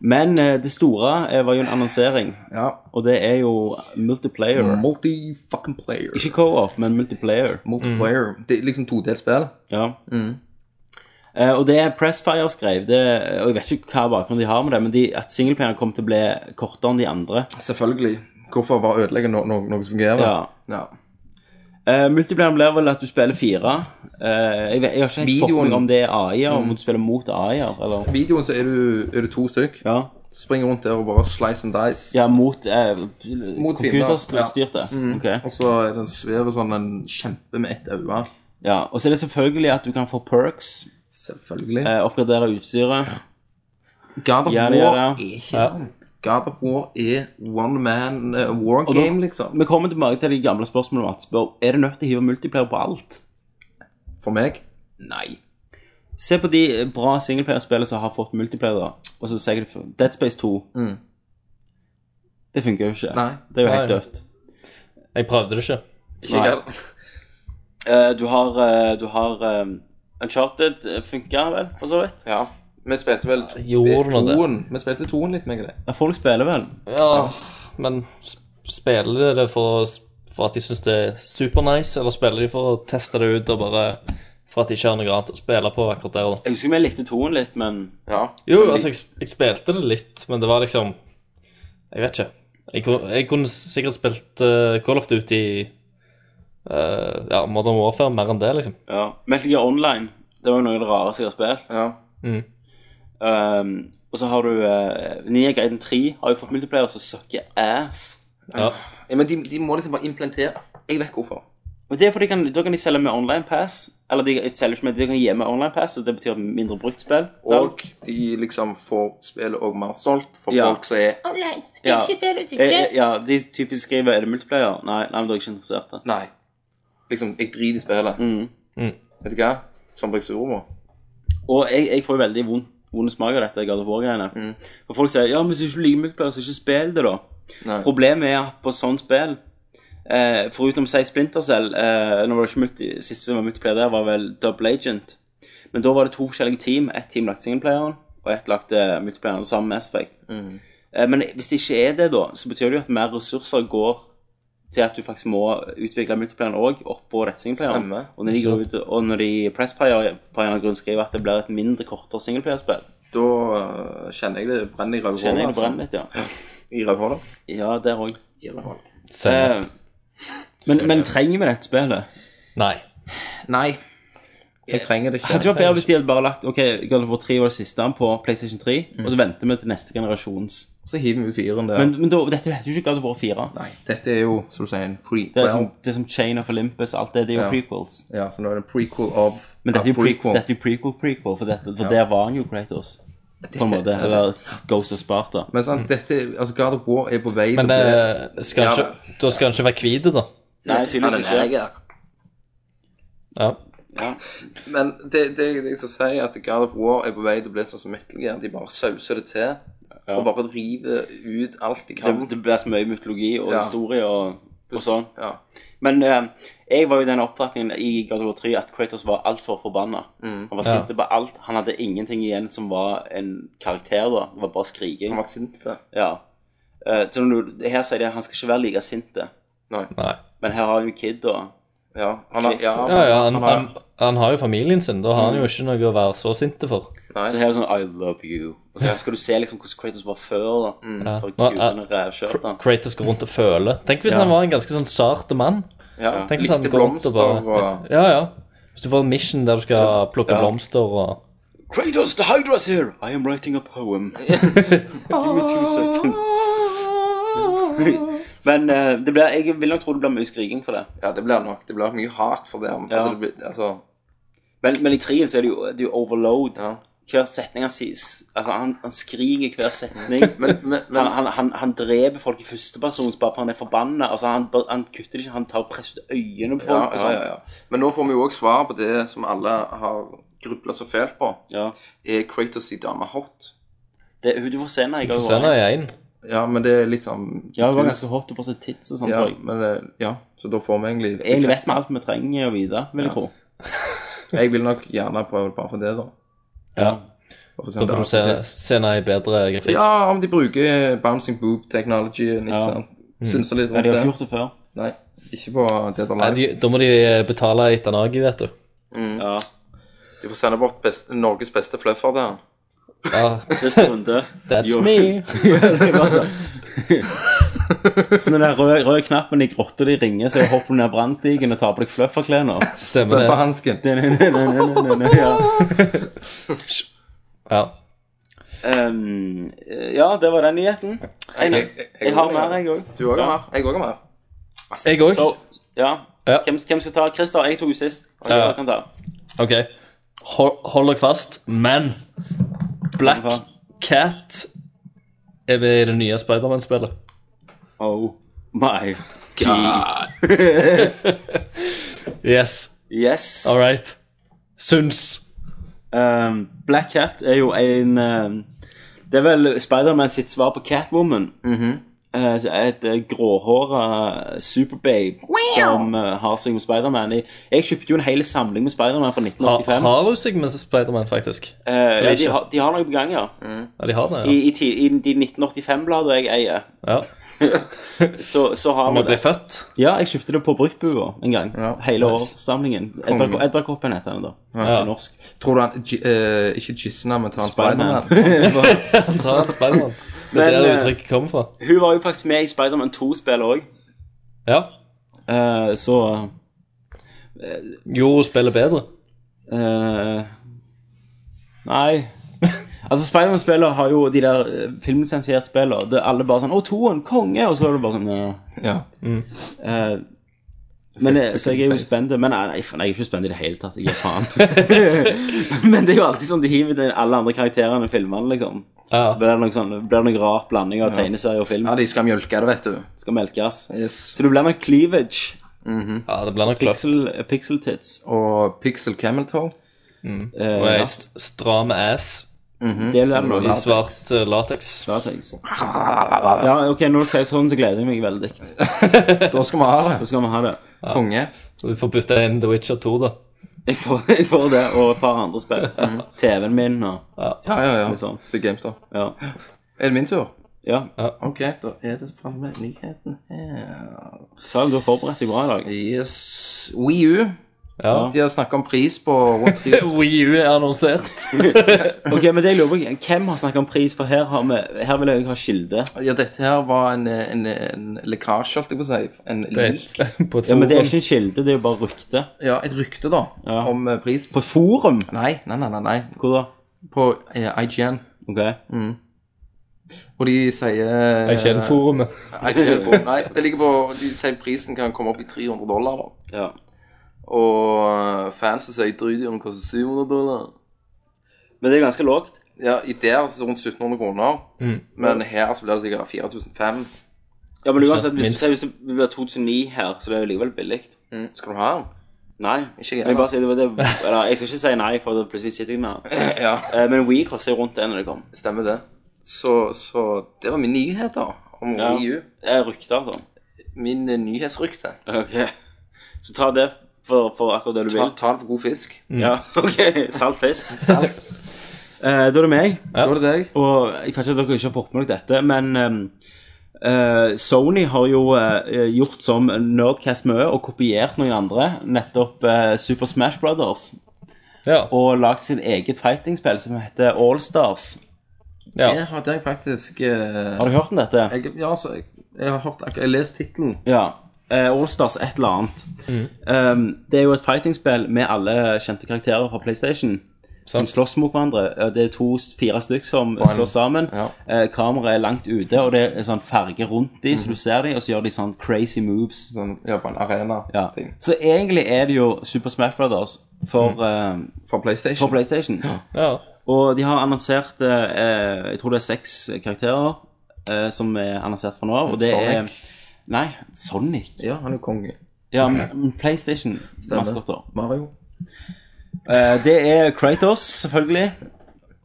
Speaker 6: Men eh, det store eh, var jo en annonsering,
Speaker 8: Ja.
Speaker 6: og det er jo multiplayer.
Speaker 8: Mm. Multi-fucking player.
Speaker 6: Ikke Mm. co-op, men multiplayer.
Speaker 8: Multiplayer. Det er liksom todelt spill.
Speaker 6: Ja.
Speaker 8: Mm.
Speaker 6: Eh, og det Pressfire skrev, det, og jeg vet ikke hva bakgrunn de har med det, men de, at singleplayer kom til å bli kortere enn de andre.
Speaker 8: Selvfølgelig. Hvorfor bare ødelegge no no noe som fungerer?
Speaker 6: Ja.
Speaker 8: Ja.
Speaker 6: Eh, multiplayeren blir vel at du spiller fire. Eh, jeg, vet, jeg har ikke helt fått
Speaker 8: Videoen- Mm.
Speaker 6: med meg om det er AI-er, om du spiller mot AI-er, eller
Speaker 8: I videoen så er du, er du to stykk.
Speaker 6: ja.
Speaker 8: Springer rundt der og bare slice and dice.
Speaker 6: Ja, mot, eh,
Speaker 8: Mot fiender, ja.
Speaker 6: computerstyrte. Ok.
Speaker 8: Og så er det en svever sånn en kjempe med ett øye.
Speaker 6: Ja, og så er det selvfølgelig at du kan få perks,
Speaker 8: Selvfølgelig.
Speaker 6: eh, oppgradere utstyret.
Speaker 8: God of
Speaker 6: Ja,
Speaker 8: War
Speaker 6: det gjør
Speaker 8: er
Speaker 6: det.
Speaker 8: ikke God of War er one man eh, war
Speaker 6: da-
Speaker 8: game, liksom.
Speaker 6: Vi kommer tilbake til de gamle spørsmålene om at spør, er det nødt til å hive multiplayer på alt?
Speaker 8: For meg.
Speaker 6: Nei. Se på de eh, bra singleplayer-spillene som har fått multiplayer, da. og så sier jeg det for Dead Space 2.
Speaker 8: Mm.
Speaker 6: Det funker jo ikke.
Speaker 8: Nei.
Speaker 6: Det er jo helt
Speaker 7: Nei.
Speaker 6: dødt.
Speaker 7: jeg prøvde det ikke.
Speaker 8: Ikke
Speaker 6: Nei.
Speaker 8: jeg.
Speaker 6: Eh, du har, eh, du har eh, Uncharted eh, funker vel, for så vidt.
Speaker 8: Ja. Vi spilte vel to-
Speaker 7: Gjorde nå det.
Speaker 8: toen. Vi spilte toen litt med det.
Speaker 6: Ja, folk spiller vel.
Speaker 7: Ja, men s- spiller det for å s- for at de syns det er supernice, eller spiller de for å teste det ut og bare for at de ikke har noe annet å spille på akkurat der? og da?
Speaker 6: Jeg husker vi likte toen litt, men
Speaker 8: Ja.
Speaker 7: Jo, altså, jeg, jeg spilte det litt, men det var liksom Jeg vet ikke. Jeg, kunne- jeg kunne sikkert spilt eh, Call of Duty eh, ja, Modern Warfare mer enn det, liksom.
Speaker 6: ja. Metal Gear Online det var jo noe av det rareste jeg har spilt.
Speaker 8: ja.
Speaker 6: Um, og så har du uh, Nia Gaiden 3 har jo fått multiplayer som sucker ass.
Speaker 7: Ja.
Speaker 8: ja men de, de må liksom bare implantere. Jeg vet hvorfor.
Speaker 6: Men det er fordi de kan, Da kan de selge med online pass. Eller de selger ikke med, de kan gi med online pass, og det betyr mindre brukt spill. sant?
Speaker 8: Og de liksom får spillet òg mer solgt for
Speaker 6: Ja.
Speaker 8: folk som er
Speaker 9: Oh
Speaker 6: ja. Äh, Ja, Eh, ja, de typisk skriver Er det multiplayer? Nei, nei men da er jeg ikke interessert. da.
Speaker 8: Nei. Liksom, jeg driter i spillet.
Speaker 6: Mm.
Speaker 8: Vet du hva? Som ble jeg sur over.
Speaker 6: Og jeg, jeg får jo veldig vond, vond smak av dette God of War-greiene. For folk sier ja, men hvis du ikke liker multiplayer, så ikke spill det, da.
Speaker 8: Nei.
Speaker 6: Problemet er at på sånt spill eh, Foruten å si Splinter Cell eh, nå var det ikke multi, Siste som var multiplayer der, var vel Double Agent. Men da var det to forskjellige team. Ett team lagt singleplayeren, og ett lagt eh, multiplayeren sammen med Aspect.
Speaker 8: Mm.
Speaker 6: Eh, men hvis det ikke er det, da, så betyr det jo at mer ressurser går til at du faktisk må utvikle multiplayeren òg oppå dette singleplayeren.
Speaker 8: Stemmer.
Speaker 6: Og når de, går ut, og når de pressplayer på en eller annen grunn skriver at det blir et mindre kortere singleplayerspill,
Speaker 8: Da øh, kjenner jeg det brenner i
Speaker 6: kjenner jeg det
Speaker 8: rødhåret.
Speaker 6: brenner litt, ja.
Speaker 8: I rødhåret.
Speaker 6: Ja, der òg. Eh,
Speaker 7: Sennep.
Speaker 6: Men, men trenger vi dette spillet?
Speaker 7: Nei.
Speaker 8: Nei.
Speaker 7: Eh,
Speaker 8: Jeg trenger det
Speaker 6: Hadde det
Speaker 8: ikke.
Speaker 6: vært bedre hvis de hadde bare lagt Ok, God of War 3 var det siste på PlayStation 3,
Speaker 8: Mm.
Speaker 6: og så venter vi til neste generasjons.
Speaker 8: Så hiver vi ut fyren der.
Speaker 6: Men, men da, dette heter jo ikke God of War 4.
Speaker 8: Nei, dette er jo, som du sier, en
Speaker 6: Det
Speaker 8: prequel.
Speaker 6: er, sånn- som, det er som Chain of Olympus, alt det. Det er jo
Speaker 8: Ja.
Speaker 6: prequels.
Speaker 8: Ja, så nå er det en prequel av
Speaker 6: Men dette er jo
Speaker 8: av
Speaker 6: pre dette er jo prequel, prequel, for, dette, for der var han jo Kratos. På en måte. Eller Mm. Ghost of Sparta.
Speaker 8: Men sant, dette, altså God of War er på vei
Speaker 7: Men
Speaker 8: til å
Speaker 7: eh,
Speaker 8: bli-
Speaker 7: skal han ikke, da skal han ikke være hvit, da.
Speaker 6: Nei,
Speaker 8: Han er
Speaker 6: tydeligvis ikke.
Speaker 8: neger.
Speaker 7: Ja.
Speaker 8: Men det, det, det jeg skal si, er at God of War er på vei til å bli sånn som Metal Gear. De bare sauser det til. Og bare river ut alt de
Speaker 6: Det,
Speaker 8: kan.
Speaker 6: det ble så mye mytologi og
Speaker 8: Ja.
Speaker 6: historie og, og sånn.
Speaker 8: Ja.
Speaker 6: Men eh, jeg var jo i den oppfatningen i God of War 3 at Kratos var altfor forbanna. Han var
Speaker 7: Ja.
Speaker 6: sinte på alt. Han hadde ingenting igjen som var en karakter, da. Det var bare skriking.
Speaker 8: Han var sint for det.
Speaker 6: Ja. Eh, så når du, her sier de at han skal ikke være like sint,
Speaker 8: Nei.
Speaker 7: Nei.
Speaker 6: men her har han jo Kid, da.
Speaker 8: Ja, han har ja,
Speaker 7: Ja, ja, han,
Speaker 8: han
Speaker 7: han,
Speaker 8: har-
Speaker 7: han har jo familien sin. Da har han jo ikke noe å være så sinte for.
Speaker 8: Nei.
Speaker 6: Så her er det sånn I love you. Og så skal du se liksom hvordan Kratos var før, da.
Speaker 7: Ja.
Speaker 6: For
Speaker 7: Nå,
Speaker 6: gudene
Speaker 7: eh,
Speaker 6: rævkjørt
Speaker 7: Kr-
Speaker 6: han.
Speaker 7: Kratos går rundt og føler. Tenk hvis
Speaker 6: Ja.
Speaker 7: han var en ganske sånn sart mann.
Speaker 8: ja,
Speaker 7: Tenk
Speaker 6: sånn,
Speaker 7: hvis han
Speaker 8: likte
Speaker 7: går rundt
Speaker 8: blomster
Speaker 7: og bare
Speaker 8: og
Speaker 7: Ja, ja. Hvis du får en mission der du skal plukke
Speaker 6: Ja.
Speaker 7: blomster og
Speaker 6: Kratos, the Hydra's here! I am writing a poem. Give me two seconds. men eh, det blir, jeg vil nok tro det blir mye skriking for det.
Speaker 8: Ja, det blir nok. Det blir mye hat for det. Altså, det blir, altså,
Speaker 6: Men, men i trien så er det jo, det er jo overload.
Speaker 8: ja.
Speaker 6: Hver setning han sier altså, han, han skriker hver setning.
Speaker 8: Men, men, men
Speaker 6: han, han, han, han dreper folk i førstepersons bare for han er forbanna. Altså, han, bare- han kutter det ikke, han tar press ut øynene på folk.
Speaker 8: ja,
Speaker 6: og
Speaker 8: ja,
Speaker 6: sånn.
Speaker 8: ja, ja. Men nå får vi jo også svar på det som alle har grubla så fælt på.
Speaker 6: Ja.
Speaker 8: Er Kratos' i dame hot?
Speaker 6: Det, hun du får se henne i går.
Speaker 7: Sender jeg inn.
Speaker 8: Ja, men det er litt sånn
Speaker 6: Ja, hun var ganske hot. Du får se tits og sånn,
Speaker 8: Ja,
Speaker 6: tror jeg.
Speaker 8: men, eh, ja, så da får vi egentlig
Speaker 6: Egentlig vet vi alt vi trenger å vite, vil jeg
Speaker 8: Ja.
Speaker 6: tro.
Speaker 8: Jeg vil nok gjerne prøve det bare for det, da.
Speaker 7: Ja.
Speaker 8: Bare for å se
Speaker 7: Da
Speaker 8: om
Speaker 7: får
Speaker 8: det
Speaker 7: du se
Speaker 8: er-
Speaker 7: scenen i bedre grafikk.
Speaker 8: Ja, om de bruker bouncing boob technologyen, ikke
Speaker 6: Ja. Mm.
Speaker 8: sant. Synser litt
Speaker 6: Ja,
Speaker 8: rundt
Speaker 6: de har ikke
Speaker 8: det.
Speaker 6: gjort det før.
Speaker 8: Nei, ikke på Dead or
Speaker 7: Nei,
Speaker 8: Alive.
Speaker 7: de, da må de eh, betale etter Nagi, vet du.
Speaker 6: Ja.
Speaker 8: De får sende bort best, Norges beste fluffer der.
Speaker 7: Ja,
Speaker 6: Siste runde.
Speaker 7: that's
Speaker 6: Jo.
Speaker 7: me.
Speaker 6: Ja, det er bare sånn. Så når den røde, røde knappen i grotta de ringer, så hopper du ned brannstigen og tar på deg flufferklærne.
Speaker 7: Stemmer
Speaker 8: Fluffer
Speaker 7: det.
Speaker 8: hansken.
Speaker 6: Ja.
Speaker 7: Ja.
Speaker 6: Um, ja, det var den nyheten.
Speaker 8: Jeg, jeg, jeg,
Speaker 6: Jeg har mer, jeg òg.
Speaker 8: Du òg har
Speaker 6: Ja.
Speaker 8: mer. Jeg òg har mer.
Speaker 7: Jeg òg.
Speaker 6: Så, ja.
Speaker 7: Ja.
Speaker 6: Hvem, hvem skal ta? Christer, jeg tok jo sist. Christer
Speaker 7: Ja.
Speaker 6: kan ta.
Speaker 7: Ok, Hol- hold dere fast, men Black
Speaker 6: Hva?
Speaker 7: Cat er med i det nye Spiderman-spillet.
Speaker 6: Oh my god.
Speaker 7: Yes,
Speaker 6: Yes.
Speaker 7: all right. Syns.
Speaker 6: Um, Black ehm,
Speaker 7: Mhm.
Speaker 6: Cat er jo en um, Det er vel Spiderman sitt svar på Catwoman. eh, et eh, gråhåra superbabe som eh, har seg med Spiderman. Jeg- Jeg kjøpte jo en hel samling med Spiderman på
Speaker 7: Har,
Speaker 6: 1985.
Speaker 7: har hun seg med Spiderman, faktisk?
Speaker 6: Eh, ja, de,
Speaker 7: ikke.
Speaker 6: har, de har noe på gang, ja.
Speaker 7: Ja, de har det,
Speaker 6: I, i,
Speaker 7: ja.
Speaker 6: ti- i de 1985-bladene jeg eier,
Speaker 7: ja.
Speaker 6: så, så har
Speaker 7: Om
Speaker 6: vi
Speaker 7: jeg
Speaker 6: det.
Speaker 7: ble født?
Speaker 6: Ja, jeg kjøpte det på Bruktbua en gang. Hele
Speaker 8: nice.
Speaker 6: årssamlingen. Edderko- Edderkoppen heter den da.
Speaker 7: Ja.
Speaker 6: På norsk.
Speaker 8: Tror du han gi- eh, Ikke Gisna, men tar han
Speaker 6: Spider-Man.
Speaker 8: Spiderman?
Speaker 7: Ta en Spiderman. Det
Speaker 6: Men,
Speaker 7: er der
Speaker 6: eh,
Speaker 7: uttrykket kommer fra.
Speaker 6: Hun var jo faktisk med i Spiderman 2-spillet òg,
Speaker 7: Ja.
Speaker 6: Eh, så
Speaker 7: Gjorde hun spillet bedre?
Speaker 6: eh, Nei. Altså, Spiderman-spillene har jo de der eh, filmlisensierte spillene. Det er alle bare sånn 'Å, toen! Konge!' Og så er det bare sånn ja.
Speaker 8: Ja.
Speaker 6: Eh, men, eh, så jeg er jo
Speaker 8: face.
Speaker 6: spent, men eh, nei, nei, faen, jeg er ikke spent i det hele tatt. Jeg gir faen. men det er jo alltid sånn de hiver til alle andre karakterene i filmene, liksom.
Speaker 7: Ja.
Speaker 6: Så blir det noe sånn, blir det noe rar blanding av tegneserie og film.
Speaker 8: ja, de skal mjølke det, vet du.
Speaker 6: Skal melkes.
Speaker 8: Yes.
Speaker 6: Så det blir noe cleavage.
Speaker 7: Ja, det blir nok klart.
Speaker 6: Pixel, pixel tits.
Speaker 8: Og Pixel Camel Toe.
Speaker 6: Eh,
Speaker 7: Og
Speaker 6: ja.
Speaker 7: ei st- stram ass
Speaker 6: Det blir det
Speaker 7: i
Speaker 6: noe.
Speaker 7: svart eh, latex.
Speaker 6: Latex. Ja, ok, når du sier sånn, så gleder jeg meg veldig. Da
Speaker 8: Da skal vi ha det.
Speaker 6: skal vi ha det.
Speaker 8: Konge.
Speaker 7: Så du får bytte inn The Witcher 2, da.
Speaker 6: Jeg får, jeg får det, og et par andre spill. TV-en min og
Speaker 8: Ja, ja, ja.
Speaker 6: Litt sånn.
Speaker 8: Til GameStop.
Speaker 6: Ja.
Speaker 8: Er det min tur?
Speaker 6: ja.
Speaker 8: Ok, da er det fremme nyheten her.
Speaker 6: Sal, du har forberedt deg bra i dag.
Speaker 8: Yes. Wii U.
Speaker 7: Ja.
Speaker 8: De har snakket om pris på rundt 3000
Speaker 7: Wii U er annonsert.
Speaker 6: Ok, men det jeg lurer på, hvem har snakket om pris? For her, har vi, her vil jeg ha skilde.
Speaker 8: Ja, dette her var en, en, en lekkasje, holdt jeg på å si. En lik.
Speaker 7: På et
Speaker 6: Ja, men det er
Speaker 7: forum.
Speaker 6: ikke en skilde, det er jo bare rykte.
Speaker 8: Ja, et rykte, da,
Speaker 6: Ja.
Speaker 8: om eh, pris.
Speaker 6: På forum?
Speaker 8: Nei, nei, nei, nei. nei.
Speaker 6: Hvor da?
Speaker 8: På eh, IGN.
Speaker 6: Ok.
Speaker 8: Og de sier eh,
Speaker 7: Jeg kjenner forumet.
Speaker 8: IGN for, Nei, det ligger på De sier prisen kan komme opp i 300 dollar, da.
Speaker 6: Ja.
Speaker 8: Og eh, fansen sier drit i om den koster 700 dollar.
Speaker 6: Men det er ganske lågt.
Speaker 8: Ja, i der så rundt 1700 kroner.
Speaker 6: Mm.
Speaker 8: Men her så blir det sikkert 4500.
Speaker 6: Ja, men uansett, hvis,
Speaker 7: minst.
Speaker 6: du sier hvis det blir 2009 her, så blir det jo likevel billigt.
Speaker 8: Mm. Skal du ha den?
Speaker 6: Nei,
Speaker 8: Ikke jeg,
Speaker 6: Men jeg bare sier det, var det eller, jeg skal ikke si nei, for da plutselig sitter jeg med den.
Speaker 8: Ja,
Speaker 6: Eh, Men Wii koster jo rundt det når det kom.
Speaker 8: stemmer det. Så, så det var min nyhet, da. Om
Speaker 6: Ja.
Speaker 8: Wii U.
Speaker 6: Jeg rykter, altså.
Speaker 8: Min eh, nyhetsrykte.
Speaker 6: Ok. Så ta det for, for akkurat det du
Speaker 8: Ta,
Speaker 6: vil.
Speaker 8: ta det for god fisk.
Speaker 6: Ja, ok. Salt fisk. Eh, Da er det meg.
Speaker 8: Da er det deg.
Speaker 6: Og jeg vet ikke at dere ikke har fått med dere dette, men ehm, eh, eh, Sony har jo eh, gjort som Nerdcast mye og kopiert noen andre, nettopp eh, Super Smash Brothers,
Speaker 7: Ja.
Speaker 6: og lagd sin eget fightingspill som heter Allstars.
Speaker 7: Ja.
Speaker 8: Det hadde jeg faktisk eh,
Speaker 6: Har du hørt om dette?
Speaker 8: jeg, Ja, altså, jeg, jeg har hørt, jeg har lest tittelen.
Speaker 6: Ja. Eh, Allstars et eller annet.
Speaker 8: Mm.
Speaker 6: Um, det er jo et fightingspill med alle kjente karakterer fra PlayStation. Som
Speaker 7: Sant.
Speaker 6: slåss mot hverandre. Eh, Det er to-fire stykk som slåss sammen.
Speaker 8: Ja.
Speaker 6: Eh, kameraet er langt ute, og det er sånn farge rundt de, så du ser de, og så gjør de sånn crazy moves.
Speaker 8: Mhm. Sånn, ja, på en
Speaker 6: Ja.
Speaker 8: arena-ting.
Speaker 6: Så egentlig er det jo Super Smash Brothers for, eh,
Speaker 8: For PlayStation.
Speaker 6: for PlayStation.
Speaker 7: ja.
Speaker 6: Og de har annonsert eh, eh, Jeg tror det er seks eh, karakterer eh, som er annonsert fra nå av. Og det er
Speaker 8: Sonic.
Speaker 6: Nei, Sonic.
Speaker 8: ja, han er jo konge.
Speaker 6: Ja, mm, men PlayStation-maskotter.
Speaker 8: Mario.
Speaker 6: Eh, det er Kratos, selvfølgelig.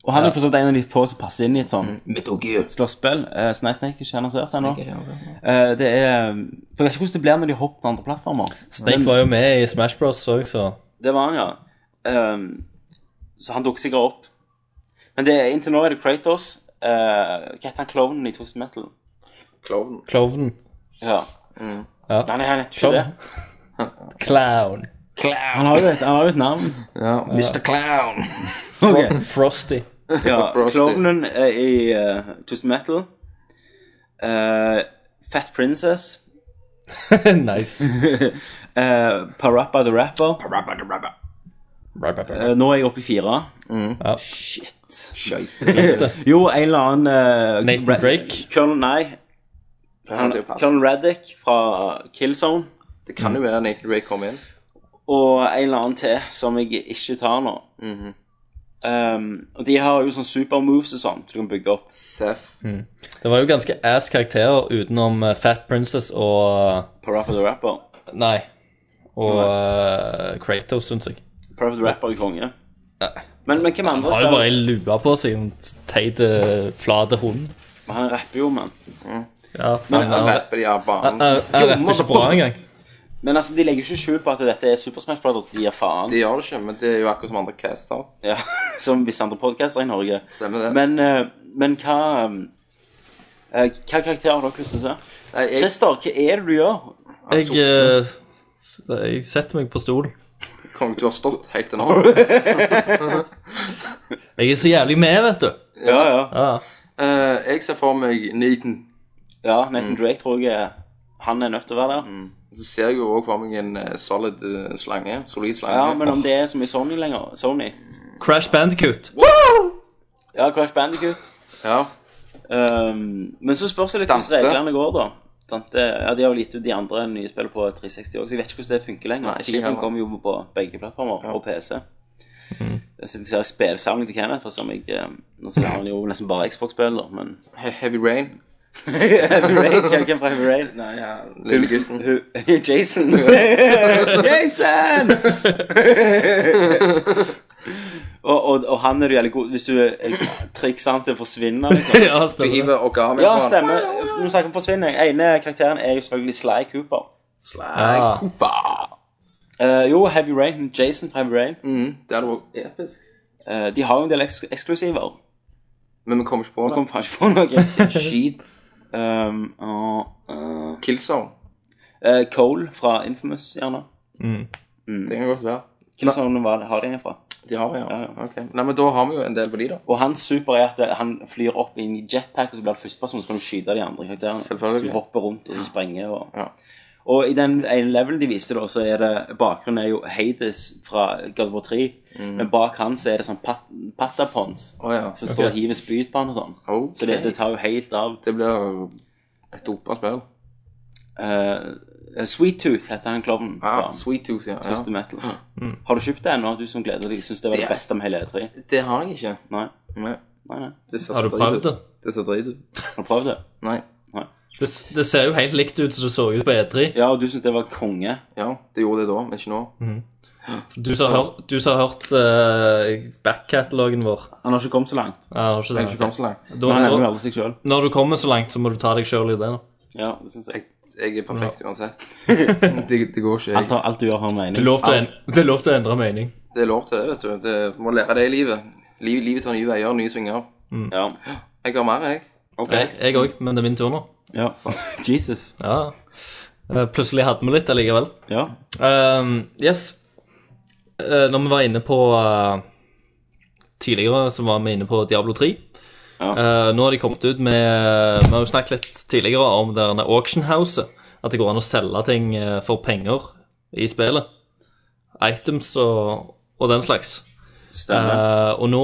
Speaker 6: Og han er for så vidt en av de få som passer inn i et sånn
Speaker 8: Metal Gear.
Speaker 6: slåsspill. Uh, Snake Snake er ikke annonsert ennå.
Speaker 8: Ja, ja, ja.
Speaker 6: Eh, det er For jeg vet ikke hvordan det blir når de hopper på andre plattformer.
Speaker 7: Snake var jo med i Smash Bros òg, så
Speaker 6: Det var han, ja. Ehm, så han dukker sikkert opp. Men det er, inntil nå er det Kratos. eh, Hva heter han klovnen i Twist Metal?
Speaker 8: Klovnen.
Speaker 7: Klovnen.
Speaker 6: Ja.
Speaker 8: Mm.
Speaker 7: Ja.
Speaker 6: Nei, nei, han heter ikke det.
Speaker 7: Clown.
Speaker 6: Han har jo et, han har jo et navn.
Speaker 8: Ja, Mr. Clown.
Speaker 6: Ok.
Speaker 7: Frosty.
Speaker 6: Ja,
Speaker 8: Frosty.
Speaker 6: klovnen er i eh, Twist Metal. Eh, Fat Princess.
Speaker 7: nice.
Speaker 6: Eh, Parappa the Rapper. Eh, nå er jeg oppe i fire.
Speaker 7: Ja.
Speaker 6: Shit.
Speaker 8: Scheisse.
Speaker 6: Jo, en eller annen eh,
Speaker 7: Nathan
Speaker 6: Ra-
Speaker 7: Drake?
Speaker 6: Colonel, nei.
Speaker 8: Han hadde jo passet.
Speaker 6: Colonel Raddick fra Killzone.
Speaker 8: Det kan jo være Naked Ray kom inn.
Speaker 6: Og en eller annen til som jeg ikke tar nå.
Speaker 8: Mhm.
Speaker 6: Um, og de har jo sånn supermoves og sånn så du kan bygge opp.
Speaker 8: Seth.
Speaker 7: Det var jo ganske ass karakterer utenom eh, Fat Princess og eh,
Speaker 6: Parappa the Rapper.
Speaker 7: Nei. Og eh, Kratos, syns jeg.
Speaker 6: Parappa the Rapper er konge.
Speaker 7: Nei.
Speaker 6: Men, men hvem andre
Speaker 7: Har jo
Speaker 6: ser
Speaker 7: bare ei lue på seg, en teit, eh, flat hund.
Speaker 6: Men Han rapper jo, men.
Speaker 7: Ja, Eh,
Speaker 8: Men eh,
Speaker 7: han-
Speaker 8: han rapper de her
Speaker 7: han-
Speaker 8: barna.
Speaker 7: han- han rapper ikke bra engang.
Speaker 6: Men altså, de legger jo ikke skjul på at dette er Super Smash Brothers, de gir faen.
Speaker 8: De gjør det ikke, men det er jo akkurat som andre caster.
Speaker 6: Ja, som visse andre podcaster i Norge.
Speaker 8: Stemmer det.
Speaker 6: Men, eh, men hva eh, Hva karakter har dere lyst til å se?
Speaker 8: Nei, jeg,
Speaker 6: Christer, hva er det du gjør?
Speaker 7: Jeg,
Speaker 8: altså,
Speaker 7: eh, s- jeg setter meg på stolen.
Speaker 8: Kong, du har stått helt til nå.
Speaker 7: Jeg er så jævlig med, vet du.
Speaker 6: Ja, ja.
Speaker 7: Ja.
Speaker 8: Eh, jeg ser for meg Neaton.
Speaker 6: ja Nathan Drake tror jeg han er nødt til å være der.
Speaker 8: Så ser jeg jo også for meg en eh, solid eh, slange. Solid slange.
Speaker 6: Ja, Men om det er så mye Sony lenger Sony.
Speaker 7: Crash Bandicoot.
Speaker 6: Ja, Crash Bandicoot.
Speaker 8: Ja.
Speaker 6: Um, men så spørs det litt hvordan
Speaker 8: Dante.
Speaker 6: reglene går, da. Dante, ja, De har jo gitt ut de andre nye spillene på 360 også, så jeg vet ikke hvordan det funker lenger.
Speaker 8: Nei, ikke
Speaker 6: Fireren
Speaker 8: heller.
Speaker 6: kommer jo på begge plattformer, og PC. Jeg sitter og ser spillsamling til Kenneth, for som jeg, eh, nå ser han jo nesten bare Xbox-spill, da, men
Speaker 8: He Heavy Rain.
Speaker 6: Heavy Rain, hvem- hvem fra Heavy Rain?
Speaker 8: Nei, ja. Lille gutten.
Speaker 6: Who- Jason! Jason! og, og, og han er du jævlig god Hvis du eh, trikset hans til å forsvinne liksom.
Speaker 7: ja,
Speaker 8: Du
Speaker 7: stemmer det.
Speaker 8: hiver organet
Speaker 6: Ja, stemmer. Nå snakker vi om forsvinning. ene karakteren er jo selvfølgelig Sly Cooper.
Speaker 8: Slag.
Speaker 6: Eh, jo, Heavy Rain. Jason fra Heavy Rain.
Speaker 8: Mm, det hadde vært episk.
Speaker 6: Eh, de har jo en del eks eksklusiver.
Speaker 8: Men vi kommer ikke på
Speaker 6: Jeg
Speaker 8: det.
Speaker 6: kom faen ikke på noe.
Speaker 8: Sheed.
Speaker 6: Um, og, eh,
Speaker 8: Killzone.
Speaker 6: eh, Cole fra Infamous, gjerne.
Speaker 8: Det kan godt være.
Speaker 6: Killzone, hva har de en fra?
Speaker 8: De har det, ja.
Speaker 6: Mm. Ja, ja.
Speaker 8: Ok. Nei, men da har vi jo en del på de, da.
Speaker 6: Og hans super er at eh, han flyr opp i en jetpack, og så blir det førsteperson, så kan du skyte de andre karakterene.
Speaker 8: Selvfølgelig.
Speaker 6: Som hopper rundt og sprenger og
Speaker 8: Ja.
Speaker 6: Og i den ene levelen de viste, da, så er det bakgrunnen er jo Hades fra God of War 3. Men bak han så er det sånn pat patapons
Speaker 8: Mm. Å ja.
Speaker 6: som står og hiver spyd på han og sånn.
Speaker 8: Ok.
Speaker 6: Så det, det tar jo helt av.
Speaker 8: Det blir jo et dopa spill.
Speaker 6: Eh, Sweet Tooth heter han klovnen.
Speaker 8: Ja,
Speaker 6: fra
Speaker 8: Ah, Sweet Tooth, ja.
Speaker 6: Første
Speaker 8: ja.
Speaker 6: metal. Har du kjøpt det ennå, du som gleder deg? Syns det var det
Speaker 8: Det-
Speaker 6: beste med hele E3?
Speaker 8: Det har jeg ikke.
Speaker 6: Nei?
Speaker 8: Nei.
Speaker 6: Nei, nei.
Speaker 8: Det ser
Speaker 7: Har
Speaker 8: så
Speaker 7: du
Speaker 8: drit
Speaker 7: prøvd
Speaker 8: ut.
Speaker 7: det?
Speaker 8: Det ser drit ut.
Speaker 6: Har du prøvd det?
Speaker 8: Nei.
Speaker 7: det? Det ser jo helt likt ut som det så ut på E E3.
Speaker 6: Ja, og du syns det var konge?
Speaker 8: Ja, det gjorde det da, men ikke nå.
Speaker 7: Du som har hørt, du som har hørt eh, back-katalogen vår.
Speaker 6: Han har ikke kommet så langt.
Speaker 7: Ja, har
Speaker 8: Jeg
Speaker 7: ikke det,
Speaker 8: har ikke
Speaker 7: ok.
Speaker 8: kommet så langt.
Speaker 7: Da,
Speaker 6: Men han er jo
Speaker 7: når,
Speaker 6: aldri seg sjøl.
Speaker 7: når du kommer så langt, så må du ta deg sjøl i det.
Speaker 6: Ja, det synes jeg.
Speaker 8: Jeg, jeg er perfekt uansett. Det, det går ikke.
Speaker 6: Alt,
Speaker 8: Jeg.
Speaker 6: har- alt du gjør, har
Speaker 7: Det er
Speaker 6: mening.
Speaker 7: lov til å en- det er lov til å endre mening.
Speaker 8: Det er lov til det, vet du. Det, du må lære det i livet. Liv, livet tar nye veier, nye svinger.
Speaker 6: Ja.
Speaker 8: Jeg har mer, jeg.
Speaker 6: Ok.
Speaker 7: Jeg òg, men det er min tur nå.
Speaker 6: Ja. Jesus.
Speaker 7: Ja. Eh, Plutselig hadde vi litt allikevel.
Speaker 6: Ja.
Speaker 7: Ehm, yes. Eh, når vi var inne på eh, Tidligere så var vi inne på Diablo 3.
Speaker 6: Ja.
Speaker 7: Eh, nå har de kommet ut med Vi har jo snakket litt tidligere om det derne auctionhouset. At det går an å selge ting eh, for penger i spillet. Items og, og den slags.
Speaker 6: Stemmer.
Speaker 7: Eh, og nå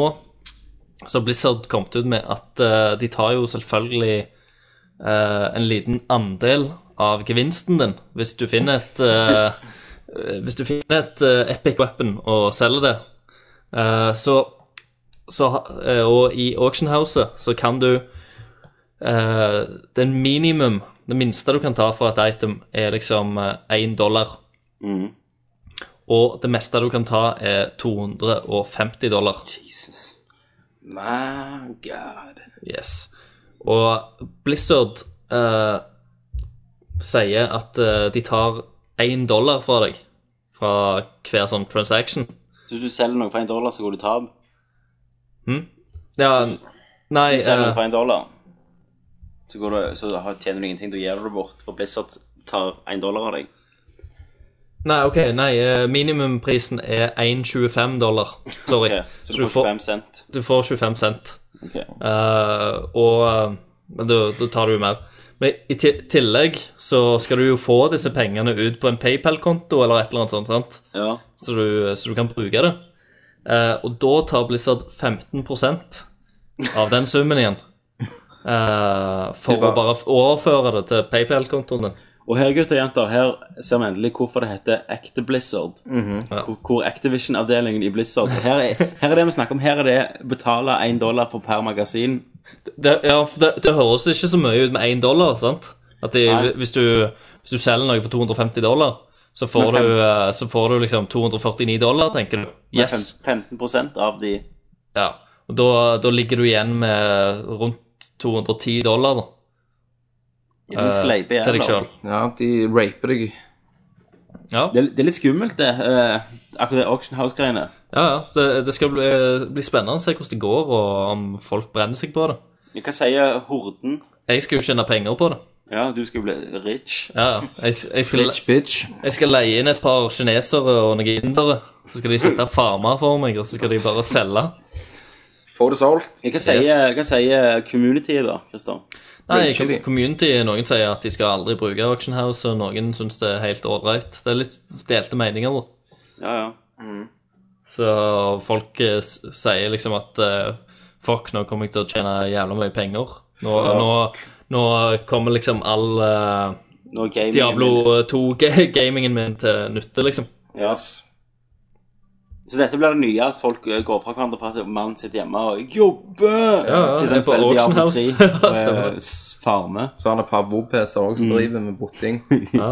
Speaker 7: så har Blizzard kommet ut med at eh, de tar jo selvfølgelig eh, en liten andel av gevinsten din hvis du finner et eh, eh, Hvis du finner et eh, epic weapon og selger det. Eh, så så ha- eh, Og i auctionhouset så kan du eh, Det er en minimum Det minste du kan ta for et item, er liksom én dollar. Og det meste du kan ta, er 250 dollar.
Speaker 8: My God.
Speaker 7: Yes. Og Blizzard eh, sier at eh, de tar én dollar fra deg fra hver sånn transaction.
Speaker 6: Så hvis du selger noe for en dollar, så går du tap?
Speaker 7: Ja, nei
Speaker 6: Du selger
Speaker 7: eh,
Speaker 6: noe for en dollar, så, går du, så har- tjener du ingenting. Da gir du det bort, for Blizzard tar en dollar av deg.
Speaker 7: Nei, ok, nei, eh, minimumprisen er 1,25 dollar. Sorry.
Speaker 6: Ok, Så du får 25 cent.
Speaker 7: du får 25 cent.
Speaker 6: Ok.
Speaker 7: Eh, og eh, Men da da tar du jo mer. Men i ti- tillegg så skal du jo få disse pengene ut på en PayPal-konto eller et eller annet sånt. sant?
Speaker 6: Ja.
Speaker 7: så du, så du kan bruke det. Eh, og da tar Blizzard 15 av den summen igjen. Eh, for å bare f- overføre det til PayPal-kontoen din.
Speaker 6: Og her, gutter og jenter, her ser vi endelig hvorfor det heter ekte Blizzard.
Speaker 7: Ja.
Speaker 6: Hvor- Hvor Activision-avdelingen i Blizzard Her er, her er det vi snakker om. Her er det betale en dollar for per magasin.
Speaker 7: Det, ja, for det, det høres ikke så mye ut med én dollar, sant? At de,
Speaker 6: Nei.
Speaker 7: hvis, du, hvis du selger noe for 250 dollar, så får,
Speaker 6: Men fem-
Speaker 7: du, eh, så får du liksom 249 dollar, tenker du.
Speaker 6: Men
Speaker 7: Yes.
Speaker 6: fem- 15 av de
Speaker 7: Ja. Og da, da ligger du igjen med rundt 210 dollar, da.
Speaker 6: Den sleiper
Speaker 7: Eh, til deg
Speaker 6: jævla.
Speaker 7: sjøl.
Speaker 8: Ja, de raper deg.
Speaker 7: Ja.
Speaker 6: Det, er- det er litt skummelt, det. eh, akkurat det Auction House-greiene.
Speaker 7: ja, ja. Så det- det skal bli, eh, bli spennende å se hvordan det går, og om folk brenner seg på det.
Speaker 6: Hva sier eh, horden?
Speaker 7: Jeg skal jo tjene penger på det.
Speaker 6: Ja, du skal jo bli rich.
Speaker 7: Ja, ja. Jeg, jeg, skal,
Speaker 8: Bitch, bitch.
Speaker 7: jeg skal leie inn et par kinesere og noen indere. Så skal de sitte og farme for meg, og så skal de bare selge.
Speaker 8: Få det solgt.
Speaker 6: Hva sier,
Speaker 7: Yes.
Speaker 6: hva sier communityet, eh, da, Christer?
Speaker 7: Nei,
Speaker 8: Rage,
Speaker 7: com- community, noen sier at de skal aldri bruke Auction House, og noen syns det er helt ålreit. Det er litt delte meninger, da.
Speaker 6: Ja, ja.
Speaker 7: Så folk eh, s- sier liksom at eh, fuck, nå kommer jeg til å tjene jævla mye penger. Nå, nå, nå kommer liksom all eh,
Speaker 6: Nå er gaming-
Speaker 7: Diablo eh, 2-gamingen min til nytte, liksom.
Speaker 6: Ja. Så dette blir det nye, at folk eh, går fra hverandre for at mannen sitter hjemme og jobber.
Speaker 7: Ja, ja,
Speaker 6: Sitter
Speaker 7: det er
Speaker 6: og spiller
Speaker 7: på Auction
Speaker 6: Diablo
Speaker 7: House.
Speaker 6: 3
Speaker 7: Ja,
Speaker 6: og, eh,
Speaker 7: stemmer.
Speaker 6: s- farmer.
Speaker 8: Så har han et par vop-PC òg som driver med botting.
Speaker 7: Ja.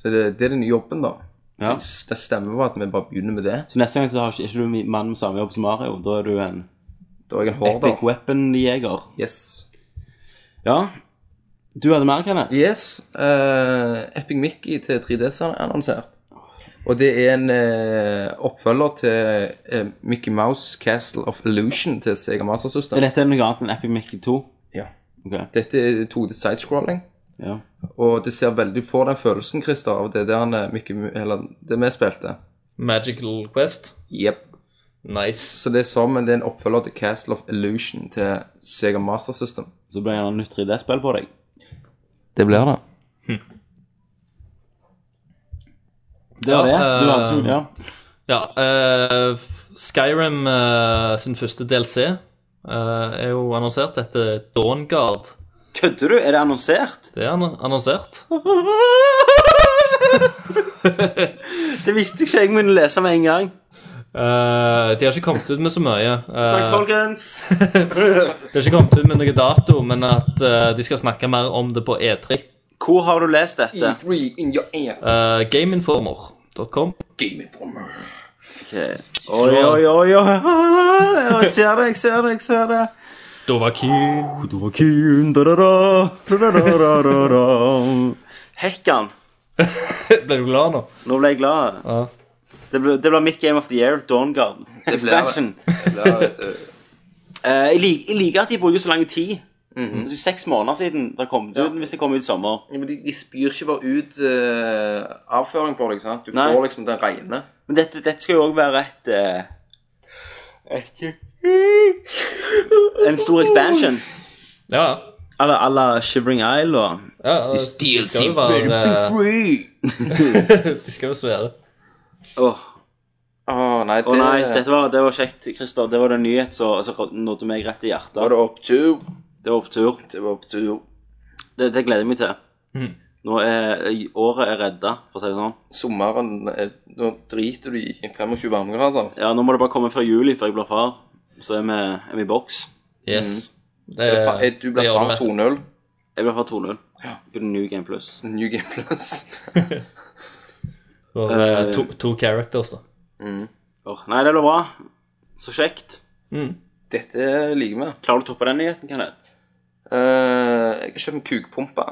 Speaker 8: Så det, det er den nye jobben, da.
Speaker 6: Ja.
Speaker 8: Så Det stemmer bare at vi bare begynner med det.
Speaker 6: Så neste gang så har ikke, ikke du en mann med samme jobb som Mario. Da er du en
Speaker 8: Da er jeg en
Speaker 6: epic
Speaker 8: horder.
Speaker 6: weapon-jeger.
Speaker 8: Yes.
Speaker 6: Ja. Du hadde mer, Kenneth?
Speaker 8: Yes, eh, Epic Mickey til 3DS er annonsert. Og det er en eh, oppfølger til eh, Mickey Mouse Castle of Illusion til Sega Master
Speaker 6: Er
Speaker 8: System.
Speaker 6: dette noe annet enn Epic Mickey 2?
Speaker 8: Ja.
Speaker 6: Ok,
Speaker 8: Dette er 2D sidescrolling,
Speaker 6: ja.
Speaker 8: og det ser veldig på den følelsen, Christer, av det der han, eh, Mickey, Mu- eller det vi spilte.
Speaker 7: Magical Quest.
Speaker 8: Jep.
Speaker 7: Nice.
Speaker 8: Så det er som men det er en oppfølger til Castle of Illusion til Sega Master System.
Speaker 6: Så blir det gjerne nytt 3D-spill på deg.
Speaker 8: Det blir det.
Speaker 6: Det var
Speaker 7: Ja,
Speaker 6: det. Du hadde
Speaker 7: eh,
Speaker 6: ikke, ja.
Speaker 7: Ja, eh, Skyrim eh, sin første DLC eh, er jo annonsert etter Dawnguard.
Speaker 6: Kødder du? Er det annonsert?
Speaker 7: Det er ann- annonsert.
Speaker 6: Det visste ikke jeg kunne lese med en gang.
Speaker 7: Eh, de har ikke kommet ut med så mye. Eh,
Speaker 6: Takk, folkens.
Speaker 7: de har ikke kommet ut med noen dato, men at eh, de skal snakke mer om det på E3.
Speaker 6: Hvor har du lest dette?
Speaker 8: E3 in your ass.
Speaker 7: Eh, Gameinformer.com.
Speaker 8: Game Informer.
Speaker 6: Ok. Oi, oi, oi, oi. Ah, Jeg ser det, jeg ser det, jeg ser det.
Speaker 7: Dovaki.
Speaker 6: Kun, da, da, da, da, da, da, da, da. Hekkan.
Speaker 7: Ble du glad nå?
Speaker 6: Nå ble jeg glad.
Speaker 7: Ja.
Speaker 6: Det ble, det ble mitt Game of the Year, Dawnguard.
Speaker 8: det.
Speaker 6: Expansion.
Speaker 8: Det blir, vet du.
Speaker 6: Eh, jeg, lik, jeg liker at de bruker så lang tid.
Speaker 8: Mhm.
Speaker 6: Det er Seks måneder siden det kom ut, hvis det kom ut i sommer.
Speaker 8: Ja, men de, de spyr ikke bare ut eh, avføring på deg, sant? Du
Speaker 6: Nei.
Speaker 8: får liksom den reine.
Speaker 6: Men dette, dette skal jo òg være et eh, Et En stor expansion.
Speaker 7: Ja,
Speaker 6: À la- à la Shivering Isle og
Speaker 7: ja. ja de skal jo være eh, De skal jo svære.
Speaker 6: Åh,
Speaker 8: Å nei, det
Speaker 6: åh nei, dette var, det var kjekt, Christer. Det var en nyhet som altså, nådde meg rett i hjertet.
Speaker 8: var det opptur.
Speaker 6: Det var opptur.
Speaker 8: Det var opptur.
Speaker 6: Det, det gleder jeg meg til.
Speaker 8: Mhm.
Speaker 6: Nå er året er redda, for å si det sånn.
Speaker 8: Sommeren eh, Nå driter du i 25 varmegrader.
Speaker 6: Ja, nå må det bare komme før juli, før jeg blir far. Så er vi, er vi i boks.
Speaker 7: Yes.
Speaker 8: Du blir fa- Du
Speaker 7: Eh, det
Speaker 8: blir
Speaker 7: gjør
Speaker 8: fram
Speaker 7: vet du.
Speaker 8: 2-0.
Speaker 6: Jeg blir far 2-0.
Speaker 8: Ja.
Speaker 6: På New Game Plus.
Speaker 8: New Game Plus.
Speaker 7: For, eh,
Speaker 6: Eh,
Speaker 7: to, to characters, da.
Speaker 6: Åh, nei, det blir bra. Så kjekt.
Speaker 7: Mm.
Speaker 8: Dette liker vi.
Speaker 6: Klarer du å toppe den nyheten, Kenneth?
Speaker 8: Eh, jeg har kjøpt en kukpumpe.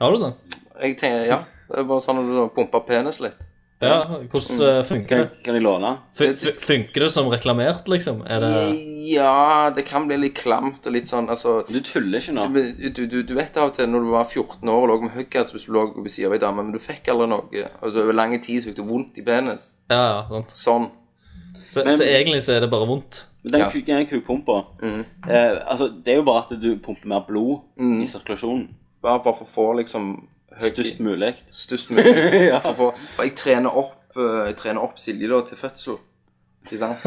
Speaker 7: Har du det?
Speaker 8: Jeg tenker, ja. Det er bare sånn at du pumper penis litt.
Speaker 7: Ja, hvordan eh, funker
Speaker 6: Kan,
Speaker 7: det?
Speaker 6: kan jeg låne den?
Speaker 7: Fun- fun- Funker det som reklamert, liksom? Er det
Speaker 8: Ja, det kan bli litt klamt og litt sånn, altså
Speaker 6: Du tuller ikke nå.
Speaker 8: du, du, du, du vet av og til når du var 14 år og lå med høygass hvis du lå ved siden av ei dame, men du fikk aldri noe. Altså, over lang tid så fikk du vondt i penis.
Speaker 7: Ja, ja, sant.
Speaker 8: Sånn.
Speaker 7: Så,
Speaker 6: Men-
Speaker 7: så egentlig så er det bare vondt.
Speaker 6: Men den,
Speaker 8: Ja. Mm.
Speaker 6: ku- den kukpumpa eh, altså, Det er jo bare at du pumper mer blod i sirkulasjonen.
Speaker 8: Bare, bare for å få liksom Mm. høy-
Speaker 6: Størst mulig.
Speaker 8: Størst mulig. for, å få- for jeg trener opp, eh, jeg trener opp Silje da til fødsel. Ikke sant?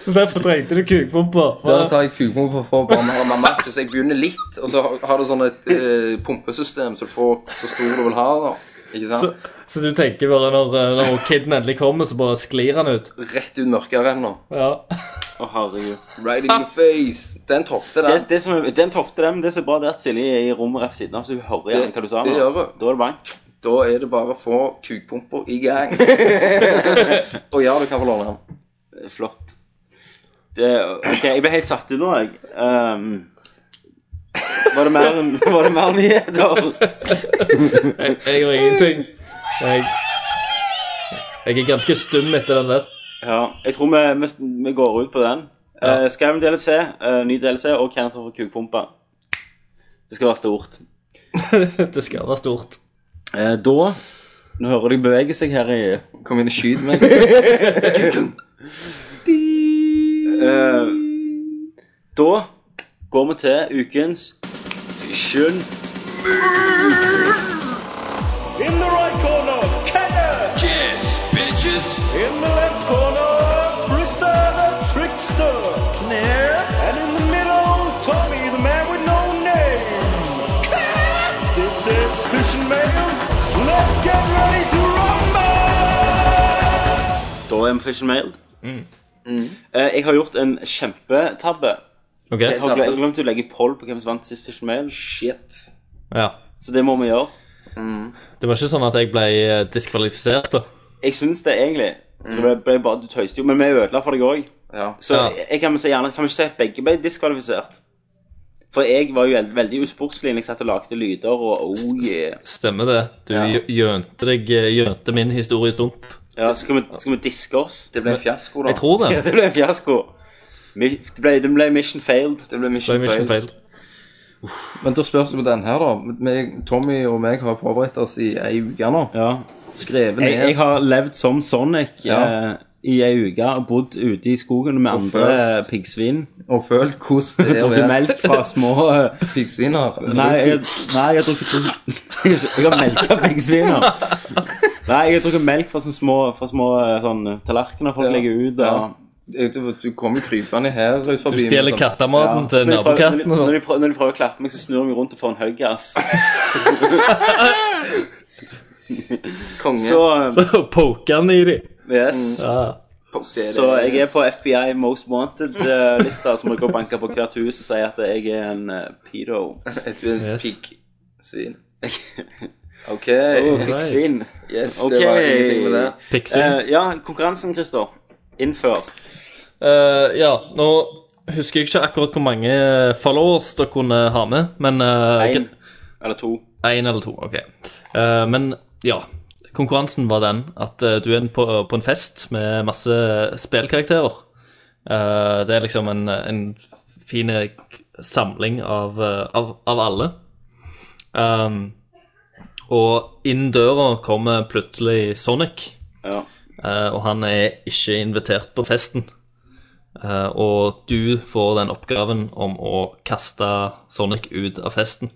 Speaker 7: Så derfor trengte du kukpumper.
Speaker 8: Da tar jeg kukmor for å få barn og masse, så jeg begynner litt, og så har- har du sånn et eh, pumpesystem så du får så stor du vil ha, da. Ikke sant?
Speaker 7: Så, så du tenker bare når, eh, når kiden endelig kommer, så bare sklir han ut?
Speaker 8: Rett ut mørkere enn nå.
Speaker 7: Ja.
Speaker 6: Å, herregud.
Speaker 8: Right in your face. Den toppte,
Speaker 6: Det,
Speaker 8: den.
Speaker 6: det som, er- den toppte dem. Det som er bra, det er at Silje er i rommet rett ved siden av, så hun hører igjen
Speaker 8: Det-
Speaker 6: hva du sa.
Speaker 8: det
Speaker 6: nå.
Speaker 8: gjør hun.
Speaker 6: Da er det bang.
Speaker 8: Da er det bare å få kukpumpa i gang. og ja, du kan få låne den.
Speaker 6: Flott. det, Ok, jeg ble helt satt ut nå, jeg. Ehm, var, det mer, var det mer nyheter?
Speaker 7: Jeg, jeg har ingenting. Jeg, jeg er ganske stum etter den der.
Speaker 6: Ja, jeg tror vi, vi, vi går ut på den.
Speaker 7: Ja.
Speaker 6: Uh, Skyrim DLC, eh, ny DLC og Kenneth over kukpumpa. Det skal være stort.
Speaker 7: Det skal være stort.
Speaker 6: Eh, da Nå hører jeg bevege seg her i
Speaker 8: Kom inn og skyt meg.
Speaker 6: Eh, Da går vi til ukens Skjønn
Speaker 5: In the right corner, Kenner! Yes, bitches! In the left corner, Brister the Trickster! And in the middle, Tommy, the man with no name! this is Christian Mayer. Let's get ready to rumble!
Speaker 6: Da er vi Fishing Mail. Eh, jeg har gjort en kjempetabbe.
Speaker 7: OK?
Speaker 6: Jeg har gle- glemt å legge poll på hvem som vant sist Fishing Mail,
Speaker 8: Shit.
Speaker 7: Ja.
Speaker 6: så det må vi gjøre.
Speaker 7: Det var ikke sånn at jeg ble eh, diskvalifisert, da.
Speaker 6: Jeg syns det, egentlig. Det ble, ble bare, du tøyste jo, men vi ødela for deg òg.
Speaker 8: Ja.
Speaker 6: Så
Speaker 7: Ja.
Speaker 6: jeg, jeg kan vel si gjerne kan vi ikke si at begge ble diskvalifisert. For jeg var jo veld, veldig usportslig når jeg satt og lagde lyder og oh yeah.
Speaker 7: Stemmer det. Du
Speaker 8: Ja.
Speaker 7: gjø- gjønte deg eh, Gjønte min historie sunt.
Speaker 6: Ja, skal, vi, skal vi diske oss?
Speaker 8: Det ble en fiasko, da.
Speaker 7: Jeg tror det.
Speaker 6: Ja, det ble en fiasko. Mi- Det ble, det ble mission failed.
Speaker 8: det ble
Speaker 7: Det
Speaker 8: mission,
Speaker 7: er mission
Speaker 8: fail.
Speaker 7: fail.
Speaker 8: Men da spørs det på den her, da. Meg, Tommy og meg har forberedt oss i ei uke nå.
Speaker 6: Ja.
Speaker 8: Skrevet
Speaker 6: Jeg, jeg
Speaker 8: ned.
Speaker 6: har levd som Sonic
Speaker 8: Ja.
Speaker 6: eh, i ei uke og bodd ute i skogen med andre
Speaker 8: følt.
Speaker 6: piggsvin.
Speaker 8: Og følt hvordan det er å
Speaker 6: Drukket
Speaker 8: være
Speaker 6: melk fra små eh,
Speaker 8: piggsviner.
Speaker 6: Nei, jeg, nei, jeg har drukket Jeg har melka piggsviner. Nei, jeg har drukket melk fra sånne små, fra små eh, sånn, tallerkener folk
Speaker 8: Ja.
Speaker 6: legger ut.
Speaker 8: Ja.
Speaker 6: Og,
Speaker 8: Du, du kommer krypende her ut
Speaker 7: Du
Speaker 8: forbi. med
Speaker 7: stjeler
Speaker 8: sånn-
Speaker 7: kattematen
Speaker 6: Så
Speaker 7: til
Speaker 6: når de prøver-
Speaker 7: nabokatten.
Speaker 6: Når, de-
Speaker 7: og sånn.
Speaker 6: når, de prøver- når de prøver å klappe meg, så snur de rundt og får en huggass.
Speaker 8: Konge.
Speaker 6: Så, eh,
Speaker 7: Så poker han i dem.
Speaker 6: yes.
Speaker 7: Mm. Ja.
Speaker 8: Det er
Speaker 6: Så
Speaker 8: det.
Speaker 6: jeg er på FBI Most Wanted-lista, så må jeg gå og banke på hvert hus og si at jeg er en eh, pedo.
Speaker 8: Et yes.
Speaker 7: Yes.
Speaker 8: piggsvin. OK.
Speaker 6: Piggsvin.
Speaker 8: Yes,
Speaker 6: Ok.
Speaker 8: det var ingenting med det.
Speaker 7: Pixie.
Speaker 6: Eh, ja, konkurransen, Christer. Innfør.
Speaker 7: Eh, ja, nå husker jeg ikke akkurat hvor mange followers dere kunne ha med, men eh,
Speaker 6: Én
Speaker 7: Én
Speaker 6: eller to.
Speaker 7: eller to, OK. Eh, men ja, konkurransen var den at eh, du er en på, på en fest med masse spillkarakterer. Eh, det er liksom en, en fin eh, samling av, eh, av, av alle. Um, og inn døra kommer plutselig Sonic.
Speaker 6: Ja.
Speaker 7: Eh, og han er ikke invitert på festen. Eh, og du får den oppgaven om å kaste Sonic ut av festen.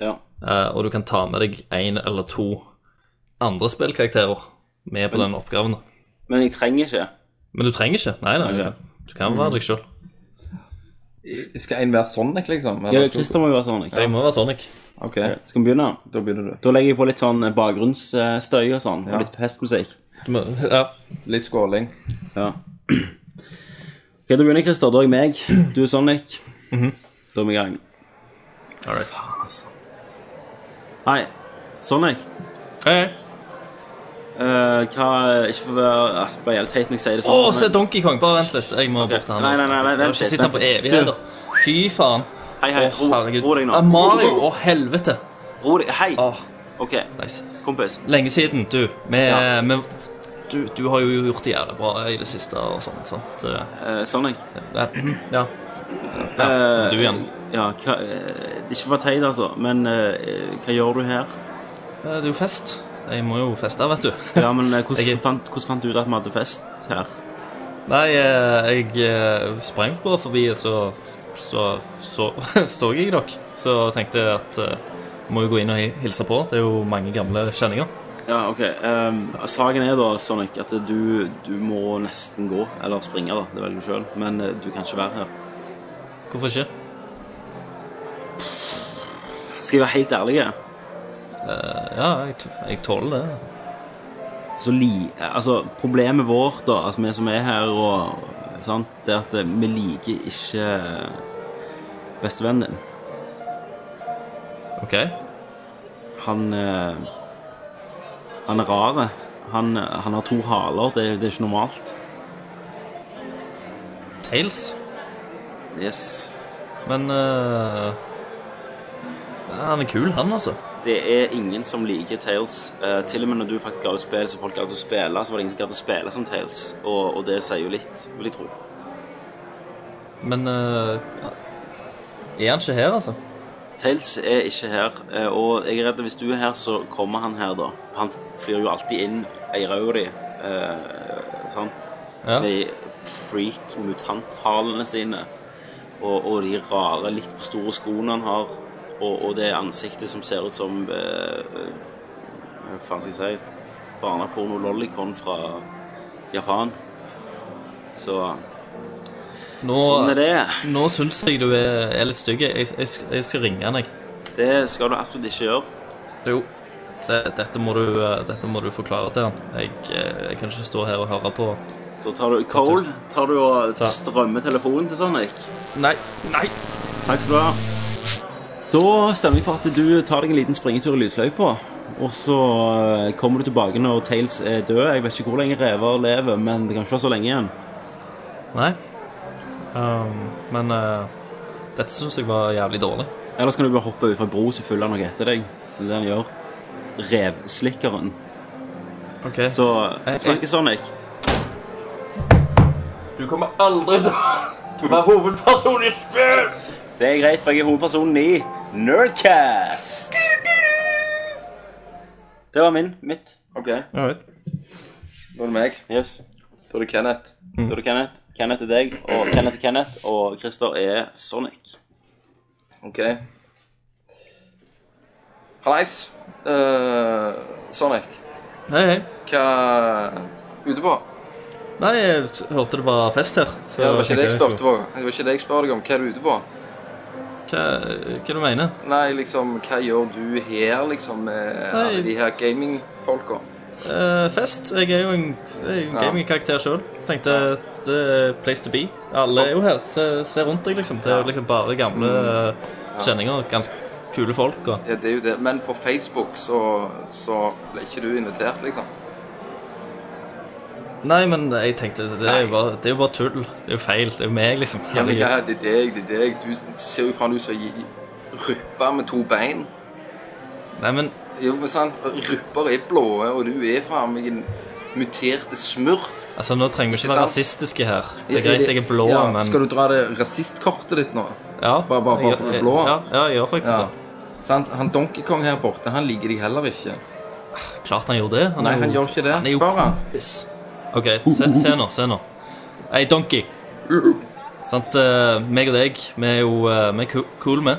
Speaker 6: ja.
Speaker 7: Eh, og du kan ta med deg én eller to andre spillkarakterer med på den oppgaven.
Speaker 6: Men jeg trenger ikke.
Speaker 7: Men du trenger ikke. Nei, nei, du
Speaker 6: Ok.
Speaker 7: kan- du kan være deg sjøl.
Speaker 8: Skal en være Sonic, liksom?
Speaker 6: Ja,
Speaker 8: Eller?
Speaker 6: Christer må jo være Sonic.
Speaker 7: Jeg må være Sonic.
Speaker 8: OK,
Speaker 6: Skal vi begynne?
Speaker 8: da begynner du.
Speaker 6: Da legger jeg på litt sånn bakgrunnsstøy og sånn, og litt festmusikk.
Speaker 7: Du må, ja.
Speaker 8: Litt skåling.
Speaker 6: Ja. Ok, da begynner jeg, Christer. Da er jeg meg. Du er Sonic.
Speaker 7: Mhm.
Speaker 6: Da er vi i gang.
Speaker 7: All right.
Speaker 6: Hei, Sonic.
Speaker 7: Hei, hei.
Speaker 6: Eh, hva Ikke for å være ah, Det blir helt teit når jeg sier det
Speaker 7: Å,
Speaker 6: sånn. men-
Speaker 7: se Donkey Kong. Bare vent litt. Jeg må bort til han.
Speaker 6: Nei, nei, nei, nei,
Speaker 7: Jeg har
Speaker 6: vent
Speaker 7: ikke
Speaker 6: litt,
Speaker 7: sett han på
Speaker 6: vent litt.
Speaker 7: evigheter. Fy faen.
Speaker 6: Hei, hei,
Speaker 7: Å,
Speaker 6: ro,
Speaker 7: herregud.
Speaker 6: ro deg nå.
Speaker 7: Ah, Mario, Ah. å helvete.
Speaker 6: Ro deg. Hei.
Speaker 7: Åh,
Speaker 6: OK,
Speaker 7: nice.
Speaker 6: kompis.
Speaker 7: Lenge siden, du. Vi,
Speaker 6: Ja.
Speaker 7: vi, du, du har jo gjort det jævlig bra i det siste og sånn, sant? Eh,
Speaker 6: Eh, Sonic.
Speaker 7: Ja. ja.
Speaker 6: Eh,
Speaker 7: du igjen.
Speaker 6: Ja, hva eh, Ikke for å være teit, altså, men eh, hva gjør du her?
Speaker 7: Eh, Det er jo fest. Jeg må jo feste, vet du.
Speaker 6: Ja, men eh, hvordan,
Speaker 7: Jeg er-
Speaker 6: fant, hvordan fant du ut at vi hadde fest her?
Speaker 7: Nei, eh, jeg eh, sprang bare forbi, så så, så så jeg dere. Så tenkte jeg at eh, må jo gå inn og hi- hilse på. Det er jo mange gamle kjenninger.
Speaker 6: Ja, OK. eh, saken er da, Sonic, at du, du må nesten gå. Eller springe, da. Det velger du sjøl. Men eh, du kan ikke være her.
Speaker 7: Hvorfor ikke?
Speaker 6: Skal jeg være helt ærlig?
Speaker 7: Ja, jeg, t- jeg tåler det.
Speaker 6: så li, altså, problemet vårt, da, altså vi som er her, og, sant, det er at eh, vi liker ikke bestevennen din.
Speaker 7: OK?
Speaker 6: Han, eh, han er rare. Han, han har to haler, det, det er ikke normalt.
Speaker 7: Tails?
Speaker 6: Yes.
Speaker 7: Men eh, Han er kul, han, altså.
Speaker 6: Det er ingen som liker Tales. Eh, til og med når du faktisk ga ut spill som folk gadd å spille, så var det ingen som gadd å spille som Tales. Og, og det sier jo litt, vil jeg tro.
Speaker 7: Men eh, er han ikke her, altså?
Speaker 6: Tales er ikke her, eh, og jeg er redd at hvis du er her, så kommer han her, da. Han flyr jo alltid inn ei rød di, eh, sant?
Speaker 7: Ja.
Speaker 6: Med freak-mutanthalene sine, og, og de rare, litt for store skoene han har, og, og det ansiktet som ser ut som eh, Hva faen skal jeg si? Barneporno Lollicon fra Japan. Så
Speaker 7: Nå,
Speaker 6: sånn er det.
Speaker 7: nå syns jeg du er, er litt stygg. Jeg, jeg, sk- jeg skal ringe han, jeg.
Speaker 6: Det skal du absolutt ikke gjøre.
Speaker 7: Jo. Se, dette må du, eh, dette må du forklare til han. Jeg, eh, jeg kan ikke stå her og høre på.
Speaker 6: Da tar du Cole, tar du og
Speaker 7: Ta.
Speaker 6: strømmer telefonen til Sonic.
Speaker 7: Nei, nei!
Speaker 6: Takk skal du ha. Da stemmer jeg for at du tar deg en liten springetur i lysløypa. Og så eh, kommer du tilbake når Tails er død. Jeg vet ikke hvor lenge rever lever, men det kan ikke være så lenge igjen.
Speaker 7: Nei. Um, men eh, dette syns jeg var jævlig dårlig.
Speaker 6: Ellers kan du bare hoppe ut fra en bro, så følger han noe etter deg. Det er det han gjør. Revslikkeren.
Speaker 7: Ok,
Speaker 6: Så
Speaker 7: Jeg- jeg-
Speaker 6: snakkes, sånn, Sonic.
Speaker 7: Du kommer aldri til å være hovedperson i spill!
Speaker 6: Det er greit, for jeg er hovedpersonen i Nerdcast. Det var min. Mitt.
Speaker 8: OK, da er det meg.
Speaker 6: Yes.
Speaker 8: Da er det Kenneth.
Speaker 7: Mm.
Speaker 6: Da er det Kenneth. Kenneth er deg, og Kenneth er Kenneth, og Christer er Sonic.
Speaker 8: OK. Hallais. Eh, Sonic,
Speaker 7: Hei, hei.
Speaker 8: hva ute på?
Speaker 7: Nei, jeg t- hørte det var fest her. så
Speaker 8: Ja, det var ikke det jeg
Speaker 7: tenkte
Speaker 8: spurte på. Det var ikke det jeg spør deg om. Hva er du ute på?
Speaker 7: skulle- Hva, hva du mener
Speaker 8: Nei, liksom, hva gjør du her, liksom, med alle de her gaming-folka?
Speaker 7: Eh, fest? Jeg er jo en, jeg er jo en
Speaker 8: Ja.
Speaker 7: gamingkarakter sjøl. Tenkte at det er place to be. Alle er jo her. Se, se rundt deg, liksom. Det er jo liksom bare gamle
Speaker 8: Mm.
Speaker 7: eh, kjenninger. Ganske kule folk. Og.
Speaker 8: Ja, det er jo det. Men på Facebook så, så ble ikke du invitert, liksom.
Speaker 7: Nei, men jeg tenkte det er, jo bare, det er jo bare tull. Det er jo feil. Det er jo meg, liksom.
Speaker 8: Ja, men
Speaker 7: Herregud.
Speaker 8: ja, det er deg, det er deg. Du ser jo faen ut som ei ryppe med to bein.
Speaker 7: Nei, men
Speaker 8: Jo, men sant? Rypper er blå, og du er faen meg en muterte smurf.
Speaker 7: altså, nå trenger vi
Speaker 8: Ikke
Speaker 7: ikke
Speaker 8: sant?
Speaker 7: være rasistiske her. Det er greit jeg er blå,
Speaker 8: ja,
Speaker 7: men
Speaker 8: Skal du dra det rasistkortet ditt nå?
Speaker 7: ja,
Speaker 8: bare- bare- bare
Speaker 7: jeg-
Speaker 8: for du er blå?
Speaker 7: Ja, ja, jeg gjør faktisk
Speaker 8: Ja.
Speaker 7: det.
Speaker 8: Sant? Han Donkey Kong her borte, han liker deg heller ikke.
Speaker 7: Klart han gjorde det. er
Speaker 8: Nei, han
Speaker 7: jo-
Speaker 8: gjør ikke det.
Speaker 7: Han er jo
Speaker 8: Spør han.
Speaker 7: kompis. OK, se, se nå, se nå. Ei, Donkey. Sant, eh, meg og deg, vi er jo eh, vi er ku- cool med.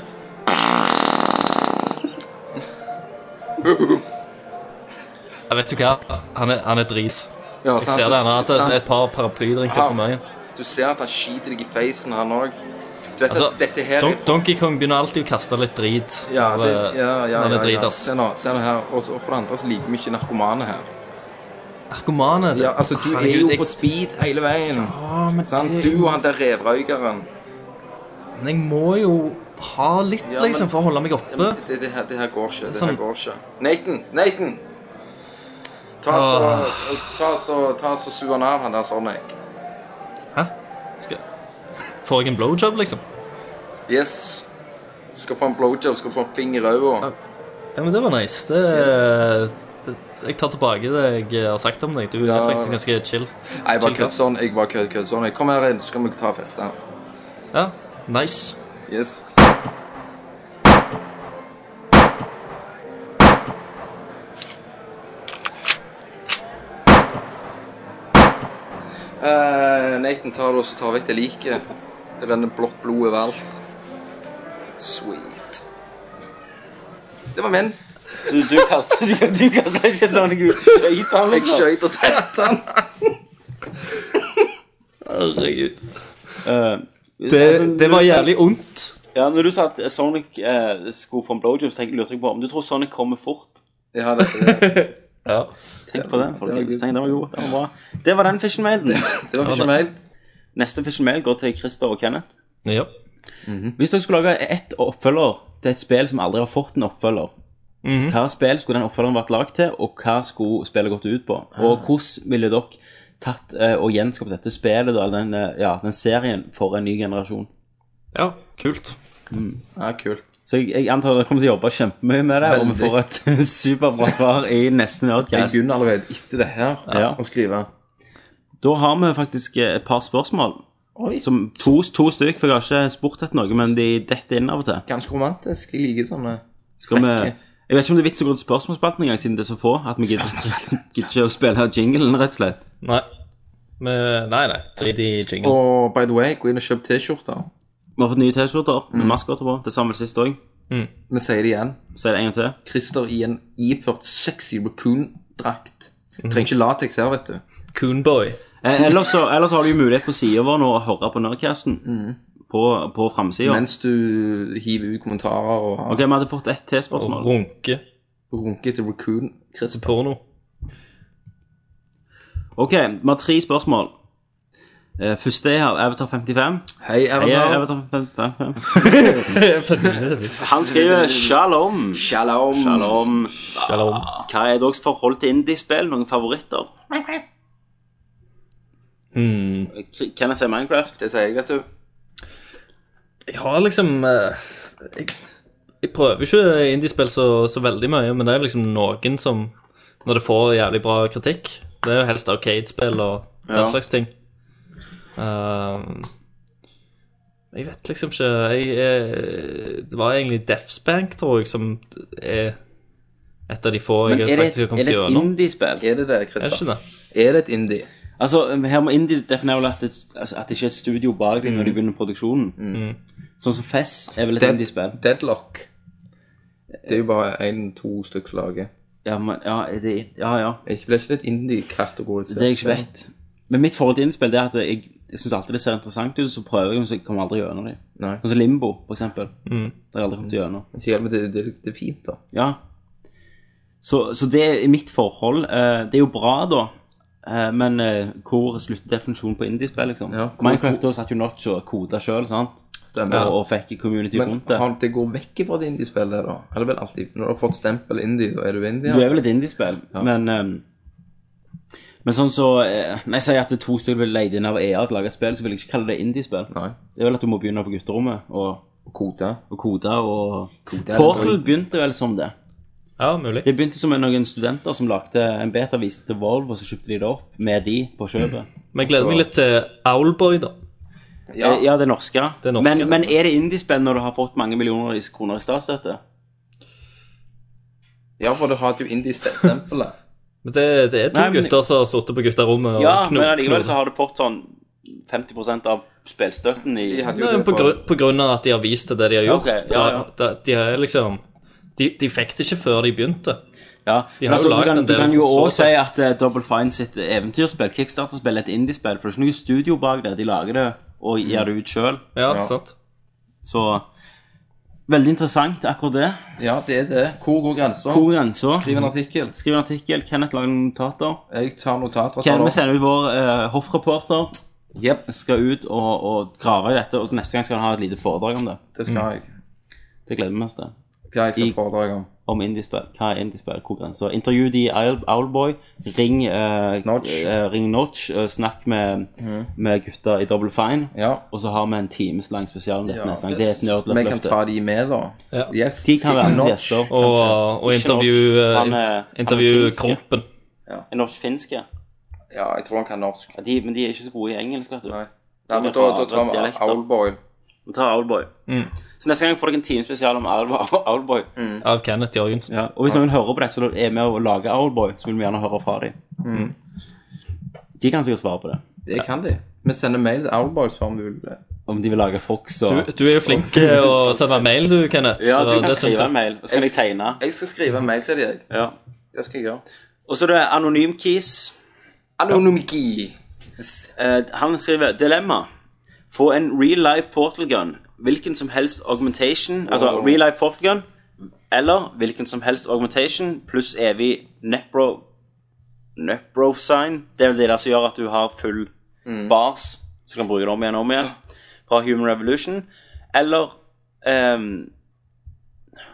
Speaker 7: Jeg vet du hva, han er, han er dris.
Speaker 8: Ja,
Speaker 7: Jeg ser det, han har hatt et- et par paraplydrinker
Speaker 8: Han-
Speaker 7: for mye.
Speaker 8: Du ser at han skiter deg i feisen, han òg. Du vet
Speaker 7: Altså,
Speaker 8: at dette her
Speaker 7: Don Donkey Kong begynner alltid å kaste litt drit.
Speaker 8: ja, det, ja,
Speaker 7: når-
Speaker 8: ja, ja,
Speaker 7: når han er
Speaker 8: ja,
Speaker 7: drit,
Speaker 8: ja.
Speaker 7: ass.
Speaker 8: Se nå, se nå her. Og så for det andre så liker vi ikke narkomane her.
Speaker 7: Narkomane. det-
Speaker 8: Ja, altså, du er
Speaker 7: Herregud,
Speaker 8: jo
Speaker 7: jeg-
Speaker 8: på speed hele veien.
Speaker 7: Å, men
Speaker 8: Sant?
Speaker 7: det-
Speaker 8: Du og han der revrøykeren.
Speaker 7: Men jeg må jo ha litt,
Speaker 8: Ja, men-
Speaker 7: liksom, for å holde meg
Speaker 8: Ja,
Speaker 7: oppe.
Speaker 8: men Det, det, her, det her går ikke. Det her
Speaker 7: Sånn.
Speaker 8: går ikke. Nathan! Nathan! Ta så,
Speaker 7: Ah.
Speaker 8: ta så, ta så su han av, han der Sonic.
Speaker 7: Hæ? Skal... Får jeg en blowjob, liksom?
Speaker 8: Yes. Skal få en blowjob, skal få en finger i øyet.
Speaker 7: Ah. Ja, men det var nice. Det, det, jeg tar tilbake det jeg har sagt om deg. Du
Speaker 8: Ja.
Speaker 7: er faktisk ganske chill.
Speaker 8: Nei, bare
Speaker 7: Chill,
Speaker 8: kødd sånn. Jeg bare kødd, kødd sånn. Kom her inn, så skal vi ta feste.
Speaker 7: Ja, nice.
Speaker 8: Yes. Eh, Nathan tar det og så tar vekk det like. Det renner blått blod overalt. Sweet. Det var min.
Speaker 6: Du, du kaster du kaster ikke Sonic ut. Skøyt han,
Speaker 8: Jeg
Speaker 6: liksom.
Speaker 8: skjøt og tente han.
Speaker 7: Herregud.
Speaker 6: Eh,
Speaker 7: Det,
Speaker 6: altså, når
Speaker 7: det var
Speaker 6: du sa-
Speaker 7: jævlig ondt.
Speaker 6: Ja, når du sa at Sonic eh, skulle få en blowjob, så tenkte- lurte jeg på om du tror Sonic kommer fort.
Speaker 8: Ja, det, det,
Speaker 7: Ja.
Speaker 6: Tenk på det,
Speaker 8: det var
Speaker 6: folkens.
Speaker 8: good.
Speaker 6: Tenk, det var god. Det var bra. Det var den Fish Maiden.
Speaker 8: det var ikke meint.
Speaker 6: Neste Fish Mail går til Christer og Kenneth.
Speaker 7: ja.
Speaker 6: Hvis dere skulle lage ett oppfølger til et spill som aldri har fått en oppfølger, hva spill skulle den oppfølgeren vært lagd til, og hva skulle spillet gått ut på? Og hvordan ville dere tatt eh, og gjenskapt dette spillet, da, eller den, eh, ja, den serien, for en ny generasjon?
Speaker 7: Ja, kult.
Speaker 8: Ja, kult.
Speaker 6: Så jeg, jeg antar dere kommer til å jobbe kjempemye med det, og vi får et superbra svar i neste
Speaker 8: Jeg
Speaker 6: Nerdcast.
Speaker 8: begynner allerede etter det her
Speaker 6: Ja.
Speaker 8: å skrive.
Speaker 6: Da har vi faktisk eh, et par spørsmål. Som to, to stykk, for jeg har ikke spurt etter noe, men de detter inn av og til.
Speaker 8: Ganske romantisk. Jeg liker sånne.
Speaker 6: Skal vi
Speaker 8: Frekke.
Speaker 6: Jeg vet ikke om det er vits å gå til spørsmålsspalten engang, siden det er så få. At vi gidder gidder ikke å spille jinglen, rett og slett.
Speaker 7: Nei. Men- nei, nei. Drit i jingle.
Speaker 8: Og by the way, gå inn og kjøp T-skjorter.
Speaker 6: Vi har fått nye T-skjorter med maskoter på. Det samme sist òg.
Speaker 8: Vi sier det igjen.
Speaker 6: Så er det en gang til.
Speaker 8: Christer i en iført sexy raccoon-drakt.
Speaker 6: Mhm.
Speaker 8: Trenger ikke lateks her, vet du.
Speaker 7: Coonboy.
Speaker 6: Eh, Ellers så, ellers har du jo mulighet på sida vår nå å høre på Nerdcasten. På, på framsida.
Speaker 8: Mens du hiver ut kommentarer og
Speaker 6: Ok,
Speaker 8: har
Speaker 6: vi hadde fått ett
Speaker 7: Og
Speaker 6: T-spørsmål.
Speaker 7: runke.
Speaker 8: runket til raccoon-Christer.
Speaker 7: Porno.
Speaker 6: Ok, vi har tre spørsmål. Eh, Første er av Avatar 55.
Speaker 8: Hei,
Speaker 6: Hei,
Speaker 8: Avatar.
Speaker 6: Avatar 55. Han skriver 'Shalom'.
Speaker 8: Shalom.
Speaker 6: Shalom.
Speaker 7: Shalom.
Speaker 6: Hva er deres forhold til indiespill? Noen favoritter?
Speaker 7: Mm.
Speaker 6: Kan jeg si Minecraft?
Speaker 8: Det sier jeg, vet du.
Speaker 7: Jeg har liksom eh, Jeg, jeg prøver ikke indiespill så, så veldig mye, men det er liksom noen som Når det får jævlig bra kritikk Det er jo helst Arcade-spill og den
Speaker 6: Ja.
Speaker 7: slags ting. Ehm, jeg vet liksom ikke jeg, eh, Det var egentlig Deathspank, tror jeg, som er et av de få
Speaker 6: Men
Speaker 7: jeg
Speaker 6: er det,
Speaker 7: faktisk har
Speaker 6: er
Speaker 7: kommet
Speaker 6: det et
Speaker 7: gjennom.
Speaker 6: indiespill?
Speaker 8: Er det det,
Speaker 7: Er det
Speaker 8: Christer?
Speaker 7: ikke det?
Speaker 8: Er det et indie?
Speaker 6: Altså, her må indie definere vel at det, altså, at det ikke er et studio bak deg når de begynner produksjonen.
Speaker 7: Mm.
Speaker 6: Sånn som Fess er vel et
Speaker 8: Dead-
Speaker 6: indiespill?
Speaker 8: Deadlock. Det er jo bare én-to stykker som lager.
Speaker 6: Ja, men, ja, er det, ja, ja.
Speaker 8: Jeg blir ikke litt indie-kategorisert.
Speaker 6: Det er jeg ikke vet. Men mitt forhold til indiespill det er at jeg, jeg syns alltid det ser interessant ut, så prøver jeg, men så kommer jeg aldri gjennom dem.
Speaker 8: Nei.
Speaker 6: Sånn som Limbo, for eksempel.
Speaker 7: Mm.
Speaker 6: Der har jeg aldri kommet gjennom.
Speaker 8: Ikke helt, men det, det, det er fint, da.
Speaker 6: Ja. Så, så det er mitt forhold. eh, det er jo bra, da. eh, men eh, hvor slutter definisjonen på indiespill, liksom?
Speaker 8: Ja, hvor-
Speaker 6: Minecraft da satt jo Notch og koda sjøl, sant?
Speaker 8: Stemmer.
Speaker 6: Og, og fikk community
Speaker 8: Men
Speaker 6: rundt det.
Speaker 8: har, det går vekk fra det indie-spillet, der, da? Eller vel alltid, Når du har fått stempel indie, da er du indie?
Speaker 6: Du
Speaker 8: altså?
Speaker 6: er vel et indiespill, men ehm, Men sånn så eh, Når jeg sier at det er to stykker blir leid inn av EA til å lage et spill, så vil jeg ikke kalle det indiespill.
Speaker 8: Nei.
Speaker 6: Det er vel at du må begynne på gutterommet og,
Speaker 8: Kote.
Speaker 6: og kode og
Speaker 8: Kote
Speaker 6: Portal begynte vel som det.
Speaker 7: Ja, mulig.
Speaker 6: Det begynte som noen studenter som lagde en betavis til Volvo, og så kjøpte de det opp med de på kjøpet.
Speaker 7: Men jeg gleder meg litt til Owlboy, da.
Speaker 8: Ja.
Speaker 6: Eh, ja det er norske.
Speaker 7: Det er norske,
Speaker 6: men,
Speaker 7: det.
Speaker 6: men er det indiespill når du har fått mange millioner i- kroner i statsstøtte?
Speaker 8: ja, for du har jo indie-stempelet.
Speaker 7: Men det, det er to
Speaker 6: Nei, men-
Speaker 7: gutter som har sittet på gutterommet og
Speaker 6: Ja,
Speaker 7: kno-
Speaker 6: men allikevel
Speaker 7: knotet.
Speaker 6: så har du fått sånn 50 av spillstøtten i
Speaker 8: De hadde jo
Speaker 7: Nei,
Speaker 8: det
Speaker 7: på, grunn, på grunn av at de har vist det, det de har gjort.
Speaker 6: Ok, ja, ja.
Speaker 7: Da, da, de er liksom de, de fikk det ikke før de begynte.
Speaker 6: Ja,
Speaker 7: De
Speaker 6: men
Speaker 7: har
Speaker 6: altså,
Speaker 7: jo
Speaker 6: du
Speaker 7: laget
Speaker 6: kan,
Speaker 7: en
Speaker 6: du
Speaker 7: del
Speaker 6: kan jo
Speaker 7: så-
Speaker 6: òg si at eh, Double Fine sitt eventyrspill, Kickstarter-spill, er et indiespill. For det er ikke noe studio bak det. De lager det og
Speaker 8: Mm.
Speaker 6: gir det ut sjøl.
Speaker 7: Ja,
Speaker 8: Ja.
Speaker 7: sant?
Speaker 6: Så veldig interessant, akkurat det.
Speaker 8: Ja, det er det. Hvor går grensa?
Speaker 6: Hvor er grensa?
Speaker 8: Skriv en artikkel.
Speaker 6: Skriv en artikkel. Kenneth lager noen notater.
Speaker 8: Jeg tar notater. tar
Speaker 6: Ken,
Speaker 8: det
Speaker 6: vi
Speaker 8: opp.
Speaker 6: sender ut vår eh, hoffreporter.
Speaker 8: Jep,
Speaker 6: Skal ut og, og grave i dette. Og så neste gang skal han ha et lite foredrag om det.
Speaker 8: det skal jeg.
Speaker 6: Det gleder vi oss til.
Speaker 8: Hva jeg skal
Speaker 6: I-
Speaker 8: foredrag om?
Speaker 6: Om indiespill. Hva er indiespill? Hvor er grensa? Intervju de i Owl- Owlboy. Ring eh,
Speaker 8: Notch. Mhm.
Speaker 6: eh, ring Notch. eh, snakk med, med gutta i Double Fine.
Speaker 8: Ja.
Speaker 6: Og så har vi en times lang spesial om dette
Speaker 8: ja.
Speaker 6: neste gang. Det er et
Speaker 8: Vi kan
Speaker 6: nerdløfte.
Speaker 8: ta de med, da.
Speaker 7: Ja.
Speaker 8: Yes.
Speaker 6: De kan være med
Speaker 8: Norsk.
Speaker 6: gjester.
Speaker 7: Og,
Speaker 6: kanskje.
Speaker 7: og
Speaker 6: Ikke
Speaker 7: intervju,
Speaker 6: norsk. Han
Speaker 7: eh,
Speaker 6: er- han er
Speaker 7: intervju
Speaker 6: finsk.
Speaker 7: Krompen.
Speaker 6: En norsk-finske.
Speaker 8: Ja, jeg tror han kan norsk.
Speaker 6: Ja, de- Men de er ikke så gode i engelsk, vet du.
Speaker 8: Nei, Nei men da, da tar vi
Speaker 6: Dialekter.
Speaker 8: Owlboy.
Speaker 6: Vi tar Owlboy.
Speaker 8: Mm.
Speaker 6: Så neste gang får dere en time spesial om Owl- Owlboy.
Speaker 7: Av Kenneth Jørgensen.
Speaker 6: Ja, og hvis noen hører på dette, så da er med å lage Owlboy, så vil vi gjerne høre fra dem.
Speaker 7: Mm.
Speaker 6: De kan sikkert svare på det.
Speaker 8: Det kan de. Vi sender mail til Owlboy og spør om du vil det.
Speaker 6: Om de vil lage Fox og
Speaker 7: Du, du er jo flink til å sende mail, du, Kenneth.
Speaker 6: Ja,
Speaker 7: så
Speaker 6: du kan
Speaker 7: det synes
Speaker 6: skrive en
Speaker 7: jeg.
Speaker 6: mail, og så kan jeg tegne.
Speaker 8: Jeg skal skrive en mail til deg.
Speaker 6: Ja.
Speaker 8: Det skal jeg gjøre.
Speaker 6: Og så er det Anonym Keys.
Speaker 8: Anonymki.
Speaker 6: Eh, han skriver Dilemma. Få en real life portal gun. Hvilken som helst augmentation Altså real life portal gun eller hvilken som helst augmentation pluss evig nepro Nepro-sign. Det er vel det der som gjør at du har full bars, så du kan bruke det om igjen og om igjen. Fra Human Revolution. Eller ehm,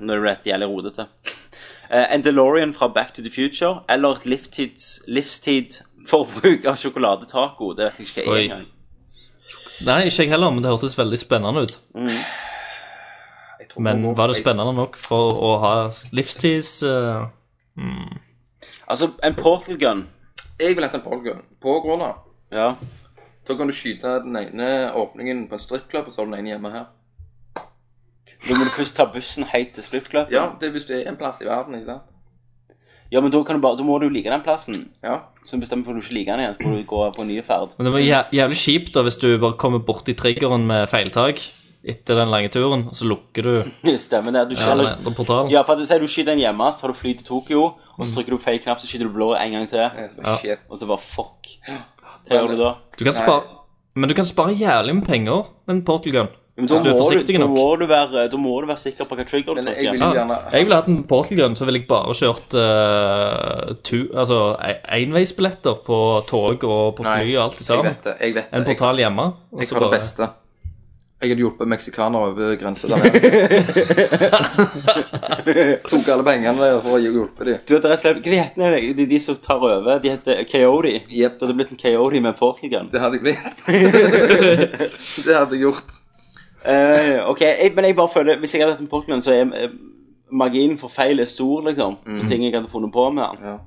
Speaker 6: Nå er det rett jævlig rodete. Eh, en DeLorean fra Back to the Future eller et livstids, livstid forbruk av sjokoladetaco. Det vet jeg ikke hva
Speaker 7: Oi.
Speaker 6: er engang.
Speaker 7: Nei, ikke jeg heller, men det hørtes veldig spennende ut.
Speaker 8: Jeg tror
Speaker 7: Men
Speaker 8: jeg må-
Speaker 7: var det
Speaker 8: jeg-
Speaker 7: spennende nok for å ha livstids eh,
Speaker 6: Altså, en portal gun.
Speaker 8: Jeg vil hente en polgun. På Gråla.
Speaker 6: Ja.
Speaker 8: Da kan du skyte den ene åpningen på en strippklubb, og så har du den ene hjemme her.
Speaker 6: Da må du først ta bussen helt til strippklubben.
Speaker 8: Ja, det er hvis du er en plass i verden, ikke sant?
Speaker 6: ja, men da, kan du bare, da må du jo like den plassen.
Speaker 8: Ja.
Speaker 6: Så bestemmer for at du ikke liker den igjen, så må du gå på en ny ferd.
Speaker 7: Men det var jæ- jævlig kjipt da hvis du bare kommer borti triggeren med feiltak etter den lange turen, og så lukker du
Speaker 6: Stemmer det. Du
Speaker 7: den
Speaker 6: skjeller...
Speaker 7: andre portalen.
Speaker 6: Ja, for at, sier du skyter en hjemme, så har du fly til Tokyo, og så trykker du feil knapp, så skyter du blå en gang til,
Speaker 8: Det er bare Eh, shit.
Speaker 6: og så bare fuck. Hva gjør du da?
Speaker 7: Du kan spare, men du kan spare jævlig med penger med en portal gun.
Speaker 6: Men da,
Speaker 7: Hvis du er
Speaker 6: må
Speaker 7: forsiktig
Speaker 6: da
Speaker 7: nok.
Speaker 6: må du være, da må du være sikker på hva trigger du
Speaker 8: Men jeg vil
Speaker 6: trykker.
Speaker 8: jo
Speaker 7: Ja.
Speaker 8: gjerne
Speaker 7: Jeg ville hatt en portal gun, så ville jeg bare kjørt uh, tu, altså, e- enveisbilletter på tog og på fly
Speaker 8: Nei,
Speaker 7: og alt
Speaker 8: Jeg
Speaker 7: i sammen.
Speaker 8: vet det. Jeg vet det.
Speaker 7: En portal hjemme. og
Speaker 8: Jeg,
Speaker 7: så
Speaker 8: jeg har det
Speaker 7: bare-
Speaker 8: beste. Jeg hadde hjulpet meksikanere over grensa der. Tok alle pengene der for å hjulpe dem.
Speaker 6: Du vet, det er slett, hva heter de, de, de som tar over? De heter Coyote.
Speaker 8: Jep.
Speaker 6: Du hadde blitt en Coyote med portal gun.
Speaker 8: Det hadde jeg blitt. det hadde jeg gjort.
Speaker 6: Eh, ok, jeg, men jeg bare føler Hvis jeg hadde hatt en Portland, så er eh, marginen for feil er stor, liksom.
Speaker 8: Mm.
Speaker 6: For ting jeg hadde funnet på med den.
Speaker 8: Ja,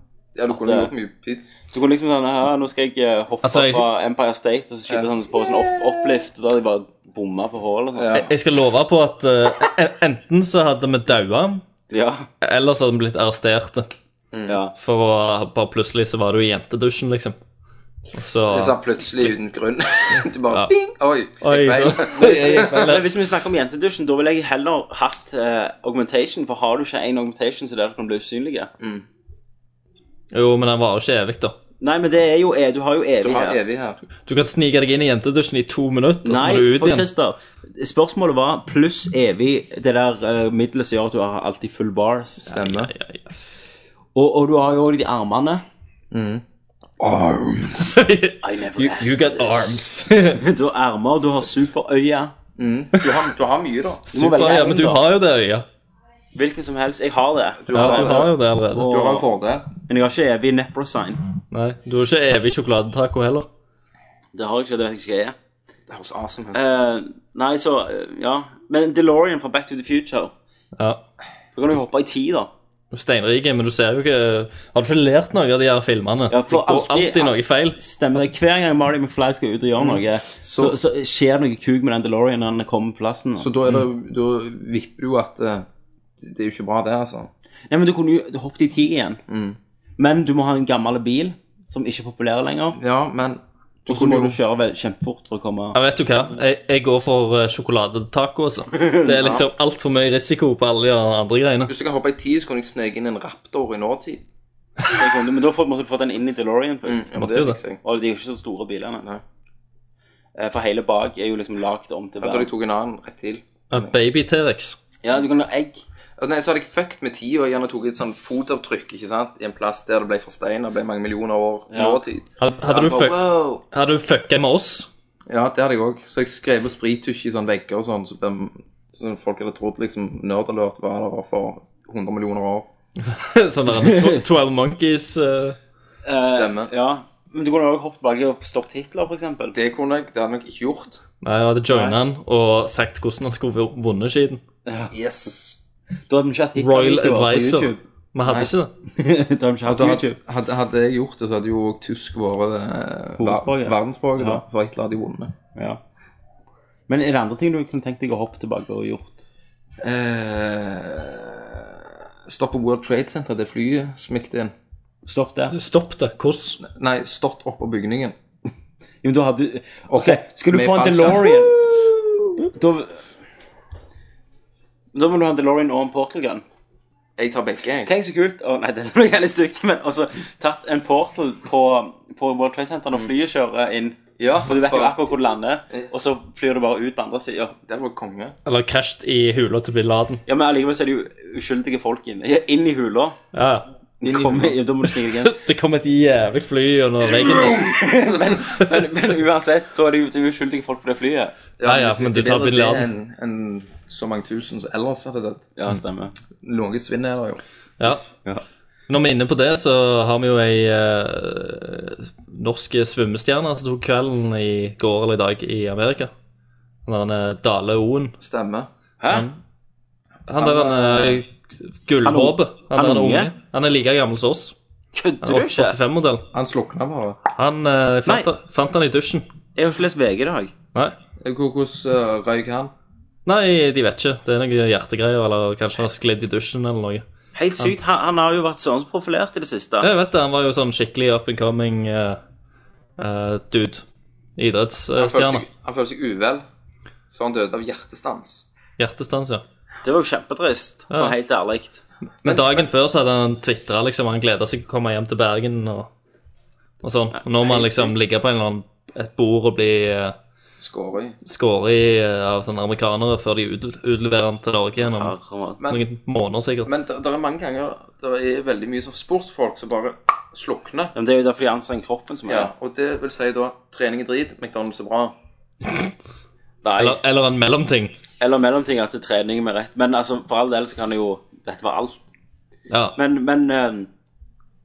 Speaker 8: ja du kunne
Speaker 6: At, eh,
Speaker 8: gjort mye piss.
Speaker 6: Du kunne liksom sånn her, Nå skal jeg eh, hoppe
Speaker 7: Altså, jeg-
Speaker 6: fra Empire State, og så skyter
Speaker 8: Ja.
Speaker 6: sånn på sånn opp, opplift, og da hadde jeg bare bomma på hullet.
Speaker 8: Ja.
Speaker 6: Sånn.
Speaker 7: Jeg- Jeg skal love på at eh, en- enten så hadde vi daua,
Speaker 6: Ja.
Speaker 7: eller så hadde vi blitt arresterte.
Speaker 8: Mm.
Speaker 6: ja.
Speaker 7: For å, bare plutselig så var du i jentedusjen, liksom. Og så
Speaker 8: Det er sånn plutselig uten grunn. du bare
Speaker 7: Ja.
Speaker 8: bing! Oi,
Speaker 7: Oi,
Speaker 8: jeg feil.
Speaker 6: Men Hvis vi snakker om jentedusjen, da ville jeg heller hatt eh, augmentation, for har du ikke en augmentation, så der kan du bli usynlig.
Speaker 8: Mm.
Speaker 7: Jo, men den varer jo ikke evig, da.
Speaker 6: Nei, men det er jo e- Du har jo
Speaker 8: Du
Speaker 6: evig
Speaker 8: har
Speaker 6: her.
Speaker 8: evig her.
Speaker 7: Du kan snike deg inn i jentedusjen i to minutter, og så må du
Speaker 6: Nei,
Speaker 7: ut
Speaker 6: for
Speaker 7: igjen.
Speaker 6: Christer. Spørsmålet var pluss evig det der uh, middelet som gjør at du har alltid full bars.
Speaker 8: Stemmer.
Speaker 7: Ja, ja, ja.
Speaker 6: Og, og du har jo også de armene. I never
Speaker 7: you,
Speaker 6: asked
Speaker 7: you
Speaker 6: for
Speaker 7: got
Speaker 6: this.
Speaker 7: arms.
Speaker 6: Du har armer, du har superøyne.
Speaker 8: Du har, du har mye, da.
Speaker 6: Du må
Speaker 7: Super,
Speaker 6: velge
Speaker 7: ja,
Speaker 6: en,
Speaker 7: men du
Speaker 6: da.
Speaker 7: har jo det øyet.
Speaker 6: Hvilken som helst. Jeg har det.
Speaker 8: Du
Speaker 7: Ja,
Speaker 8: har,
Speaker 7: du har jo det allerede.
Speaker 8: du har en fordel.
Speaker 6: Men jeg har ikke evig neprosign.
Speaker 7: Nei, du har ikke evig sjokoladetaco heller.
Speaker 6: Det har jeg ikke, det vet jeg ikke hva jeg er.
Speaker 8: Det høres awesome ut.
Speaker 6: Eh, nei, så eh, Ja. Men DeLorean fra Back to the Future.
Speaker 7: Ja.
Speaker 6: Da kan du hoppe i tid, da.
Speaker 7: Du er Steinrike, men du ser jo ikke Har du ikke lært noe av de her filmene?
Speaker 6: Ja, for
Speaker 7: det går
Speaker 6: alltid-
Speaker 7: alltid noe feil.
Speaker 6: Stemmer det. Hver gang Marty McFly skal ut og gjøre noe, så, så, skjer det noe kuk med den DeLorean når den kommer på plassen.
Speaker 8: Så da, er det,
Speaker 7: Mm.
Speaker 8: da vipper du jo at eh, Det er jo ikke bra, det, altså.
Speaker 6: Nei, men du kunne jo hoppet i tid igjen. Men du må ha en gammel bil som ikke er populær lenger.
Speaker 8: Ja, men
Speaker 6: Og så må du kjøre vel- kjempefort for å komme
Speaker 7: Ja, vet du hva? Jeg, jeg går for eh, sjokoladetaco, altså. Det er liksom altfor mye risiko på alle de andre greiene.
Speaker 8: Hvis du kan hoppe i tid, så kunne jeg sneke inn en raptor i nåtid.
Speaker 6: Men da får- måtte Sånn, du fått den inn i DeLorean først.
Speaker 8: Mm, Ja, men
Speaker 7: Mm, Måtte
Speaker 8: det
Speaker 7: jo det.
Speaker 8: fikser jeg.
Speaker 6: Og de er jo ikke så store bilene.
Speaker 8: Nei.
Speaker 6: Eh, For hele bak er jo liksom lagd om til
Speaker 8: Jeg tror jeg
Speaker 6: verden.
Speaker 8: tok en annen reptil.
Speaker 7: Ja, Baby T-rex.
Speaker 6: Ja, du kan ha egg.
Speaker 8: Og Nei, så hadde jeg fucked med tid og gjerne tok et sånn fotavtrykk ikke sant? i en plass der det ble forsteina, ble mange millioner år
Speaker 6: Ja.
Speaker 8: nåtid.
Speaker 7: Hadde, hadde, du
Speaker 8: Bare,
Speaker 7: fuck,
Speaker 8: wow.
Speaker 7: hadde du fucka med oss?
Speaker 8: Ja, det hadde jeg òg. Så jeg skrev på sprittusj i sånne vegger og sånn, så, de- så folk hadde trodd liksom nerdalert var der for 100 millioner år.
Speaker 7: Sånn der en tw- 12 Monkeys eh,
Speaker 6: Eh,
Speaker 8: Stemmer.
Speaker 6: Ja. Men du kunne også hoppet bak og stoppet Hitler, for eksempel.
Speaker 8: Det kunne jeg. Det hadde jeg nok ikke gjort.
Speaker 7: Nei, jeg hadde joina han og sagt hvordan han skulle vunnet skiten.
Speaker 8: Yes.
Speaker 6: Da hadde vi ikke hatt Hitler
Speaker 7: Royal
Speaker 6: videoer på
Speaker 7: Advisor.
Speaker 6: YouTube.
Speaker 7: Vi hadde ikke det.
Speaker 6: da hadde vi ikke hatt
Speaker 8: Og da hadde,
Speaker 6: YouTube.
Speaker 8: hadde, hadde jeg gjort det, så hadde jo også tysk vært eh, ver-
Speaker 6: Hovedspråket.
Speaker 8: verdensspråket, da.
Speaker 6: Ja.
Speaker 8: For Hitler hadde jo vunnet.
Speaker 6: Ja. Men er det andre ting du kunne tenkt deg å hoppe tilbake og gjort?
Speaker 8: Eh, Stopp på World Trade Center, det flyet smikket inn.
Speaker 6: Stopp der.
Speaker 7: Stopp det. Hvordan?
Speaker 8: Nei, stått oppå bygningen.
Speaker 6: Jo, men da hadde Ok,
Speaker 8: Ok,
Speaker 6: skal du
Speaker 8: med
Speaker 6: få en
Speaker 8: fallskjerm.
Speaker 6: DeLorean da, da må du ha en DeLorean og en Portal Gun.
Speaker 8: Jeg tar begge, jeg.
Speaker 6: Tenk så kult å, Nei, det blir veldig stygt, men altså tatt en Portal på, på World Trade Center når flyet kjører inn.
Speaker 8: Ja,
Speaker 6: For du vet jo
Speaker 8: bare-
Speaker 6: akkurat hvor det lander,
Speaker 8: Mm. Yes.
Speaker 6: og så flyr du bare ut på andre sida.
Speaker 8: Det var konge.
Speaker 7: Eller krasjet i hula til Bin Laden.
Speaker 6: Ja, men allikevel så er det jo uskyldige folk inne. Ja, inn i hula.
Speaker 7: Ja,
Speaker 8: Inn i
Speaker 6: Kom,
Speaker 8: hodet.
Speaker 6: ja, da må du snike deg inn.
Speaker 7: Det kom et jævlig fly under veggen.
Speaker 6: Men, men uansett, da er det jo det er jo uskyldige folk på det flyet.
Speaker 7: Ja, ja, men du
Speaker 8: det er
Speaker 7: tar
Speaker 8: bedre
Speaker 7: Bin
Speaker 8: det
Speaker 7: Laden.
Speaker 8: enn- enn så mange tusen som ellers hadde dødd.
Speaker 6: Ja, stemmer.
Speaker 8: Noe svinn er det jo.
Speaker 7: Ja.
Speaker 6: Ja.
Speaker 7: Når vi er inne på det, så har vi jo ei eh, norsk svømmestjerne som tok kvelden i går eller i dag i Amerika. Han er Dale Oen.
Speaker 8: Stemmer.
Speaker 6: Hæ? eh,
Speaker 7: Han der er en gullhåpe. Han,
Speaker 6: han
Speaker 7: er en
Speaker 6: unge?
Speaker 7: unge. Han er like gammel som oss.
Speaker 6: Kødder
Speaker 7: Han
Speaker 6: du
Speaker 7: er
Speaker 6: ikke?
Speaker 7: 85-modell.
Speaker 8: Han slukna bare.
Speaker 7: Han eh, fant,
Speaker 6: Nei.
Speaker 7: han- fant han i dusjen.
Speaker 6: Jeg har ikke lest VG i dag.
Speaker 7: Nei.
Speaker 8: Eh, Hvor- Hvordan uh, røyk han?
Speaker 7: Nei, de vet ikke. Det er noen hjertegreier, eller kanskje han har sklidd i dusjen eller noe.
Speaker 6: Helt sykt. Han, han har jo vært søren så profilert i det siste.
Speaker 7: Jeg vet det, han var jo sånn skikkelig up and coming eh, eh, dude.
Speaker 8: Han følte
Speaker 7: Idrettsstjerne.
Speaker 8: seg, han følte seg uvel før han døde av hjertestans.
Speaker 7: Hjertestans, ja.
Speaker 6: Det var jo kjempetrist.
Speaker 7: Ja.
Speaker 6: Sånn helt ærlig.
Speaker 7: Men dagen før så hadde han twitra liksom, han gleda seg til å komme hjem til Bergen og, og sånn. Og nå må han liksom ligge på en eller annen, et bord og bli uh,
Speaker 8: Skåret i.
Speaker 7: skåret i eh, av sånne amerikanere før de ut, utleverer han til Norge igjen om
Speaker 6: Herre,
Speaker 8: Men-
Speaker 7: noen måneder, sikkert.
Speaker 8: Men det er mange ganger Det er veldig mye sånn sportsfolk som bare slukner.
Speaker 6: Men det er jo derfor de anstrenger kroppen som er
Speaker 8: Ja, og det vil si da trening er drit, McDonald's er bra.
Speaker 6: Nei.
Speaker 7: Eller,
Speaker 6: Eller,
Speaker 7: eller en mellomting.
Speaker 6: mellomting at det er trening med rett. Men altså, for all del så kan det jo Dette var alt.
Speaker 7: Ja.
Speaker 6: Men, men eh,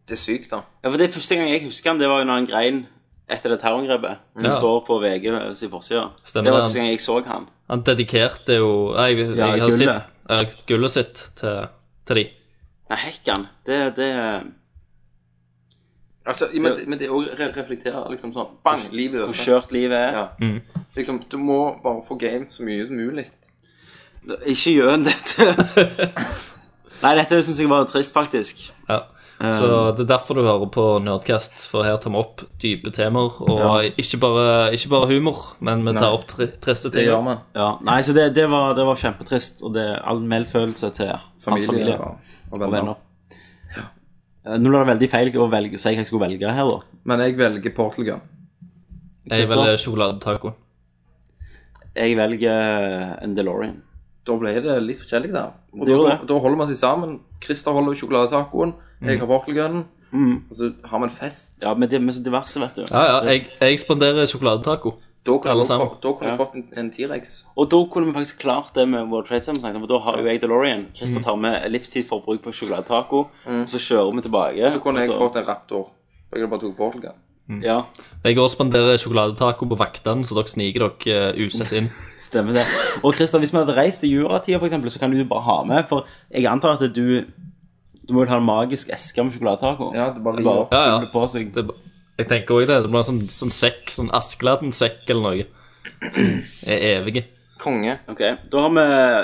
Speaker 8: Det er sykt, da.
Speaker 6: ja, for det er første gang jeg husker han, det var jo når han grein etter det terrorangrepet. Som
Speaker 7: Ja.
Speaker 6: står på VG sin forside.
Speaker 7: Stemmer
Speaker 6: Det var
Speaker 7: det.
Speaker 6: første gang jeg så han.
Speaker 7: Han dedikerte jo Nei, jeg,
Speaker 6: Ja,
Speaker 7: jeg har
Speaker 6: gullet.
Speaker 7: sett ja, gullet sitt til, til de.
Speaker 6: Nei, hekkan. Det, det ehm,
Speaker 8: Altså, ja, men, det- men det òg reflekterer liksom sånn Bang! Livet
Speaker 6: Hvor
Speaker 8: øker.
Speaker 6: skjørt livet er.
Speaker 8: Ja. Liksom, du må bare få game så mye som mulig.
Speaker 6: Ikke gjør han dette. Nei, dette syns jeg var trist, faktisk.
Speaker 7: Ja.
Speaker 6: Eh.
Speaker 7: Så det er derfor du hører på Nerdcast, for her tar vi opp dype temaer. Og ikke, bare, ikke bare humor, men vi tar opp tri triste
Speaker 8: Det
Speaker 7: ting.
Speaker 8: gjør vi.
Speaker 6: Ja, Nei, så det, det, var, det var kjempetrist, og det er all medfølelse til hans familie
Speaker 8: Familie og, og
Speaker 6: og
Speaker 8: venner.
Speaker 6: venner. Eh, Nå ble det veldig feil å velge, si hva jeg skulle velge her, da.
Speaker 8: Men jeg velger Portal Gun.
Speaker 7: Jeg velger sjokoladetaco.
Speaker 6: Jeg velger en DeLorean.
Speaker 8: Da ble det litt forskjellig der. Og
Speaker 6: Det gjorde
Speaker 8: da,
Speaker 6: det.
Speaker 8: da holder man seg sammen. Christer holder sjokoladetacoen, jeg har Portal Gun, og så har vi en fest.
Speaker 6: Ja, men det er så diverse, vet du.
Speaker 7: Ja, ja, jeg, jeg spanderer sjokoladetaco.
Speaker 8: Da kunne
Speaker 7: Alle
Speaker 8: jeg
Speaker 7: sammen.
Speaker 8: fått- da kunne
Speaker 6: Ja.
Speaker 8: jeg fått en, en T-rex.
Speaker 6: Og da kunne vi faktisk klart det med World Trade Center, snakket om, for da har jo jeg DeLorean. Christer tar med livstidsforbruk på sjokoladetaco, og så kjører vi tilbake.
Speaker 8: Mm. Så kunne
Speaker 6: og
Speaker 8: jeg fått en Raptor. Jeg bare tok Portal Gun.
Speaker 6: Ja,
Speaker 7: Jeg går og spanderer sjokoladetaco på vaktene, så dere sniker dere eh, usett inn.
Speaker 6: Stemmer det. Og Christer, hvis vi hadde reist til juratida, for eksempel, så kan du bare ha med. For jeg antar at du Du må jo ha en magisk eske med sjokoladetaco.
Speaker 8: Ja, det bare
Speaker 6: Så
Speaker 8: river opp.
Speaker 7: Ja, ja.
Speaker 6: fyller på seg.
Speaker 7: Det, jeg tenker også det. Det blir en sånn, sånn sekk, sånn Askeladden-sekk eller noe. Som er evige.
Speaker 8: Konge.
Speaker 6: Ok, Da har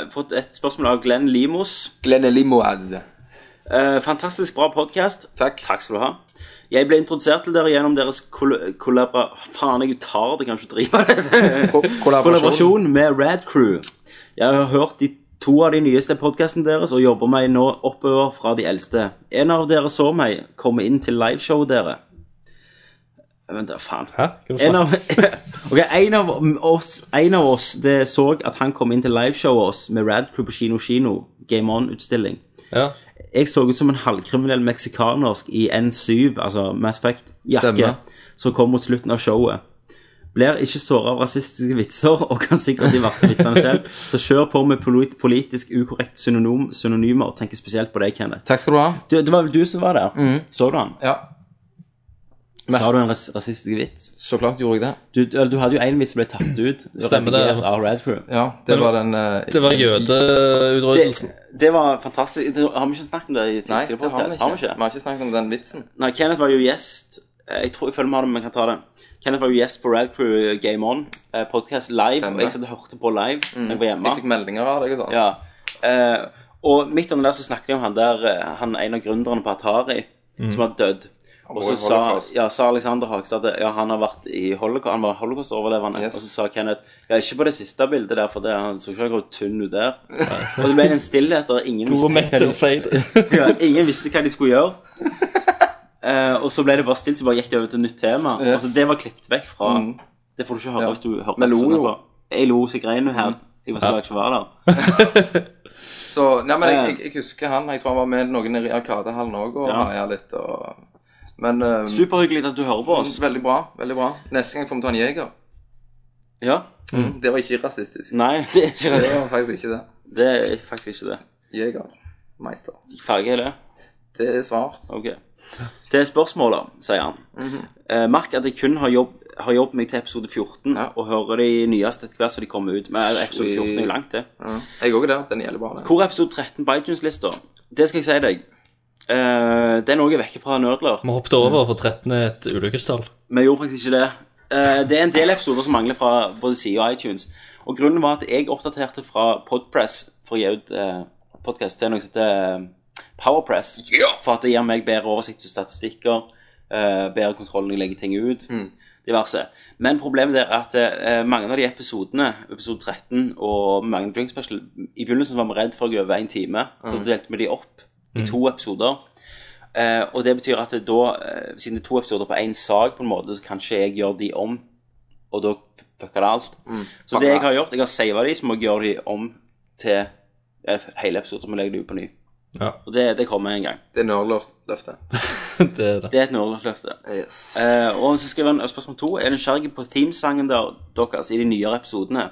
Speaker 6: vi fått et spørsmål av Glenn Limos.
Speaker 8: Glenn Limoad.
Speaker 6: Eh, fantastisk bra podkast.
Speaker 8: Takk.
Speaker 6: Takk skal du ha. Jeg ble introdusert til dere gjennom deres kol kollabra... Faen, jeg tar det, kan ikke drive det.
Speaker 8: Ko kollaborasjon.
Speaker 6: Kollaborasjon med Rad Crew. Jeg har hørt de to av de nyeste podkastene deres og jobber meg nå oppover fra de eldste. En av dere så meg komme inn til liveshowet dere. Vent, da, faen.
Speaker 7: Hæ? Hva
Speaker 6: En av, ok, en av oss, en av oss det så at han kom inn til liveshowet oss med Rad Crew på Kino Kino, Game On-utstilling.
Speaker 7: Ja.
Speaker 6: Jeg så ut som en halvkriminell meksikanersk i N7, altså Mass Effect-jakke,
Speaker 8: Stemmer.
Speaker 6: som kom mot slutten av showet. Blir ikke såra av rasistiske vitser, og kan sikkert de verste vitsene selv, så kjør på med polit- politisk ukorrekt synonym, synonymer, og tenker spesielt på deg, Kenneth.
Speaker 8: Takk skal du ha.
Speaker 6: Du, det var vel du som var der?
Speaker 8: Mm.
Speaker 6: Så du han?
Speaker 8: Ja,
Speaker 6: Sa du en ras rasistisk vits?
Speaker 8: så klart gjorde jeg det.
Speaker 6: Du, du du hadde jo en vits som ble tatt ut.
Speaker 7: Stemmer det.
Speaker 6: redigert Av Red Crew.
Speaker 8: Ja, det var den eh,
Speaker 7: Det var
Speaker 6: Det,
Speaker 7: jødeutryddelsen.
Speaker 6: det var fantastisk. Det, har vi ikke snakket om det i
Speaker 8: Nei,
Speaker 6: tidligere
Speaker 8: det har vi
Speaker 6: podcast?
Speaker 8: ikke. Vi har ikke snakket om den vitsen.
Speaker 6: Nei, Kenneth var jo gjest Eh, Jeg tror jeg følger med han, men jeg kan ta det Kenneth var jo gjest på Rad Crew eh, Game On eh, Podcast live,
Speaker 8: Stemmer. Mm,
Speaker 6: og jeg satt og hørte på live Når jeg var hjemme
Speaker 8: Jeg fikk meldinger av deg og sånn.
Speaker 6: ja. eh, Og midt under der så snakket jeg om han der eh, Han er en av gründerne på Atari Som har dødd Og
Speaker 8: var
Speaker 6: så
Speaker 8: i
Speaker 6: sa,
Speaker 8: Holocaust.
Speaker 6: ja, sa Alexander Hagstad at ja, han har vært i Holocaust Han var Holocaust-overlevende
Speaker 8: Yes.
Speaker 6: Og så sa Kenneth, ja ikke på det siste bildet der For det, han så ikke akkurat tynn ut der Og så ble det en stillhet der ingen visste hva de- ja, ingen visste hva de skulle gjøre. Eh, og så ble det bare stilt, så bare gikk de over til et nytt tema.
Speaker 8: Yes.
Speaker 6: Altså, det var klippet vekk fra
Speaker 8: Mm.
Speaker 6: Det får du ikke høre
Speaker 8: Ja.
Speaker 6: hvis du hører
Speaker 8: Men lo
Speaker 6: episoden
Speaker 8: jo.
Speaker 6: på. Jeg lo så jeg grein jo her. Jeg var så glad jeg ikke var der.
Speaker 8: Så, nei, men jeg,
Speaker 6: Ja.
Speaker 8: jeg, jeg husker han. Jeg tror han var med noen i Arkadehallen òg og
Speaker 6: Ja.
Speaker 8: haia litt og Men eh,
Speaker 6: Superhyggelig at du hører på oss.
Speaker 8: Veldig bra. veldig bra Neste gang får vi ta en jeger.
Speaker 6: Ja.
Speaker 8: Mm. Det var ikke rasistisk.
Speaker 6: Nei, det er ikke
Speaker 8: Det
Speaker 6: det.
Speaker 8: var faktisk ikke det.
Speaker 6: Det er faktisk ikke det.
Speaker 8: Jeger. Meister.
Speaker 6: Farge er det.
Speaker 8: Det er svart. Mhm.
Speaker 6: Ok. Til spørsmålet, sier han. eh, merk at jeg kun har jobb, har jobbet meg til episode 14,
Speaker 8: Ja.
Speaker 6: og hører de nyeste etter hvert som de kommer ut. Men episode 14 er jo langt, det.
Speaker 8: Ja. Jeg òg der. Den gjelder bare den.
Speaker 6: Hvor er episode 13 på iTunes-lista? Det skal jeg si deg. Eh, det er noe jeg vekker fra Nerdlert.
Speaker 7: Vi hoppet over, for 13 er et ulykkestall.
Speaker 6: Vi gjorde faktisk ikke det. Eh, det er en del episoder som mangler fra både SIO og iTunes. Og grunnen var at jeg oppdaterte fra Podpress for å gi ut eh, podcast til noe som heter eh, Powerpress. For at det gir meg bedre oversikt over statistikker, eh, bedre kontroll når jeg legger ting ut, diverse. Men problemet er at eh, mange av de episodene, episode 13 og mange Drink Special, i begynnelsen var vi redd for å gå over en time, så delte vi de opp i to episoder. Eh, og det betyr at det da, eh, siden det er to episoder på én sak, på en måte, så kan ikke jeg gjøre de om. Og da fucker det alt. så det jeg har gjort, jeg har sava de, så må jeg gjøre de om til eh, hele episoden. Må legge det ut på ny.
Speaker 7: Ja.
Speaker 6: Og det, det kommer en gang.
Speaker 8: Det er nerdlort-løftet.
Speaker 7: Det er det.
Speaker 6: Det er et nordløfte.
Speaker 8: Yes.
Speaker 6: Eh, og så skriver han spørsmål to. Er du nysgjerrig på themesangen der, deres i de nyere episodene?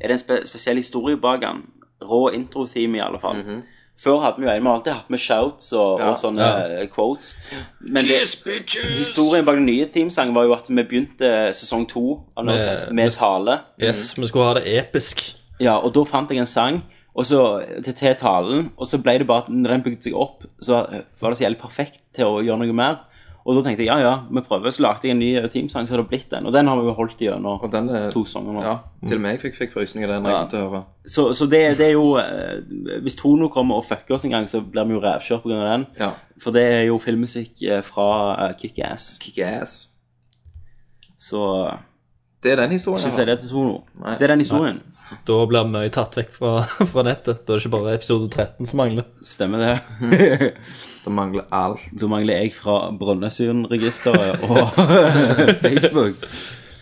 Speaker 6: Er det en spe spesiell historie bak den? Rå intro-theme, i alle fall. Før hadde vi jo en, vi har alltid hatt med shouts og, og sånne eh, quotes. Men det, historien bak den nye teamsangen var jo at vi begynte eh, sesong to av Nordløftet med tale.
Speaker 7: Yes, vi skulle ha det episk.
Speaker 6: Ja, og da fant jeg en sang og så, til, til talen, og så ble det bare at når den bygde seg opp, så var det så jævlig perfekt til å gjøre noe mer. Og da tenkte jeg ja, ja, vi prøver. Så lagde jeg en ny eh, teamsang, så har det blitt den. Og den har vi jo holdt
Speaker 8: Og
Speaker 6: gjennom
Speaker 8: den er
Speaker 6: to sanger nå.
Speaker 8: Ja. Til og med jeg fikk, fikk frysninger den jeg
Speaker 6: Ja.
Speaker 8: kom til å høre.
Speaker 6: Så, så det, det er jo eh, Hvis Tono kommer og fucker oss en gang, så blir vi jo revkjørt pga. den.
Speaker 8: Ja.
Speaker 6: For det er jo filmmusikk eh, fra eh, Kick-Ass.
Speaker 8: Kick ass.
Speaker 6: Så
Speaker 8: Det er den historien.
Speaker 6: ikke si det til Tono.
Speaker 8: Nei.
Speaker 6: Det er den historien.
Speaker 7: Da blir mye tatt vekk fra, fra nettet. Da er det ikke bare episode 13 som mangler.
Speaker 6: Stemmer det.
Speaker 8: Det mangler alt.
Speaker 6: Så mangler jeg fra Brønnøysundregisteret og Facebook.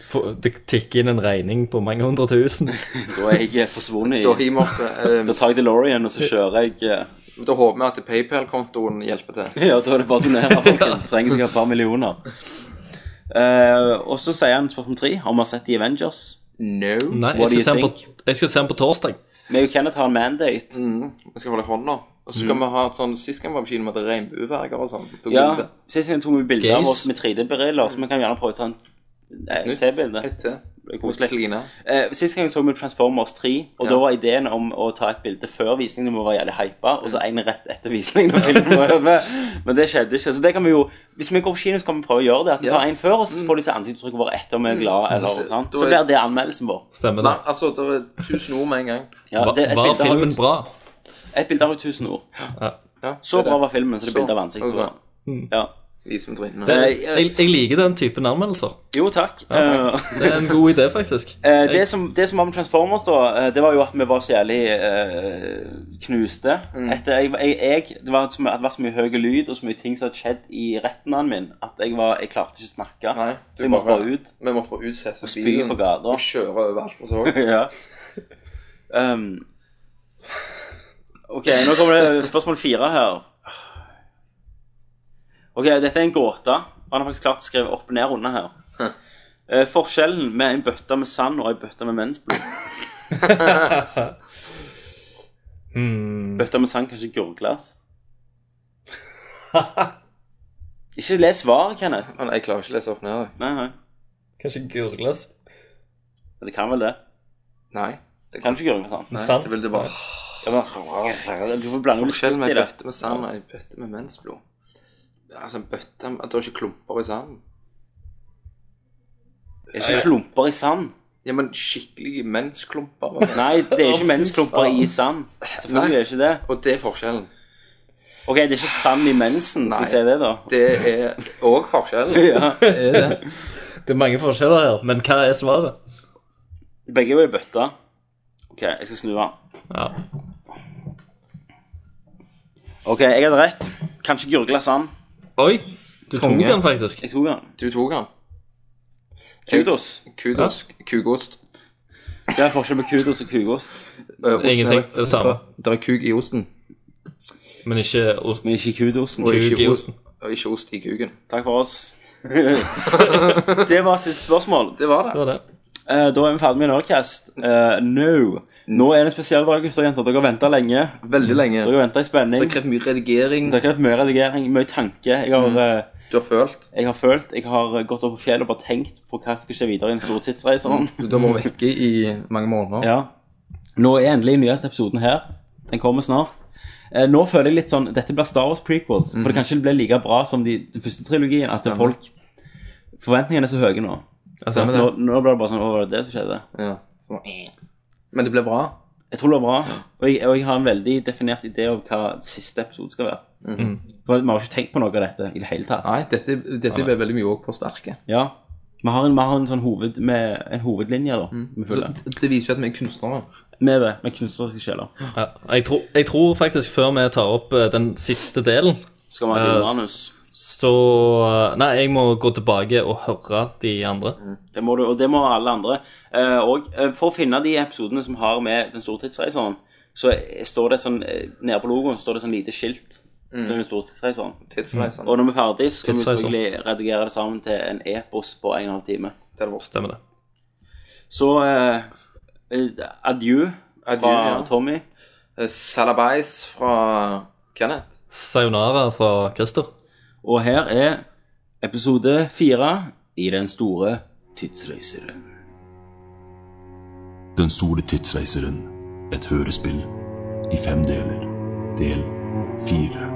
Speaker 7: Få- Det tikker inn en regning på mange hundre tusen.
Speaker 6: Da er jeg forsvunnet
Speaker 8: Da
Speaker 6: i
Speaker 8: hiver vi opp
Speaker 6: Da
Speaker 8: eh,
Speaker 6: tar jeg DeLorean, og så kjører jeg eh,
Speaker 8: Da håper vi at PayPal-kontoen hjelper til.
Speaker 6: Ja, da er det bare å donere. Folkens trenger sikkert et par millioner. Eh, og så sier han spørsmål tre om vi har sett The Avengers.
Speaker 8: No.
Speaker 7: Nei,
Speaker 6: What do you
Speaker 7: jeg skal, se den på, jeg skal se den på torsdag.
Speaker 6: Vi og Kenneth har en mandate.
Speaker 8: Vi skal holde hånda. Og så skal vi ha et sånn Sist gang vi var på kino, med regnbueverger og sånn. Da
Speaker 6: Ja,
Speaker 8: går det.
Speaker 6: Sist gang tok vi bilder av
Speaker 7: Gays.
Speaker 6: oss med 3D-briller, så vi kan gjerne prøve å ta en eh,
Speaker 8: Nytt.
Speaker 6: T-bilde.
Speaker 8: Et til.
Speaker 6: Det er
Speaker 8: Og
Speaker 6: koselig.
Speaker 8: kline.
Speaker 6: Eh, Sist gang så vi Transformers 3, og
Speaker 8: Ja.
Speaker 6: da var ideen om å ta et bilde før visningen må være jævlig hypa, og så en rett etter visningen når filmen var over. Men det skjedde ikke. Så det kan vi jo Hvis vi går på kino, så kan vi prøve å gjøre det. At vi
Speaker 8: Ja. Mm.
Speaker 6: tar en før, og så får de se ansiktsuttrykket vårt etter om vi er glade, eller
Speaker 8: Så-
Speaker 6: noe sånt.
Speaker 8: da
Speaker 6: Så
Speaker 8: er-
Speaker 6: blir det anmeldelsen vår.
Speaker 7: Stemmer
Speaker 8: Nei,
Speaker 7: det.
Speaker 8: altså, det er tusen ord med en gang.
Speaker 6: Ja,
Speaker 7: Var,
Speaker 6: det, et,
Speaker 7: var
Speaker 6: bilde har
Speaker 7: filmen
Speaker 6: jo,
Speaker 7: bra?
Speaker 6: et bilde har jo 1000 ord.
Speaker 8: Ja,
Speaker 6: Så
Speaker 8: det er
Speaker 6: bra
Speaker 8: det.
Speaker 6: var filmen, så det er bilde av ansiktet.
Speaker 8: Og så- altså,
Speaker 6: vårt. Ja.
Speaker 8: Vis med trynet.
Speaker 6: Eh,
Speaker 7: Jeg, jeg liker den typen anmeldelser.
Speaker 6: jo, takk. Eh,
Speaker 7: Det er en god idé, faktisk.
Speaker 6: Eh, det, som, det som var med Transformers, da, eh, det var jo at vi var så jævlig eh, knuste.
Speaker 8: Mm.
Speaker 6: Etter, jeg, jeg, jeg, det, var, så mye- det var så mye høy lyd og så mye ting som hadde skjedd i rettene min, at jeg, var, jeg klarte ikke å snakke.
Speaker 8: Nei, du
Speaker 6: så jeg måtte
Speaker 8: bare-
Speaker 6: bare ut.
Speaker 8: Vi måtte bare utsette
Speaker 6: spy på gata.
Speaker 8: og kjøre overalt. Og så
Speaker 6: ja. um, ok, nå kommer det spørsmål fire her. Ok, dette er en gåte. Han har faktisk klart å skrive opp og ned runde her. Eh, forskjellen med en bøtte med sand og en bøtte med mensblod.
Speaker 7: hmm.
Speaker 6: Bøtta med sand kan ikke gurgles. ikke les svaret, Kenneth.
Speaker 8: Men jeg klarer ikke å lese opp ned. jeg.
Speaker 6: Nei, nei.
Speaker 7: Kanskje gurgles.
Speaker 6: Men det kan vel det.
Speaker 8: Nei.
Speaker 6: Det kan ikke gurgle med sand.
Speaker 8: Nei,
Speaker 7: Sant.
Speaker 8: det ville det bare
Speaker 6: Ja, men- Du får blande litt
Speaker 8: Forskjell med
Speaker 6: i
Speaker 8: ei
Speaker 6: det.
Speaker 8: bøtte med sand og ei bøtte med mensblod. Altså, en bøtte med- Det er ikke klumper i sanden.
Speaker 6: Det er ikke klumper i sand.
Speaker 8: Ja, men skikkelig mensklumper. bare.
Speaker 6: Nei, det er
Speaker 7: Å, fy
Speaker 6: ikke mensklumper
Speaker 7: faen.
Speaker 6: i sand. Selvfølgelig
Speaker 8: Nei.
Speaker 6: er det ikke det.
Speaker 8: Og det er forskjellen.
Speaker 6: Ok, det er ikke sand i mensen, skal
Speaker 8: Nei.
Speaker 6: jeg si det, da?
Speaker 8: Det er òg forskjellen. Det er det.
Speaker 7: Det er mange forskjeller her, men hva er svaret?
Speaker 6: Begge var i bøtta. Ok, jeg skal snu den.
Speaker 7: Ja.
Speaker 6: Ok, jeg hadde rett. Kanskje gurgle sand.
Speaker 7: Oi, du
Speaker 8: Konge.
Speaker 7: tok den faktisk.
Speaker 6: Jeg tok den.
Speaker 8: Du tok den.
Speaker 6: Kudos.
Speaker 8: Kudos. Kukost.
Speaker 6: Det er forskjell på kudos og kugost.
Speaker 8: Eh, osten er-
Speaker 7: Ingenting, det er det samme.
Speaker 8: Det er kuk i osten.
Speaker 7: Men ikke ost.
Speaker 6: Men ikke kudosen.
Speaker 8: Og ikke
Speaker 7: i
Speaker 8: ost,
Speaker 7: osten.
Speaker 8: og ikke ost i kuken.
Speaker 6: Takk for oss. det var siste spørsmål.
Speaker 8: Det var det.
Speaker 7: Det var det.
Speaker 6: Eh, da er vi ferdig med Nerdcast. Eh, no. Nå er det en spesiell dag, gutter og jenter. Dere har venta lenge.
Speaker 8: Veldig lenge.
Speaker 6: Dere har ventet i
Speaker 8: Det
Speaker 6: spenning.
Speaker 8: har krevd mye redigering.
Speaker 6: Dere har hatt mye redigering, mye tanke. Jeg har, eh,
Speaker 8: Du har følt.
Speaker 6: jeg har følt, jeg har gått opp på fjellet og bare tenkt på hva som skal skje videre i den store tidsreisen.
Speaker 8: Du du har vært vekke i mange måneder.
Speaker 6: Ja. Nå er endelig den nyeste episoden her. Den kommer snart. Eh, nå føler jeg litt sånn Dette blir Star Wars prequels. For det kanskje blir like bra som de, den første trilogien. At det er folk Forventningene er så høye nå.
Speaker 8: Stemmer
Speaker 6: Nå,
Speaker 8: det.
Speaker 6: nå blir det bare sånn Å, var det det som skjedde?
Speaker 8: Ja. Så, men det ble bra.
Speaker 6: Jeg tror det blir bra. Og jeg, og jeg har en veldig definert idé om hva siste episode skal være.
Speaker 8: Mhm.
Speaker 6: For Vi har jo ikke tenkt på noe av dette i det hele tatt.
Speaker 8: Nei, dette, dette ble veldig mye også på sparket.
Speaker 6: Ja. Vi har en, vi har en sånn hoved med, en hovedlinje, da. Vi
Speaker 8: Mhm. Så
Speaker 6: følger.
Speaker 8: det viser jo at vi er kunstnere.
Speaker 6: Med det. Med kunstneriske sjeler.
Speaker 7: Ja, jeg, tror, jeg tror faktisk før vi tar opp eh, den siste delen,
Speaker 6: Skal vi
Speaker 7: ha et så eh, Nei, jeg må gå tilbake og høre de andre.
Speaker 6: Det må du, og det må alle andre. Eh, og eh, for å finne de episodene som har med Den store tidsreiseren, så eh, står det sånn eh, Nede på logoen står det sånn lite skilt.
Speaker 8: Mhm.
Speaker 6: med Den store tidsreiseren.
Speaker 8: Tidsreisende.
Speaker 6: Og når vi er ferdig, så skal vi
Speaker 7: Tidsreiseren.
Speaker 6: selvfølgelig redigere det sammen til en epos på en og en halv time.
Speaker 8: Det er vårt.
Speaker 7: Stemmer det.
Speaker 6: Så eh, eh, adjø
Speaker 8: Adjø,
Speaker 6: fra
Speaker 8: ja.
Speaker 6: Tommy.
Speaker 8: Eh, Salabais fra Kenneth.
Speaker 7: Sayonara fra Christer.
Speaker 6: Og her er episode fire i Den store tidsreiseren.
Speaker 11: Den store tidsreiseren. Et hørespill i fem deler. Del fire.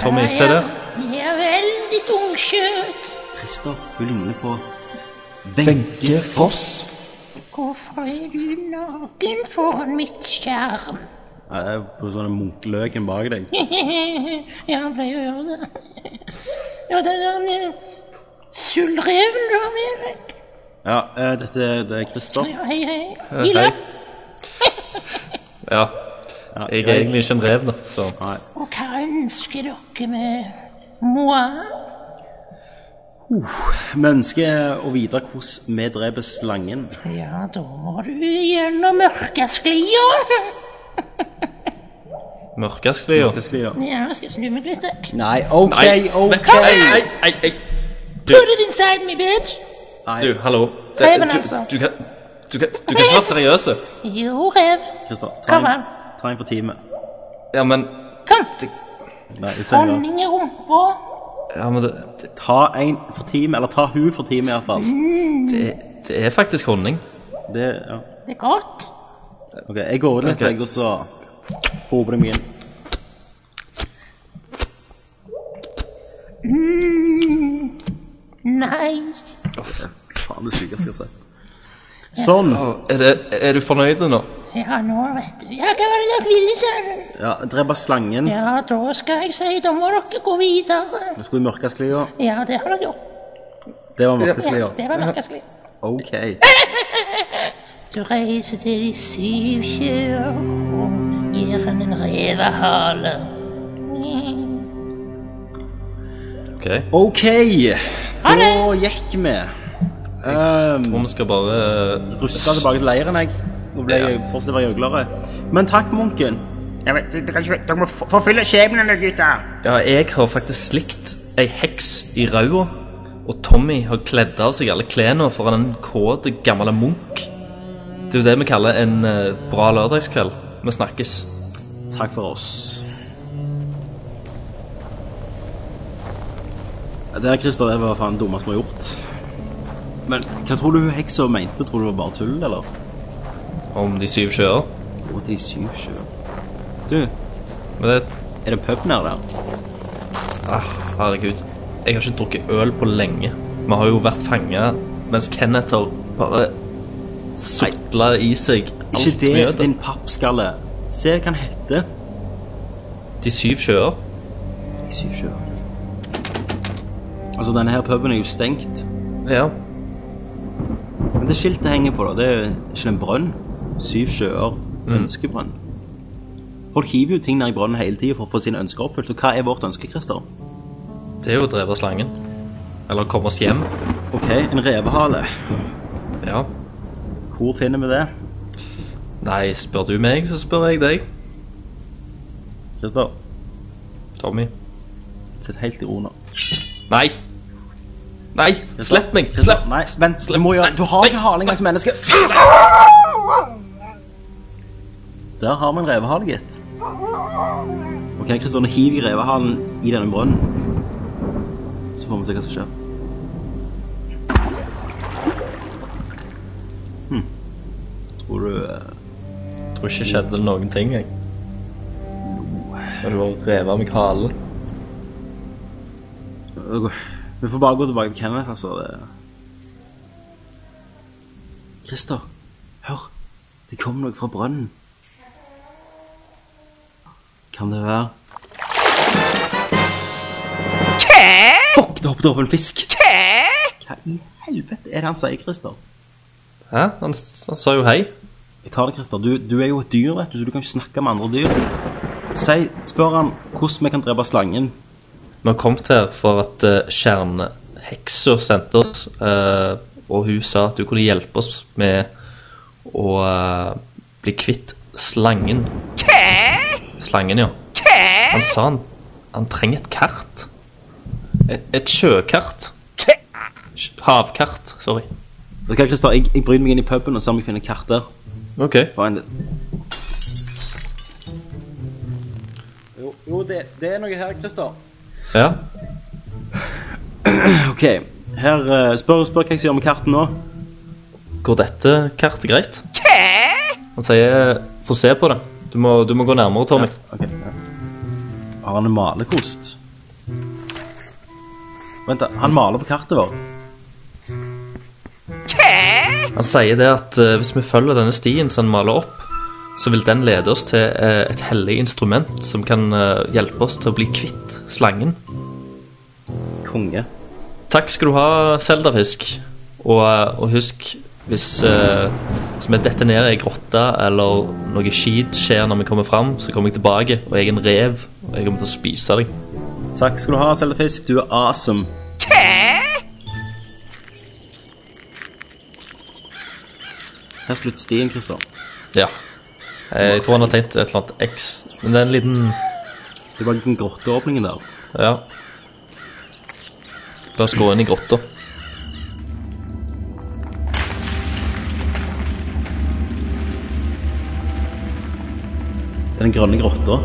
Speaker 7: Tommy, se det.
Speaker 9: Jeg er veldig tungkjøtt.
Speaker 6: Christer, hun ligner på
Speaker 11: Wenche Foss.
Speaker 9: Hvorfor er du naken foran mitt skjerm?
Speaker 6: uh, På sånne munkeløken bak deg.
Speaker 9: ja, han pleier å gjøre det. Ja, det der med Sullreven du har med deg.
Speaker 6: Ja, eh, dette det er Christer.
Speaker 9: Ja, hei, hei.
Speaker 7: Hei.
Speaker 9: Ila.
Speaker 7: Ja.
Speaker 6: Ja,
Speaker 7: Jeg er egentlig ikke en rev, da, så
Speaker 6: Nei.
Speaker 9: Og hva ønsker dere med moi?
Speaker 6: Vi ønsker å vite hvordan vi dreper slangen.
Speaker 9: Ja, da må du gjennom mørkesklia.
Speaker 7: Mørkasklia.
Speaker 6: Hva skal vi gjøre?
Speaker 9: Ja, skal jeg snu meg litt? da?
Speaker 6: Nei, OK, OK!
Speaker 9: Kom igjen!
Speaker 7: Nei, nei.
Speaker 9: Put it inside me, bitch!
Speaker 7: Du, hallo. Det,
Speaker 9: Reven,
Speaker 7: du,
Speaker 9: altså.
Speaker 7: du, kan, du, kan, du kan ikke være seriøse.
Speaker 9: Jo, rev.
Speaker 6: Christer, ta
Speaker 9: Kom
Speaker 6: en,
Speaker 9: an.
Speaker 6: ta en på teamet.
Speaker 7: Ja, men
Speaker 9: Kom.
Speaker 6: Nei, utsend,
Speaker 9: Honning i rumpa.
Speaker 7: Ja, men det, det,
Speaker 6: da. Ta en for teamet, eller ta hun for teamet iallfall.
Speaker 7: det, det er faktisk honning.
Speaker 6: Det, ja.
Speaker 9: Det er godt.
Speaker 6: OK, jeg går ut litt,
Speaker 7: Ok.
Speaker 6: jeg, og så håper du meg inn.
Speaker 9: Nice.
Speaker 6: Faen, det sykeste jeg har sett. Sånn.
Speaker 7: Er, det, er du fornøyd nå?
Speaker 9: Ja, nå vet du. Ja, hva var det dere ville, sa du?
Speaker 6: Ja, drepe slangen.
Speaker 9: Ja, da skal jeg si, da må dere gå videre.
Speaker 6: Vi skulle i mørkesklia.
Speaker 9: Ja, det har dere gjort.
Speaker 6: Det var
Speaker 9: Ja,
Speaker 6: mørkesklia.
Speaker 9: det var mørkesklia.
Speaker 6: OK.
Speaker 9: Du reiser til de syv kjøer og gir henne en revehale.
Speaker 7: Ok.
Speaker 6: OK,
Speaker 9: Ha
Speaker 6: da
Speaker 9: det!
Speaker 6: gikk vi. Um,
Speaker 7: Tror vi skal bare eh,
Speaker 6: Skal tilbake til leiren, jeg. Nå ble jeg fortsatt å være gjøglere. Men takk, munken.
Speaker 7: Ja, jeg har faktisk slikt ei heks i rauda, og Tommy har kledd av seg alle klærne foran en kåte gammel munk. Det er jo det vi kaller en eh, bra lørdagskveld. Vi snakkes.
Speaker 6: Takk for oss. Ja, Det her, Christer, det var faen det dummeste vi har gjort. Men hva tror du hun heksa mente? Tror du det var bare tull, eller?
Speaker 7: Om de syv sjøer.
Speaker 6: Å, de syv sjøer. Du,
Speaker 7: Men det ah,
Speaker 6: er det pub nede der?
Speaker 7: Herregud. Jeg har ikke drukket øl på lenge. Vi har jo vært fanga mens Kenneth har bare sutla i seg
Speaker 6: Ikke
Speaker 7: alt
Speaker 6: det,
Speaker 7: vi gjør.
Speaker 6: din pappskalle. Se hva den heter.
Speaker 7: De syv sjøer.
Speaker 6: De syv sjøer. Altså, denne her puben er jo stengt.
Speaker 7: Ja.
Speaker 6: Men det Mm. skiltet henger på, da. Det er ikke en brønn. Syv sjøer. Ønskebrønn. Folk hiver jo ting ned i brønnen hele tida for å få sine ønsker oppfylt. Og hva er vårt ønske, Christer?
Speaker 7: Det er jo å dreve slangen. Eller komme oss hjem.
Speaker 6: OK, en revehale.
Speaker 7: Ja.
Speaker 6: Hvor finner vi det?
Speaker 7: Nei, spør du meg, så spør jeg deg.
Speaker 6: Christer,
Speaker 7: Tommy.
Speaker 6: sitt helt i ro nå.
Speaker 7: Nei! Nei! Slipp meg! Slipp!
Speaker 6: Nei, vent. Du, må gjøre, du har ikke hale engang som menneske. Der har vi en revehale, gitt. OK, Kristian, hiv i revehalen i denne brønnen. Så får vi se hva som skjer. Hm. Tror du eh,
Speaker 7: Jeg tror ikke det skjedde noen ting, jeg. Men du har revet meg halen.
Speaker 6: det går- Vi får bare gå tilbake til Kenneth, altså. det- Christer, hør. Det kommer noe fra brønnen. Kan det være Fuck, det hoppet opp en fisk! Hva i helvete er det han sier, Christer?
Speaker 7: Hæ? Han, s- han sa jo hei.
Speaker 6: Jeg tar det, Christer. Du, du er jo et dyr, vet du, så du kan ikke snakke med andre dyr. Si, spør han hvordan vi kan drepe slangen.
Speaker 7: Vi har kommet her for at eh, kjerneheksa sendte oss, eh, og hun sa at du kunne hjelpe oss med å eh, bli kvitt slangen. Slangen, ja. Han sa han, han trenger et kart. Et, et sjøkart. Sj- Havkart, sorry.
Speaker 6: Vet du hva, Christer? Jeg, jeg bryter meg inn i puben og ser om jeg finner kart der.
Speaker 7: Ok.
Speaker 6: Bare en Jo, jo det, det er noe her, Christer.
Speaker 7: Ja.
Speaker 6: OK. Her eh, spør, spør hva jeg skal gjøre med kartet nå.
Speaker 7: Går dette kartet greit? Han sier få se på det. Du må, du må gå nærmere, Tommy.
Speaker 6: Ok, ja. Har han en malerkost? Vent, da, han maler på kartet vårt.
Speaker 7: Han sier det at eh, hvis vi følger denne stien som han maler opp, så vil den lede oss til eh, et hellig instrument som kan eh, hjelpe oss til å bli kvitt slangen.
Speaker 6: Konge.
Speaker 7: Takk skal du ha, Seldafisk. Og, eh, og husk, hvis, eh, hvis vi detter ned i ei grotte eller noe skit skjer når vi kommer fram, så kommer jeg tilbake, og jeg er en rev, og jeg kommer til å spise deg.
Speaker 6: Takk skal du ha, Seldefisk. Du er awesome. Her slutter stien, Christer.
Speaker 7: Ja. Eh, Jeg tror han har tegnet et eller annet X. Men det er en liten
Speaker 6: Det var den grotteåpningen der.
Speaker 7: Ja. La oss gå inn i grotta.
Speaker 6: Det er den grønne grotta.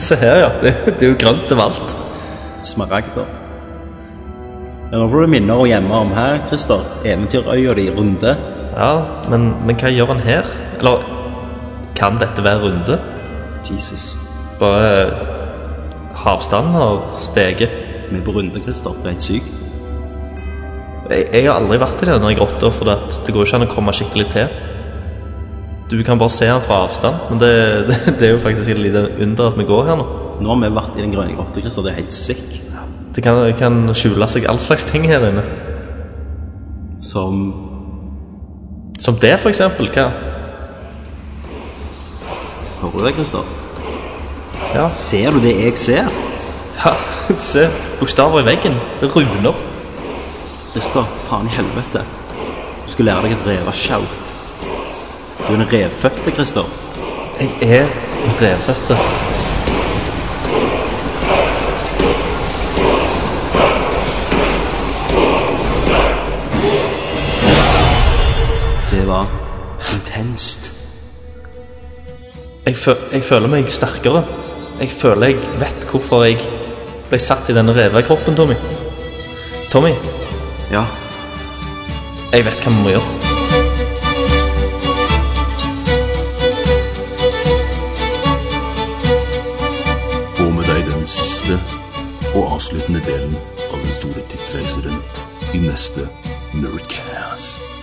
Speaker 7: Se her, ja. Det, det er jo grønt over alt.
Speaker 6: Smaragder. Men Nå får du minner å gjemme om her, Christer. Eventyrøya di runde.
Speaker 7: Ja, men, men hva gjør han her? Eller kan dette være runde?
Speaker 6: Jesus.
Speaker 7: Bare havstanden har steget.
Speaker 6: Vi er på runde, Christer. Det er helt sykt.
Speaker 7: Jeg, jeg har aldri vært i denne grotta, for det, at det går ikke an å komme skikkelig til. Du kan bare se den fra avstand, men det, det, det er jo faktisk et lite under at vi går her nå.
Speaker 6: Nå har vi vært i den grønne grotta, Christer. Det er helt sick.
Speaker 7: Det kan, kan skjule seg all slags ting her inne.
Speaker 6: Som
Speaker 7: Som det, for eksempel. Hva?
Speaker 6: Hører du det, Christer?
Speaker 7: Ja.
Speaker 6: Ser du det jeg ser?
Speaker 7: ja se, bokstaver i veggen. Runer.
Speaker 6: Christer, faen i helvete. Du skal lære deg et revashout. Du er en revfødte, Christer.
Speaker 7: Jeg er revfødte.
Speaker 6: Det var intenst.
Speaker 7: Jeg, fø jeg føler meg sterkere. Jeg føler jeg vet hvorfor jeg ble satt i denne revekroppen, Tommy. Tommy,
Speaker 6: Ja,
Speaker 7: jeg vet hva vi må gjøre.
Speaker 11: Få med deg den siste og avsluttende delen av Den store tidsreiseren i neste Nerdcast.